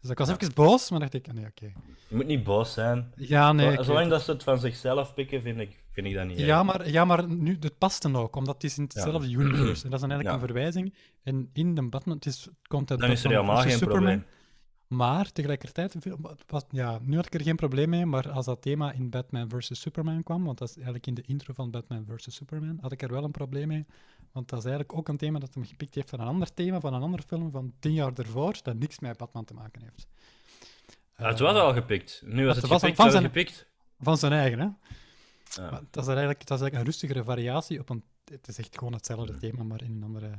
Speaker 1: dus ik was even boos, maar dacht ik, ah, nee, oké.
Speaker 2: Je moet niet boos zijn.
Speaker 1: Ja, nee. ik
Speaker 2: Zo-
Speaker 1: weet
Speaker 2: Zolang
Speaker 1: het.
Speaker 2: dat ze het van zichzelf pikken, vind ik, vind ik dat niet
Speaker 1: Ja, maar, ja, maar nu, dat past dan ook, omdat het is in hetzelfde universe. En dat is dan eigenlijk
Speaker 2: Ja.
Speaker 1: een verwijzing. En in de Batman, het is, het komt uit
Speaker 2: Dan is er
Speaker 1: Batman
Speaker 2: helemaal geen
Speaker 1: versus Superman.
Speaker 2: probleem.
Speaker 1: Maar tegelijkertijd, veel- wat- wat- ja, nu had ik er geen probleem mee, maar als dat thema in Batman vs. Superman kwam, want dat is eigenlijk in de intro van Batman vs. Superman, had ik er wel een probleem mee. Want dat is eigenlijk ook een thema dat hem gepikt heeft van een ander thema, van een andere film van tien jaar ervoor, dat niks met Batman te maken heeft.
Speaker 2: Ah, het
Speaker 1: Eh,
Speaker 2: was al gepikt. Nu was
Speaker 1: het
Speaker 2: het
Speaker 1: was al-
Speaker 2: gepikt,
Speaker 1: van
Speaker 2: was het
Speaker 1: zijn-
Speaker 2: gepikt.
Speaker 1: Eh,
Speaker 2: Ah.
Speaker 1: Van zijn eigen, hè?
Speaker 2: Ja.
Speaker 1: Maar dat, is er eigenlijk, dat is eigenlijk een rustigere variatie op een. Het is echt gewoon hetzelfde thema, maar in een andere.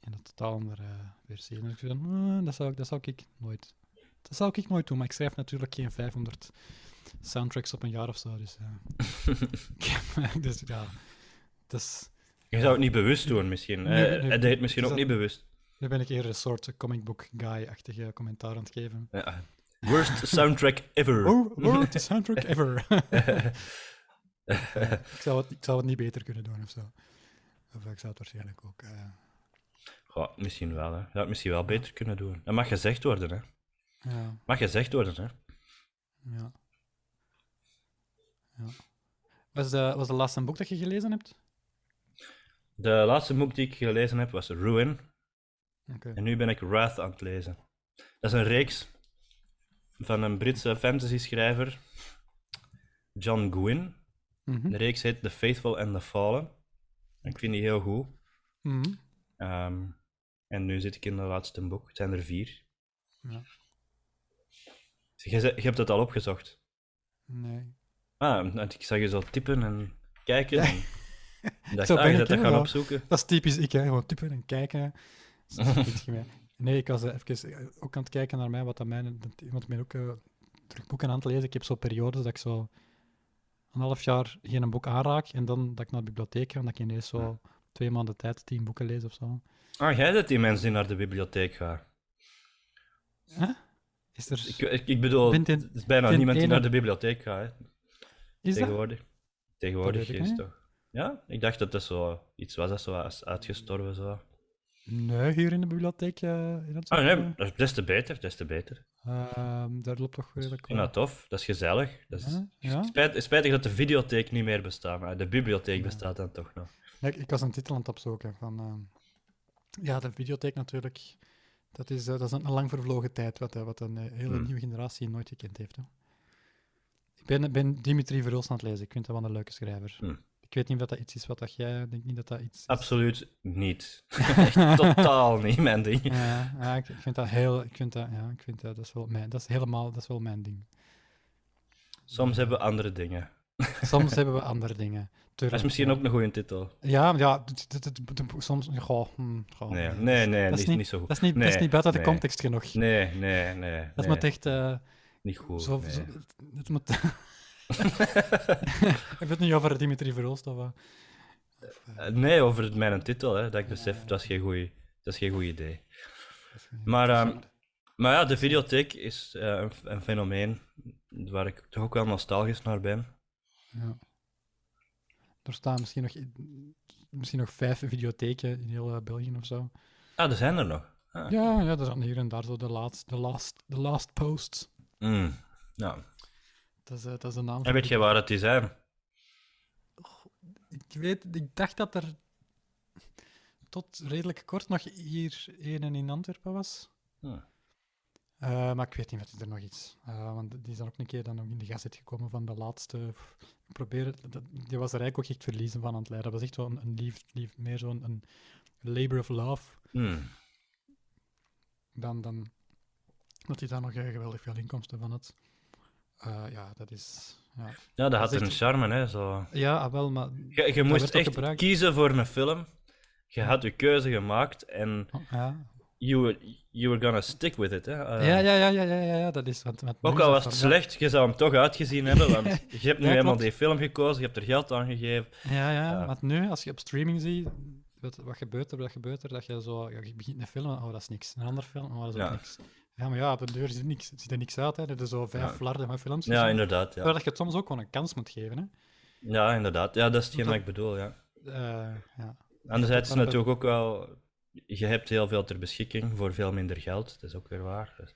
Speaker 1: In een totaal andere versie. En ik zei, "Eh, dat, zou, ik- dat zou ik nooit. Dat zou ik nooit doen, maar ik schrijf natuurlijk geen 500 soundtracks op een jaar of zo. Dus, eh. Ik heb- dus ja. Dus,
Speaker 2: Je zou het niet bewust doen, misschien.
Speaker 1: Nee,
Speaker 2: Eh,
Speaker 1: nee,
Speaker 2: Hij deed het misschien
Speaker 1: het
Speaker 2: ook
Speaker 1: is
Speaker 2: niet bewust.
Speaker 1: nu ben ik eerder een soort comic book guy-achtige commentaar aan het geven.
Speaker 2: Ja. Worst soundtrack ever.
Speaker 1: Oh, oh, the soundtrack ever! ik, zou het, ik zou het niet beter kunnen doen of zo. Of ik zou het waarschijnlijk ook. eh,
Speaker 2: Goh, misschien wel, hè. Je zou het misschien wel beter kunnen doen. Dat mag gezegd worden, hè.
Speaker 1: ja.
Speaker 2: Mag gezegd worden, hè.
Speaker 1: Ja. ja. Was, de, was de laatste boek dat je gelezen hebt?
Speaker 2: De laatste boek die ik gelezen heb was Ruin.
Speaker 1: Oké.
Speaker 2: En nu ben ik Wrath aan het lezen. Dat is een reeks van een Britse fantasy-schrijver, John Gwynn.
Speaker 1: Mhm.
Speaker 2: De reeks heet The Faithful and the Fallen. Ik vind die heel goed.
Speaker 1: Mhm.
Speaker 2: Ehm, en nu zit ik in de laatste boek. Het zijn er vier.
Speaker 1: Ja.
Speaker 2: Je, ze- je hebt het al opgezocht.
Speaker 1: Nee.
Speaker 2: Ah, want ik zag je zo tippen en
Speaker 1: [LAUGHS]
Speaker 2: kijken. En... Ik dacht,
Speaker 1: Zo
Speaker 2: ah,
Speaker 1: ben
Speaker 2: je
Speaker 1: ik
Speaker 2: bent dat gaan
Speaker 1: helemaal.
Speaker 2: opzoeken.
Speaker 1: Dat is typisch ik, hè. Gewoon typen en kijken. Dat is iets gemeen. Nee, ik was eh, even eh, ook aan het kijken naar mij, wat aan mij... dat- Want ik ben ook eh, terug boeken aan het lezen. Ik heb zo periodes dat ik zo een half jaar geen boek aanraak en dan dat ik naar de bibliotheek ga en dat ik ineens zo twee maanden tijd tien boeken lees of zo.
Speaker 2: Ah, jij bent die mensen die naar de bibliotheek gaan.
Speaker 1: Is er...
Speaker 2: Ik, ik, ik bedoel,
Speaker 1: Bent in-
Speaker 2: het is bijna
Speaker 1: ten
Speaker 2: niemand die
Speaker 1: ene-
Speaker 2: naar de bibliotheek gaat. Hè.
Speaker 1: is dat?
Speaker 2: Tegenwoordig. Tegenwoordig
Speaker 1: weet ik
Speaker 2: is
Speaker 1: niet.
Speaker 2: toch. Ja, ik dacht dat dat zo iets was dat zo was uitgestorven. Zo.
Speaker 1: Nee, hier in de bibliotheek. eh, in het
Speaker 2: Ah nee,
Speaker 1: eh,
Speaker 2: dat is des te beter, des te beter.
Speaker 1: Ehm, daar loopt toch redelijk
Speaker 2: Ik vind dat tof, dat is gezellig. Dat is...
Speaker 1: Ja, ja.
Speaker 2: Spijt, spijtig dat de videotheek niet meer bestaat, maar de bibliotheek bestaat dan toch nog.
Speaker 1: Ja, ik, ik was een titel aan het opzoeken. Van, ehm, ja, de videotheek natuurlijk. Dat is, eh, dat is een, een lang vervlogen tijd, wat, eh, wat een eh, hele
Speaker 2: Hmm.
Speaker 1: nieuwe generatie nooit gekend heeft. Hè. Ik ben, ben Dimitri Verhulst aan het lezen. Ik vind dat wel een leuke schrijver.
Speaker 2: Hmm.
Speaker 1: Ik weet niet of dat iets is wat dat jij... Ik denk niet dat dat iets is.
Speaker 2: Absoluut [LAUGHS] niet. Echt totaal niet mijn ding.
Speaker 1: Ja, ja, ik, ik vind dat heel... Ik vind dat, ja, ik vind dat, dat is wel mijn... Dat is helemaal... Dat is wel mijn ding.
Speaker 2: Soms hebben we andere dingen.
Speaker 1: Soms hebben we andere dingen.
Speaker 2: Dat
Speaker 1: Tuurlijk,
Speaker 2: is misschien
Speaker 1: ja.
Speaker 2: ook een goede titel.
Speaker 1: Ja, maar ja, d- d- d- d- d- soms... Goh, hmm, goh,
Speaker 2: Nee,
Speaker 1: dat
Speaker 2: nee,
Speaker 1: is-
Speaker 2: nee,
Speaker 1: dat is
Speaker 2: niet, niet zo goed.
Speaker 1: Dat is niet, dat is
Speaker 2: Nee,
Speaker 1: niet buiten de
Speaker 2: nee.
Speaker 1: context genoeg.
Speaker 2: Nee, nee, nee.
Speaker 1: dat
Speaker 2: nee,
Speaker 1: moet echt... eh,
Speaker 2: Niet goed.
Speaker 1: zo,
Speaker 2: nee.
Speaker 1: zo- het moet... [LAUGHS] Ik heb het niet over Dimitri Verhulst of wat.
Speaker 2: Eh, Nee, over het- mijn titel, hè, dat ik besef, dat is geen goeie- dat is geen goed idee. Maar, ehm, maar ja, de videotheek is eh, een, een fenomeen waar ik toch ook wel nostalgisch naar ben.
Speaker 1: Ja. Er staan misschien nog, misschien nog vijf videotheken in heel eh, België of zo.
Speaker 2: Ah, er zijn er nog. Ah.
Speaker 1: Ja, ja, er zijn hier en daar zo de last, de last, de last posts. Hmm.
Speaker 2: Mm. Nou.
Speaker 1: Dat is, eh, dat is de naam.
Speaker 2: En
Speaker 1: van
Speaker 2: weet je waar dat die zijn?
Speaker 1: Ik weet, ik dacht dat er tot redelijk kort nog hier één en in Antwerpen was.
Speaker 2: Hm.
Speaker 1: Eh, maar ik weet niet wat er nog is. Eh, want die is dan ook een keer dan ook in de gazet gekomen van de laatste. Ik probeer het, dat, die was er eigenlijk ook echt verliezen van aan het leiden. Dat was echt wel een, een lief, lief, meer zo'n een labor of love
Speaker 2: Mm.
Speaker 1: dan, dan dat hij daar nog eh, geweldig veel inkomsten van had. Eh, ja, dat is. Ja,
Speaker 2: Ja, dat
Speaker 1: Dat
Speaker 2: had
Speaker 1: is
Speaker 2: een
Speaker 1: echt-
Speaker 2: charme, hè. Zo.
Speaker 1: ja ah, wel, maar.
Speaker 2: Je, je
Speaker 1: werd
Speaker 2: moest
Speaker 1: ook
Speaker 2: echt
Speaker 1: gebruikt.
Speaker 2: kiezen voor een film. Je had je keuze gemaakt en
Speaker 1: oh, ja,
Speaker 2: you were, you were gonna stick with it. Hè? Eh,
Speaker 1: ja, ja, ja, ja, ja, ja, ja, dat is wat met
Speaker 2: Ook
Speaker 1: Moes
Speaker 2: al
Speaker 1: dat
Speaker 2: was het
Speaker 1: dan-
Speaker 2: slecht, je zou hem toch uitgezien hebben,
Speaker 1: [LAUGHS]
Speaker 2: want je hebt nu
Speaker 1: Ja,
Speaker 2: helemaal
Speaker 1: klopt.
Speaker 2: die film gekozen, je hebt er geld aan gegeven.
Speaker 1: Ja, ja,
Speaker 2: Ja.
Speaker 1: want nu, als je op streaming ziet, wat, wat gebeurt er, wat gebeurt er, dat je zo, ja, je begint een film, oh, dat is niks. Een ander film, oh, dat is ook
Speaker 2: Ja.
Speaker 1: niks. Ja, maar ja, op de deur zit niks, ziet er niks uit, hè. Er zijn zo vijf
Speaker 2: Ja.
Speaker 1: flarden van films.
Speaker 2: Ja,
Speaker 1: Dus-
Speaker 2: inderdaad. Ja.
Speaker 1: Terwijl dat je het soms ook gewoon een kans moet geven, hè.
Speaker 2: Ja, inderdaad. Ja, dat is hetgeen
Speaker 1: Dat-
Speaker 2: wat ik bedoel, ja.
Speaker 1: Eh, ja.
Speaker 2: Anderzijds is
Speaker 1: dat-
Speaker 2: natuurlijk ook wel... Je hebt heel veel ter beschikking voor veel minder geld. Dat is ook weer waar. Dus-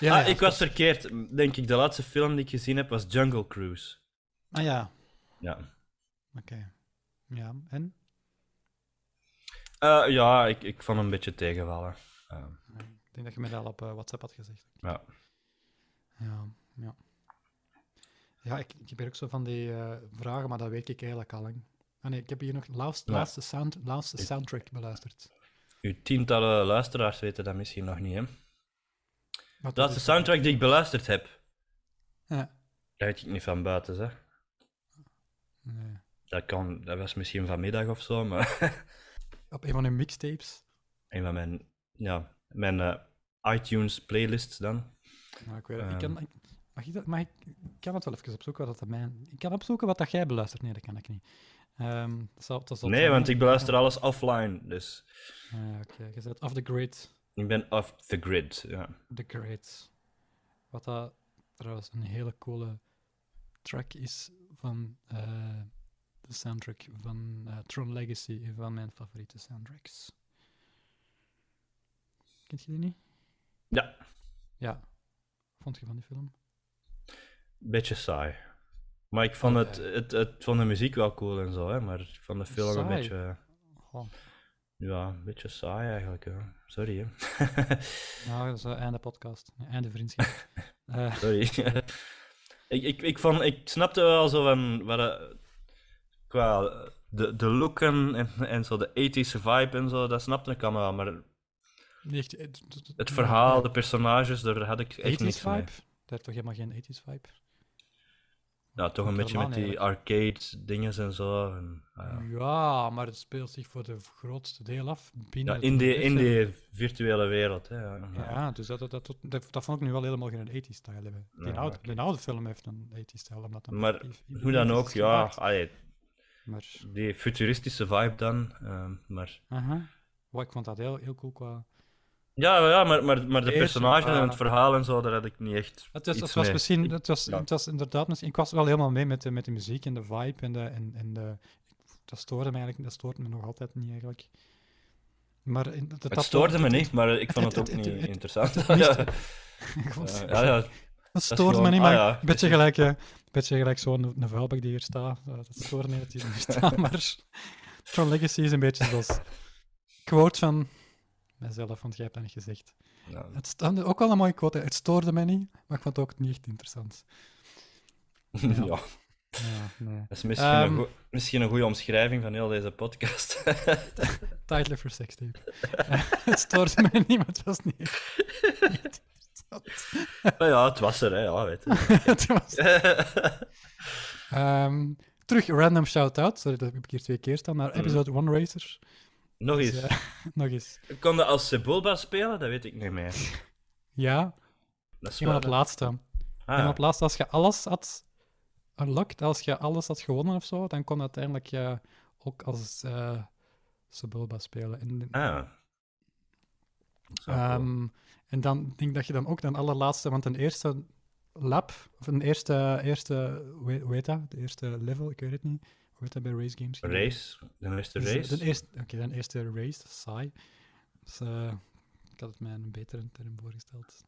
Speaker 1: Ja,
Speaker 2: ah,
Speaker 1: ja,
Speaker 2: ik was verkeerd. Denk ik, de laatste film die ik gezien heb was Jungle Cruise.
Speaker 1: Ah ja,
Speaker 2: Ja,
Speaker 1: oké. Ja, en?
Speaker 2: Eh, ja ik, ik vond hem een beetje tegenvallen. Eh,
Speaker 1: Nee, Ik denk dat je mij dat al op eh, WhatsApp had gezegd.
Speaker 2: ja.
Speaker 1: Ja, ja. Ja, ik, ik heb hier ook zo van die eh, vragen, maar dat weet ik eigenlijk al lang. Ah nee, ik heb hier nog laatste,
Speaker 2: Ja.
Speaker 1: laatste, sound, laatste soundtrack beluisterd.
Speaker 2: Uw tientallen luisteraars weten dat misschien nog niet, hè?
Speaker 1: Wat
Speaker 2: Dat is de soundtrack die ik beluisterd heb.
Speaker 1: Ja.
Speaker 2: Dat weet ik niet van buiten, zeg.
Speaker 1: Nee.
Speaker 2: Dat, kan, dat was misschien vanmiddag of zo, maar [LAUGHS]
Speaker 1: Op een van hun mixtapes.
Speaker 2: een van mijn, ja, mijn eh, iTunes playlists dan.
Speaker 1: Nou, ik weet het. ik
Speaker 2: Ehm.
Speaker 1: kan, ik, mag ik, dat, mag ik, ik kan het wel even opzoeken wat dat mijn... Ik kan opzoeken wat dat jij beluistert. Nee, dat kan ik niet. Ehm, dat zal- dat zal
Speaker 2: Nee,
Speaker 1: zijn,
Speaker 2: want
Speaker 1: hè?
Speaker 2: ik beluister alles offline, dus
Speaker 1: Ah, Oké, je zet off the grid.
Speaker 2: ik ben off the grid. Ja.
Speaker 1: The Great. Wat dat trouwens een hele coole track is van eh, de soundtrack van eh, Tron Legacy, een van mijn favoriete soundtracks. Kent je die niet?
Speaker 2: Ja.
Speaker 1: Ja. Vond je van die film?
Speaker 2: Beetje saai. Maar ik vond, het, het, het, vond de muziek wel cool en zo, hè, maar ik vond de film een
Speaker 1: Saai.
Speaker 2: beetje,
Speaker 1: Goh.
Speaker 2: ja, een beetje saai eigenlijk. Hè. Sorry, hè.
Speaker 1: Nou, dat is eh, einde podcast. Nee, einde
Speaker 2: [LAUGHS]
Speaker 1: vriendschap. Eh,
Speaker 2: Sorry. [LAUGHS] ik, ik, ik, vond, ik snapte wel zo van. Wat, eh, qua de, de look en, en, en zo, de 80s vibe en zo, dat snapte ik allemaal. Maar
Speaker 1: niet echt, eh, d- d- d-
Speaker 2: het verhaal, de personages, daar had ik echt
Speaker 1: 80s
Speaker 2: niks
Speaker 1: vibe?
Speaker 2: mee.
Speaker 1: Dat heeft toch helemaal geen 80s vibe?
Speaker 2: Ja, toch een
Speaker 1: Helemaal
Speaker 2: beetje met
Speaker 1: niet
Speaker 2: die arcade dingen en zo. En, ah,
Speaker 1: Mm,
Speaker 2: ja.
Speaker 1: Ja, maar het speelt zich voor de grootste deel af binnen
Speaker 2: Ja,
Speaker 1: het
Speaker 2: in, die, in
Speaker 1: universum.
Speaker 2: die virtuele wereld. Hè. Ja,
Speaker 1: Ja, dus dat, dat, dat, dat, dat vond ik nu wel helemaal geen 80s stijl hebben. Die
Speaker 2: Ja,
Speaker 1: oude,
Speaker 2: oké.
Speaker 1: de oude film heeft een 80s stijl. Omdat dat
Speaker 2: Maar
Speaker 1: effectief in de
Speaker 2: Hoe dan
Speaker 1: 80s
Speaker 2: ook,
Speaker 1: is
Speaker 2: ja,
Speaker 1: gemaakt.
Speaker 2: allee,
Speaker 1: Maar,
Speaker 2: die futuristische vibe dan. ehm, maar,
Speaker 1: aha. Wat, ik vond dat heel, heel cool qua...
Speaker 2: ja, ja maar, maar, maar de
Speaker 1: Eerst-
Speaker 2: personages en
Speaker 1: ah.
Speaker 2: het verhaal en zo, daar had ik niet echt.
Speaker 1: Het was,
Speaker 2: iets
Speaker 1: het was
Speaker 2: mee.
Speaker 1: misschien... Het was,
Speaker 2: ja.
Speaker 1: het was inderdaad misschien... Ik was wel helemaal mee met de, met de muziek en de vibe en de... En, en de dat stoorde me eigenlijk... Dat stoort me nog altijd niet, eigenlijk. Maar... in- dat,
Speaker 2: Het stoorde me
Speaker 1: [LAUGHS]
Speaker 2: niet, maar ik
Speaker 1: het-
Speaker 2: vond het ook
Speaker 1: het- het-
Speaker 2: niet
Speaker 1: het-
Speaker 2: interessant.
Speaker 1: miste.
Speaker 2: [LAUGHS] Ja,
Speaker 1: Ik vond-
Speaker 2: Eh, ja, ja,
Speaker 1: Dat
Speaker 2: is
Speaker 1: stoort me
Speaker 2: gewoon-
Speaker 1: niet,
Speaker 2: ah
Speaker 1: maar
Speaker 2: ja.
Speaker 1: een beetje gelijk, eh, een beetje gelijk zo'n een vuilbak die hier staat. Eh, Dat stoort me niet dat die er nu staat, [LAUGHS] maar Tron Legacy is een beetje zoals quote van mijzelf, want jij hebt dat niet gezegd.
Speaker 2: ja.
Speaker 1: Het sta- ook wel een mooie quote, hè. het stoorde me niet, maar ik vond het ook niet echt interessant.
Speaker 2: Ja, dat
Speaker 1: Ja, nee.
Speaker 2: is misschien, een
Speaker 1: Ehm.
Speaker 2: goe- misschien een goede omschrijving van heel deze podcast. [LAUGHS]
Speaker 1: Title for sextape. Eh, [LAUGHS] het stoorde me niet, maar het was niet [LAUGHS] echt interessant.
Speaker 2: maar ja, het was er, hè, ja, weet je.
Speaker 1: Het was Ehm, terug, random shout-out. Sorry, dat heb ik hier twee keer staan. Naar episode 1 Racer.
Speaker 2: [LAUGHS] Mm. Nog
Speaker 1: Dus,
Speaker 2: eens,
Speaker 1: eh, [LAUGHS] nog eens.
Speaker 2: ik kon dat als Sebulba spelen, dat weet ik niet meer.
Speaker 1: Ja,
Speaker 2: Dat is
Speaker 1: iemand op
Speaker 2: wel-
Speaker 1: het laatste.
Speaker 2: Ah,
Speaker 1: En op laatst, als je alles had unlocked, als je alles had gewonnen of zo, dan kon uiteindelijk je ook als eh Sebulba spelen. En,
Speaker 2: ah. Dat is wel cool.
Speaker 1: ehm, en dan denk ik dat je dan ook de allerlaatste, want een eerste lap, of een eerste, eerste hoe heet- hoe heet dat? De eerste level, ik weet het niet. Hoe heet dat bij race games?
Speaker 2: Race, de eerste
Speaker 1: Dus, eh,
Speaker 2: race.
Speaker 1: De eerste, Oké, dan eerste race, dat is saai. Dus, eh, ik had het mij een betere term voorgesteld.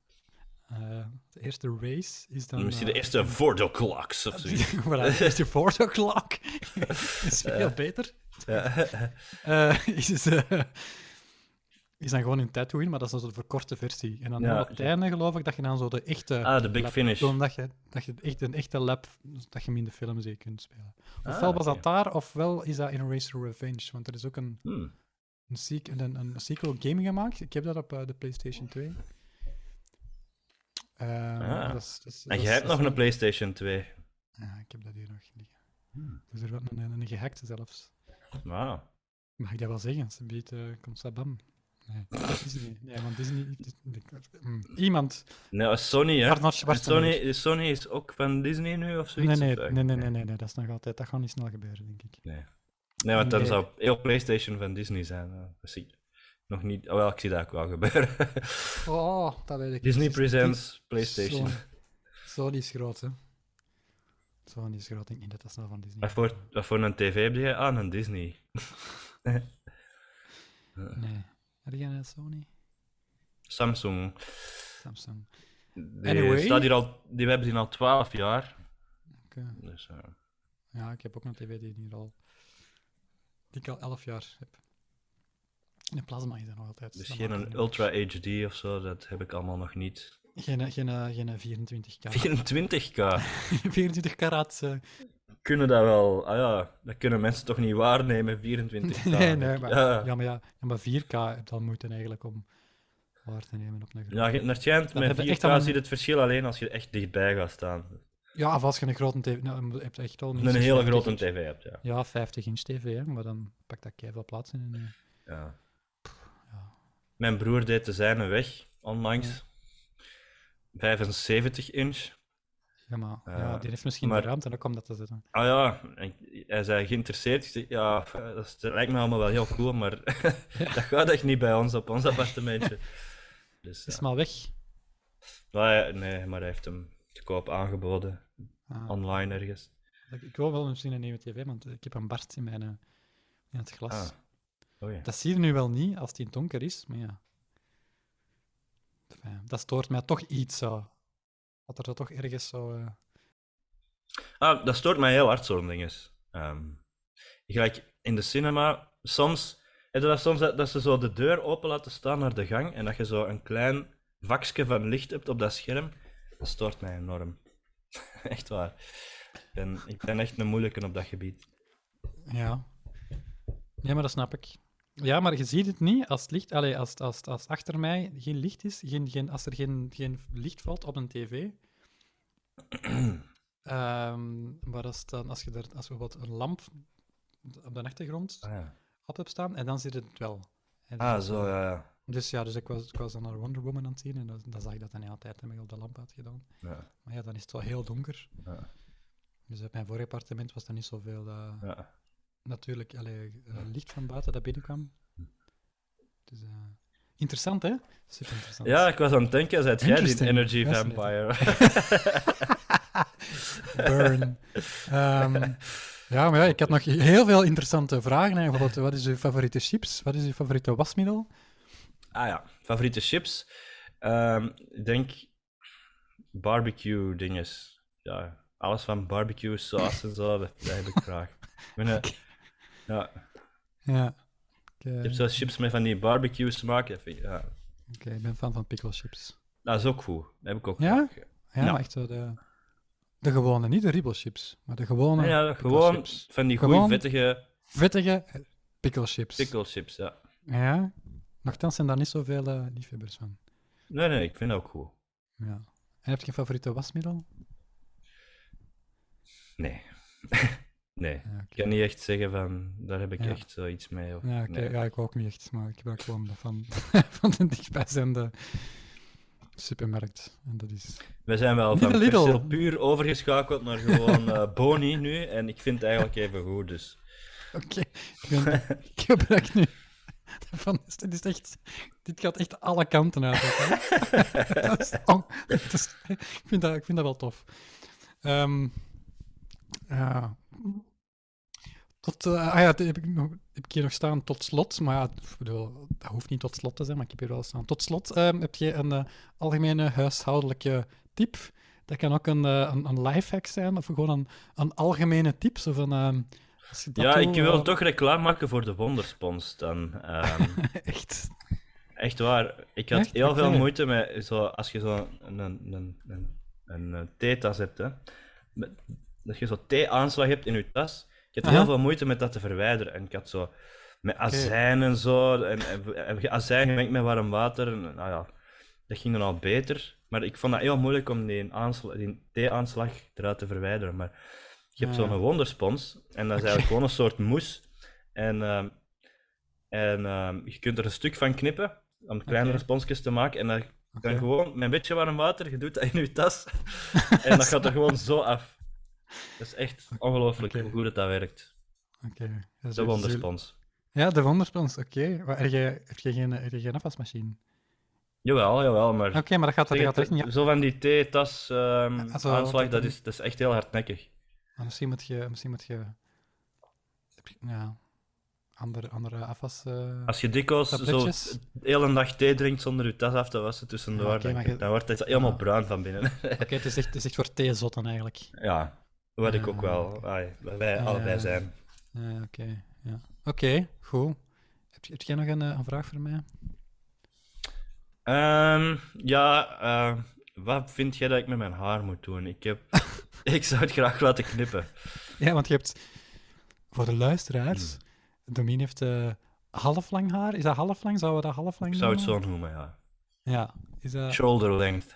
Speaker 1: Eh, de eerste race is dan...
Speaker 2: Misschien de
Speaker 1: eh, [LAUGHS]
Speaker 2: eerste Vordo Clocks of zoiets. Eh.
Speaker 1: voilà, de eerste four
Speaker 2: [LAUGHS]
Speaker 1: o'clock [LAUGHS] is veel beter.
Speaker 2: Ja.
Speaker 1: Eh, [LAUGHS] is, eh, is dan gewoon in Tatooine, maar dat is dan zo de verkorte versie. En dan
Speaker 2: Ja.
Speaker 1: op het einde geloof ik dat je dan zo de echte...
Speaker 2: Ah, de Big
Speaker 1: lap-
Speaker 2: Finish.
Speaker 1: gewoon Dat je, dat je echt een echte lap, dus dat je hem in de film zee kunt spelen. Ofwel
Speaker 2: Ah,
Speaker 1: was
Speaker 2: oké.
Speaker 1: dat daar, ofwel is dat in Racer Revenge. Want er is ook een,
Speaker 2: Hmm.
Speaker 1: een, sequ- een, een sequel game gemaakt. Ik heb dat op eh, de PlayStation 2. Ehm,
Speaker 2: Ah.
Speaker 1: dat is- dat is-
Speaker 2: En
Speaker 1: dat
Speaker 2: jij
Speaker 1: is-
Speaker 2: hebt
Speaker 1: dat
Speaker 2: nog
Speaker 1: is
Speaker 2: een PlayStation 2.
Speaker 1: ja, ik heb dat hier nog liggen.
Speaker 2: Hmm.
Speaker 1: Dus er wordt een, een gehackte zelfs.
Speaker 2: Wauw.
Speaker 1: Mag ik dat wel zeggen? Ze biedt, eh, komt Sabam. Nee, Disney. Nee, want Disney... Disney- mm. Iemand.
Speaker 2: Nee, Nou, Sony, hè.
Speaker 1: Arnold Schwarzenegger.
Speaker 2: Sony, Sony is ook van Disney nu of
Speaker 1: Nee,
Speaker 2: zoiets?
Speaker 1: nee,
Speaker 2: of, eh,
Speaker 1: nee, nee, nee, nee, nee, dat is nog altijd... Dat gaat niet snel gebeuren, denk ik.
Speaker 2: Nee, want dan
Speaker 1: Nee.
Speaker 2: zou heel PlayStation van Disney zijn. eh, Dat zie ik nog niet. Oh, wel, ik zie dat ook wel gebeuren. [LAUGHS]
Speaker 1: Oh, dat weet ik
Speaker 2: Disney
Speaker 1: niet.
Speaker 2: presents PlayStation.
Speaker 1: Sony. Sony is groot, hè. Sony is groot. Ik denk niet dat dat snel van Disney
Speaker 2: Wat voor, wat voor een tv heb je aan? Een Disney.
Speaker 1: Nee. Heb jij een Sony?
Speaker 2: Samsung.
Speaker 1: Samsung.
Speaker 2: Die,
Speaker 1: Anyway.
Speaker 2: staat hier al, die hebben die al 12 jaar.
Speaker 1: Oké.
Speaker 2: Dus, eh,
Speaker 1: Ja, ik heb ook een tv die hier al... Die ik al elf jaar heb. De plasma is er nog altijd.
Speaker 2: dus
Speaker 1: Dat
Speaker 2: geen
Speaker 1: maakt
Speaker 2: een
Speaker 1: niet
Speaker 2: Ultra HD of zo, dat heb ik allemaal nog niet. [LAUGHS]
Speaker 1: uit. Geen, geen, eh, geen 24K.
Speaker 2: 24k.
Speaker 1: 24 karaat. eh,
Speaker 2: Kunnen dat wel? Ah ja, dat kunnen mensen toch niet waarnemen, 24k.
Speaker 1: [LAUGHS] nee, nee, maar,
Speaker 2: [LAUGHS] Ja.
Speaker 1: ja. maar ja, ja, maar 4K heb dan moeten eigenlijk om waar te nemen op een grote.
Speaker 2: Ja, je- naar het schijnt,
Speaker 1: Dan
Speaker 2: met
Speaker 1: hebben
Speaker 2: 4K
Speaker 1: we echt allemaal-
Speaker 2: zie je het verschil alleen als je echt dichtbij gaat staan.
Speaker 1: Ja, of als je een grote tv... Nou, je hebt echt al
Speaker 2: Als je
Speaker 1: minstens
Speaker 2: een hele
Speaker 1: 50
Speaker 2: grote
Speaker 1: inch.
Speaker 2: tv hebt, ja.
Speaker 1: Ja, 50 inch tv, hè, maar dan pakt dat keihard plaats in. een, eh,
Speaker 2: ja. Mijn broer deed de zijne weg, onlangs. 75 inch.
Speaker 1: Ja, maar
Speaker 2: Eh,
Speaker 1: ja, die heeft misschien
Speaker 2: maar-
Speaker 1: de ruimte ook om dat te zetten.
Speaker 2: Ah ja, en hij zei geïnteresseerd. Ik zeg, ja, dat is- dat lijkt me allemaal wel heel cool, maar [LAUGHS] dat gaat echt niet bij ons op ons appartementje. Dus,
Speaker 1: Is
Speaker 2: ja.
Speaker 1: maar weg.
Speaker 2: Maar hij- nee, maar hij heeft hem te koop aangeboden,
Speaker 1: Ah,
Speaker 2: online ergens.
Speaker 1: ik- ik wil wel misschien een nieuwe tv, want ik heb een barst in, mijn, eh, in het glas.
Speaker 2: Ah. Oh ja.
Speaker 1: Dat zie je nu wel niet als het in het donker is, maar ja. Enfin, dat stoort mij toch iets zo. Dat er zo toch ergens zo. eh,
Speaker 2: Ah, dat stoort mij heel hard, zo'n dinges. Ehm, gelijk in de cinema, soms, heb je dat soms dat, dat ze zo de deur open laten staan naar de gang en dat je zo een klein vakje van licht hebt op dat scherm, dat stoort mij enorm. [LAUGHS] echt waar. Ik ben, ik ben echt een moeilijke op dat gebied.
Speaker 1: Ja. Ja, maar dat snap ik. Ja, maar je ziet het niet als het licht... Allee, als, als, als achter mij geen licht is, geen, geen, als er geen, geen licht valt op een tv... [CLEARS THROAT] Ehm, maar als, dan, als, je daar, als we wat een lamp op de achtergrond
Speaker 2: Ah, ja.
Speaker 1: op hebt staan, en dan zit het wel. Hè, dus-
Speaker 2: ah zo, ja, ja.
Speaker 1: Dus ja, dus ik was, ik was dan naar Wonder Woman aan het zien en dan, dan zag ik dat dan de hele tijd heb ik op de lamp had gedaan.
Speaker 2: ja.
Speaker 1: Maar ja, dan is het wel heel donker.
Speaker 2: Ja.
Speaker 1: Dus op mijn vorige appartement was er niet zoveel... eh,
Speaker 2: ja.
Speaker 1: natuurlijk allee, eh, licht van buiten dat binnenkwam. Dus, eh, interessant, hè? Super interessant.
Speaker 2: Ja, ik was aan het denken, zei jij die
Speaker 1: Interesting.
Speaker 2: Energy
Speaker 1: Fascinating.
Speaker 2: Vampire?
Speaker 1: Burn.
Speaker 2: [LAUGHS]
Speaker 1: Ehm, ja, maar ja, ik had nog heel veel interessante vragen. Hè. Bijvoorbeeld, wat is uw favoriete chips? Wat is uw favoriete wasmiddel?
Speaker 2: Ah ja, favoriete chips. Ehm, ik denk barbecue dinges. Ja, alles van barbecue saus en zo, dat, dat heb ik graag. Ik,
Speaker 1: [LAUGHS]
Speaker 2: ben, eh, ja,
Speaker 1: Ja. Ik, eh,
Speaker 2: ik heb zelfs chips met van die barbecue smaak. dat vind ik- Ja.
Speaker 1: oké, ik ben fan van pickle chips.
Speaker 2: Dat is ook goed. Dat heb ik ook
Speaker 1: Ja?
Speaker 2: graag.
Speaker 1: Ja,
Speaker 2: Ja.
Speaker 1: maar echt zo de, de gewone, niet de ribble chips, maar de gewone
Speaker 2: Ja, ja,
Speaker 1: pickle
Speaker 2: gewoon
Speaker 1: chips.
Speaker 2: van die goede
Speaker 1: Gewoon
Speaker 2: vettige
Speaker 1: vettige pickle chips.
Speaker 2: pickle chips. Ja.
Speaker 1: Ja. Nochtans zijn daar niet zoveel eh, liefhebbers van.
Speaker 2: Nee, nee, ik vind dat ook goed.
Speaker 1: Ja. En heb je een favoriete wasmiddel?
Speaker 2: Nee. [LAUGHS] nee.
Speaker 1: Ja,
Speaker 2: Ik kan niet echt zeggen van, daar heb ik
Speaker 1: Ja.
Speaker 2: echt zoiets mee. Of,
Speaker 1: Ja, oké,
Speaker 2: nee.
Speaker 1: ja, ik ook niet echt, maar ik gebruik gewoon de van, [LAUGHS] van de dichtbijzijnde supermarkt. En dat is...
Speaker 2: We zijn wel
Speaker 1: Niet
Speaker 2: van
Speaker 1: de Lidl.
Speaker 2: Percel puur overgeschakeld naar gewoon eh, [LAUGHS] Boni nu. En ik vind het eigenlijk even goed, dus...
Speaker 1: Oké, ik,
Speaker 2: [LAUGHS]
Speaker 1: ben- ik gebruik nu... [LAUGHS] de Van, dit, is echt, dit gaat echt alle kanten uit. hè. [LAUGHS] dat is on- dat is- ik, vind dat, ik vind dat wel tof. Ehm, ja. Tot, eh, ah ja, dat heb ik, nog, heb ik hier nog staan tot slot. Maar ja, ik bedoel, dat hoeft niet tot slot te zijn, maar ik heb hier wel staan. Tot slot ehm, heb je een eh, algemene huishoudelijke tip. Dat kan ook een, eh, een, een lifehack zijn of gewoon een, een algemene tip. Zo van, ehm, als je dat
Speaker 2: Ja,
Speaker 1: doet,
Speaker 2: ik wil
Speaker 1: eh,
Speaker 2: toch reclame maken voor de Wonderspons dan. ehm.
Speaker 1: Echt.
Speaker 2: echt waar. Ik had
Speaker 1: Echt?
Speaker 2: heel
Speaker 1: Oké.
Speaker 2: veel moeite met... Zo, als je zo'n een, een, een, een, een eh, theetas hebt, hè. Met- dat je zo'n thee-aanslag hebt in je tas. Ik had
Speaker 1: Aha.
Speaker 2: heel veel moeite met dat te verwijderen. En ik had zo... Met azijn en zo. En, en, en azijn gemengd met warm water. En, nou ja, dat ging dan al beter. Maar ik vond dat heel moeilijk om die, aansla- die thee-aanslag eruit te verwijderen. Maar je hebt
Speaker 1: Ah, Ja.
Speaker 2: zo'n wonderspons. En dat is eigenlijk gewoon een soort moes. En ehm, En ehm, je kunt er een stuk van knippen om kleinere
Speaker 1: Oké.
Speaker 2: sponsjes te maken. En dat kan
Speaker 1: Oké.
Speaker 2: gewoon met een beetje warm water, je doet dat in
Speaker 1: [LAUGHS]
Speaker 2: je tas. en dat gaat er gewoon zo af. Dat is echt ongelooflijk
Speaker 1: Oké.
Speaker 2: hoe goed het dat werkt.
Speaker 1: Oké. dat is
Speaker 2: De
Speaker 1: ook zul-
Speaker 2: wonderspons.
Speaker 1: Ja, de wonderspons, oké. Maar Heb jij, heb jij geen, heb jij geen afwasmachine?
Speaker 2: Jawel, jawel, maar...
Speaker 1: Oké, maar dat gaat, dat
Speaker 2: Zeg,
Speaker 1: gaat echt niet af.
Speaker 2: Zo van die theetas ehm
Speaker 1: Ja, zo,
Speaker 2: aanslag,
Speaker 1: dat-
Speaker 2: dat is, dat is echt heel hardnekkig.
Speaker 1: Maar Ah, misschien moet je... Misschien moet je... heb je- Ja... Andere, andere afwas... eh,
Speaker 2: Als je dikwijls zo
Speaker 1: Tabletjes?
Speaker 2: de hele dag thee drinkt zonder je tas af te wassen tussendoor,
Speaker 1: Ja, oké,
Speaker 2: dan,
Speaker 1: maar je-
Speaker 2: dan wordt het helemaal
Speaker 1: Ja.
Speaker 2: bruin van binnen. [LAUGHS]
Speaker 1: Oké, het, is echt- het is echt voor theezotten eigenlijk.
Speaker 2: ja, wat ik ook
Speaker 1: Ah,
Speaker 2: wel.
Speaker 1: oké.
Speaker 2: Ai, wat wij
Speaker 1: Ja,
Speaker 2: allebei
Speaker 1: ja.
Speaker 2: zijn.
Speaker 1: Ja, oké. ja. Oké, goed. Heb, je- heb jij nog een, eh, een vraag voor mij?
Speaker 2: Ehm, ja, ehm, wat vind jij dat ik met mijn haar moet doen? Ik, heb...
Speaker 1: [LAUGHS]
Speaker 2: ik zou het graag laten knippen.
Speaker 1: Ja, want je hebt... Voor de luisteraars... Domien heeft eh half lang haar. Is dat half lang? Zouden we dat half lang
Speaker 2: Ik zou het zo
Speaker 1: noemen?
Speaker 2: noemen, ja.
Speaker 1: Ja. Is dat...
Speaker 2: Shoulder length.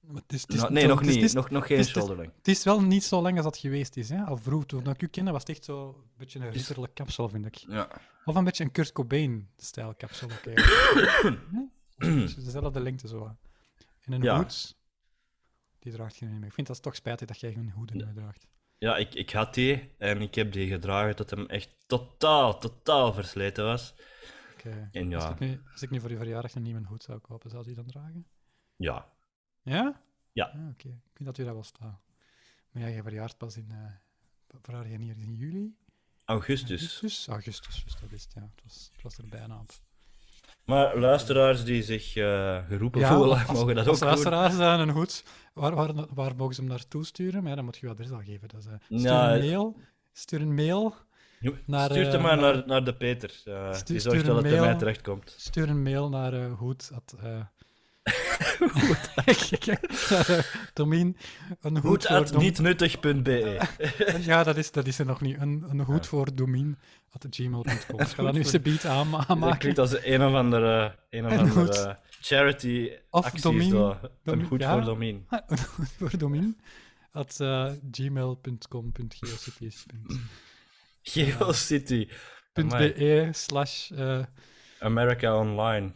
Speaker 1: Maar het is- het is
Speaker 2: Nou, nee,
Speaker 1: zo-
Speaker 2: nog
Speaker 1: het is-
Speaker 2: niet.
Speaker 1: het is-
Speaker 2: nog, nog geen
Speaker 1: het is-
Speaker 2: shoulder length.
Speaker 1: Het is wel niet zo lang als dat geweest is. Hè? Al vroeg, toen ik u kende, was het echt zo een beetje een ritterlijk kapsel, vind ik.
Speaker 2: Ja.
Speaker 1: Of een beetje een Kurt Cobain-stijl kapsel.
Speaker 2: [COUGHS]
Speaker 1: ook eigenlijk. Hm? Een beetje Dezelfde lengte zo. En een
Speaker 2: Ja.
Speaker 1: hoed, die draagt geen meer. Ik vind dat toch spijtig dat jij geen hoed meer draagt.
Speaker 2: Ja, ik, ik had die en ik heb die gedragen tot hem echt totaal, totaal versleten was.
Speaker 1: Oké.
Speaker 2: En
Speaker 1: Als,
Speaker 2: ja,
Speaker 1: ik nu, als ik nu voor je verjaardag een nieuwe hoed zou kopen, zou die dan dragen?
Speaker 2: ja.
Speaker 1: Ja?
Speaker 2: Ja.
Speaker 1: Ah, Oké, ik vind dat u dat wel staat. Maar ja, je verjaart pas in... eh verjaar je niet in juli?
Speaker 2: Augustus.
Speaker 1: Augustus, juist, dat is het, ja. Het was, het was er bijna op.
Speaker 2: Maar luisteraars die zich eh, geroepen
Speaker 1: Ja,
Speaker 2: voelen,
Speaker 1: als-
Speaker 2: mogen dat
Speaker 1: Als
Speaker 2: ook doen.
Speaker 1: luisteraars zijn een goed. Waar, waar, waar mogen ze hem naartoe sturen? Maar ja, dan moet je je adres al geven. Dus, eh,
Speaker 2: Nou,
Speaker 1: stuur,
Speaker 2: Ja,
Speaker 1: een mail, stuur een mail. naar,
Speaker 2: Stuur hem
Speaker 1: eh,
Speaker 2: maar
Speaker 1: naar-
Speaker 2: naar, naar de Peter. eh
Speaker 1: Stuur-
Speaker 2: die
Speaker 1: stuur
Speaker 2: zorgt dat
Speaker 1: een
Speaker 2: het bij mij
Speaker 1: mail.
Speaker 2: terechtkomt.
Speaker 1: Stuur een mail naar eh hoed. At, eh, [LAUGHS] Kijk, kijk, naar, eh, Domien. Een hoed,
Speaker 2: Goed
Speaker 1: voor
Speaker 2: at
Speaker 1: Dom-
Speaker 2: nietnuttig.be.
Speaker 1: Ja, dat is, dat is er nog niet. Een, een hoed voor Domien. At
Speaker 2: [LAUGHS]
Speaker 1: gmail.com. Ik ga dat nu eens een beat aan,
Speaker 2: Dat
Speaker 1: aanmaken.
Speaker 2: klinkt als een of andere, een of
Speaker 1: Een
Speaker 2: andere charity
Speaker 1: Of
Speaker 2: actie.
Speaker 1: Domien.
Speaker 2: zo. Een
Speaker 1: Domien,
Speaker 2: goed
Speaker 1: ja.
Speaker 2: voor Domien.
Speaker 1: Een hoed voor Domien. At eh, gmail.com.geocities.be
Speaker 2: GeoCity. Amai.
Speaker 1: slash eh,
Speaker 2: America Online.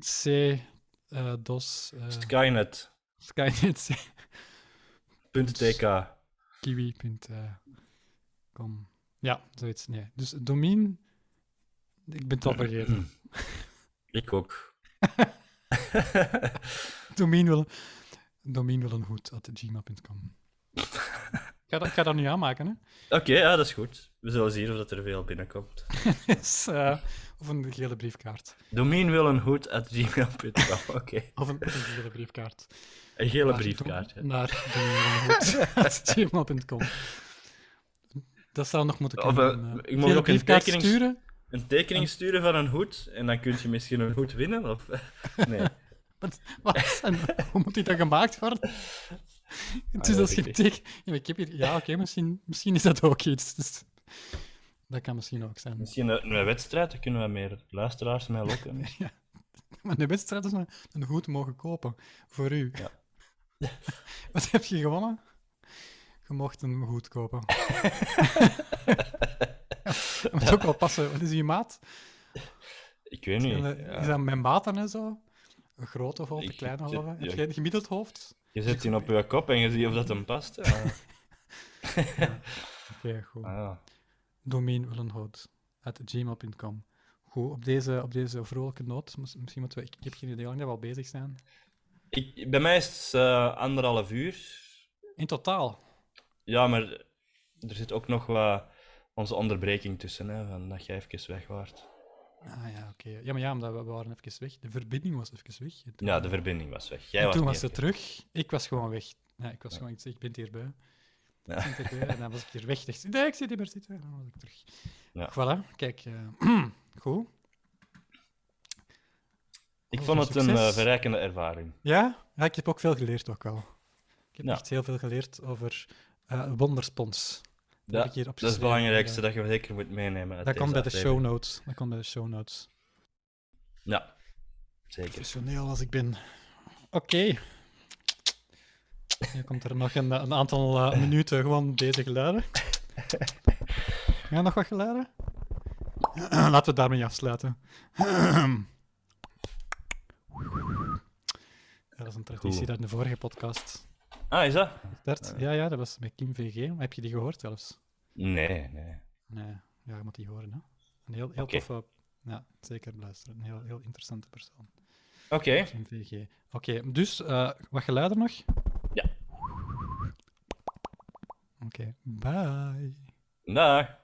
Speaker 1: C, eh, DOS, eh,
Speaker 2: Skynet.
Speaker 1: Skynet, C,
Speaker 2: Skynet.tk.
Speaker 1: kiwi.com. eh, Ja, zoiets. Nee. Dus domein, ik ben het al
Speaker 2: [LAUGHS]
Speaker 1: vergeten.
Speaker 2: Ik ook.
Speaker 1: domein wil, domein wil een hoed at gmail.com. Ik ga, dat, ik ga dat nu aanmaken, hè?
Speaker 2: [LAUGHS] Oké, ja, dat is goed. We zullen zien of dat er veel binnenkomt.
Speaker 1: Dus, eh, of een gele briefkaart.
Speaker 2: Domien wil een hoed at gmail.com. [LAUGHS] Oké.
Speaker 1: Of een, of een gele briefkaart.
Speaker 2: Een gele
Speaker 1: Naar
Speaker 2: briefkaart.
Speaker 1: dom-
Speaker 2: hè.
Speaker 1: Naar
Speaker 2: [LAUGHS]
Speaker 1: domein.gmail.com. Dat zou nog moeten
Speaker 2: Of,
Speaker 1: kunnen.
Speaker 2: eh,
Speaker 1: een, eh,
Speaker 2: ik mag
Speaker 1: gele
Speaker 2: ook een
Speaker 1: briefkaart
Speaker 2: tekenings-
Speaker 1: sturen.
Speaker 2: Een tekening sturen van een hoed en dan kun je misschien een hoed winnen? Of... [LAUGHS] Nee.
Speaker 1: Wat, wat? En hoe moet die dan gemaakt worden? Het is als
Speaker 2: dat Ah, weet
Speaker 1: je
Speaker 2: ik
Speaker 1: teken- Ja, maar ik heb hier... Ja, oké, misschien, misschien is dat ook iets. Dus... Dat kan misschien ook zijn.
Speaker 2: Misschien een, een wedstrijd, dan kunnen we meer luisteraars mee lokken.
Speaker 1: Ja. Maar de wedstrijd is een, een goed mogen kopen. Voor u.
Speaker 2: Ja.
Speaker 1: [LAUGHS] Wat heb je gewonnen? Je mocht een goed
Speaker 2: [LAUGHS]
Speaker 1: kopen. Dat moet ook wel passen. Wat is je maat? eh,
Speaker 2: Ik weet niet. ja.
Speaker 1: Is dat mijn maten en zo? Een grote hoofd, een
Speaker 2: Ik-
Speaker 1: kleine
Speaker 2: ik-
Speaker 1: hoofd. Heb
Speaker 2: ja.
Speaker 1: jij een gemiddeld hoofd?
Speaker 2: Je zet die op je kop en je ziet of dat hem past.
Speaker 1: [LAUGHS]
Speaker 2: Ja.
Speaker 1: Oké, goed.
Speaker 2: Ah, ja.
Speaker 1: domeinwillenhout at gmail.com. Goed, op deze, op deze vrolijke noot, mis- misschien moeten we, ik, ik heb geen idee hoe lang dat we al bezig zijn.
Speaker 2: Ik, bij mij is het eh, anderhalf uur.
Speaker 1: In totaal.
Speaker 2: Ja, maar er zit ook nog wat onze onderbreking tussen, hè, van dat jij even weg waart.
Speaker 1: Ah ja, oké. Ja, maar ja, omdat we, we waren even weg. De verbinding was even weg. En toen-
Speaker 2: Ja, de verbinding was weg. Jij
Speaker 1: en
Speaker 2: was
Speaker 1: toen was
Speaker 2: niet
Speaker 1: ze
Speaker 2: even-
Speaker 1: terug. Ik was gewoon weg. Ja, ik was gewoon, ik, zeg, ik ben het hierbij.
Speaker 2: Ja.
Speaker 1: Ik ben het hierbij. En dan was ik hier weg. Dacht, ik, nee, ik zit hier maar zitten. En dan was ik terug.
Speaker 2: Ja.
Speaker 1: Voilà, kijk. eh, [CLEARS THROAT] goed.
Speaker 2: Ik
Speaker 1: Oh,
Speaker 2: vond
Speaker 1: wat
Speaker 2: het
Speaker 1: succes.
Speaker 2: een eh, verrijkende ervaring.
Speaker 1: Ja? ja, ik heb ook veel geleerd ook al. Ik heb
Speaker 2: Ja.
Speaker 1: echt heel veel geleerd over eh wonderspons. Dat heb
Speaker 2: Ja,
Speaker 1: ik hier
Speaker 2: Dat is het
Speaker 1: opgeschreven.
Speaker 2: belangrijkste dat je zeker moet meenemen.
Speaker 1: Dat
Speaker 2: uit deze
Speaker 1: komt bij de
Speaker 2: aflevering.
Speaker 1: show notes. Dat komt bij de show notes.
Speaker 2: Ja, zeker.
Speaker 1: Professioneel als ik ben. Oké. Nu komt er nog een, een aantal eh, minuten gewoon deze geluiden. [CLEARS THROAT] Ja, nog wat geluiden? Laten we daarmee afsluiten. [CLEARS THROAT] dat is een traditie
Speaker 2: Cool.
Speaker 1: uit de vorige podcast.
Speaker 2: Ah, is dat?
Speaker 1: Bert, ja, ja, dat was met Kim VG. Maar heb je die gehoord zelfs?
Speaker 2: Nee, nee.
Speaker 1: Nee, ja, je moet die horen. Hè? Een heel, heel
Speaker 2: Oké.
Speaker 1: toffe... Ja, zeker luisteren. Een heel, heel interessante persoon.
Speaker 2: Oké.
Speaker 1: Kim VG. Oké, dus eh, wat geluiden nog?
Speaker 2: Ja.
Speaker 1: Oké, bye.
Speaker 2: Dag.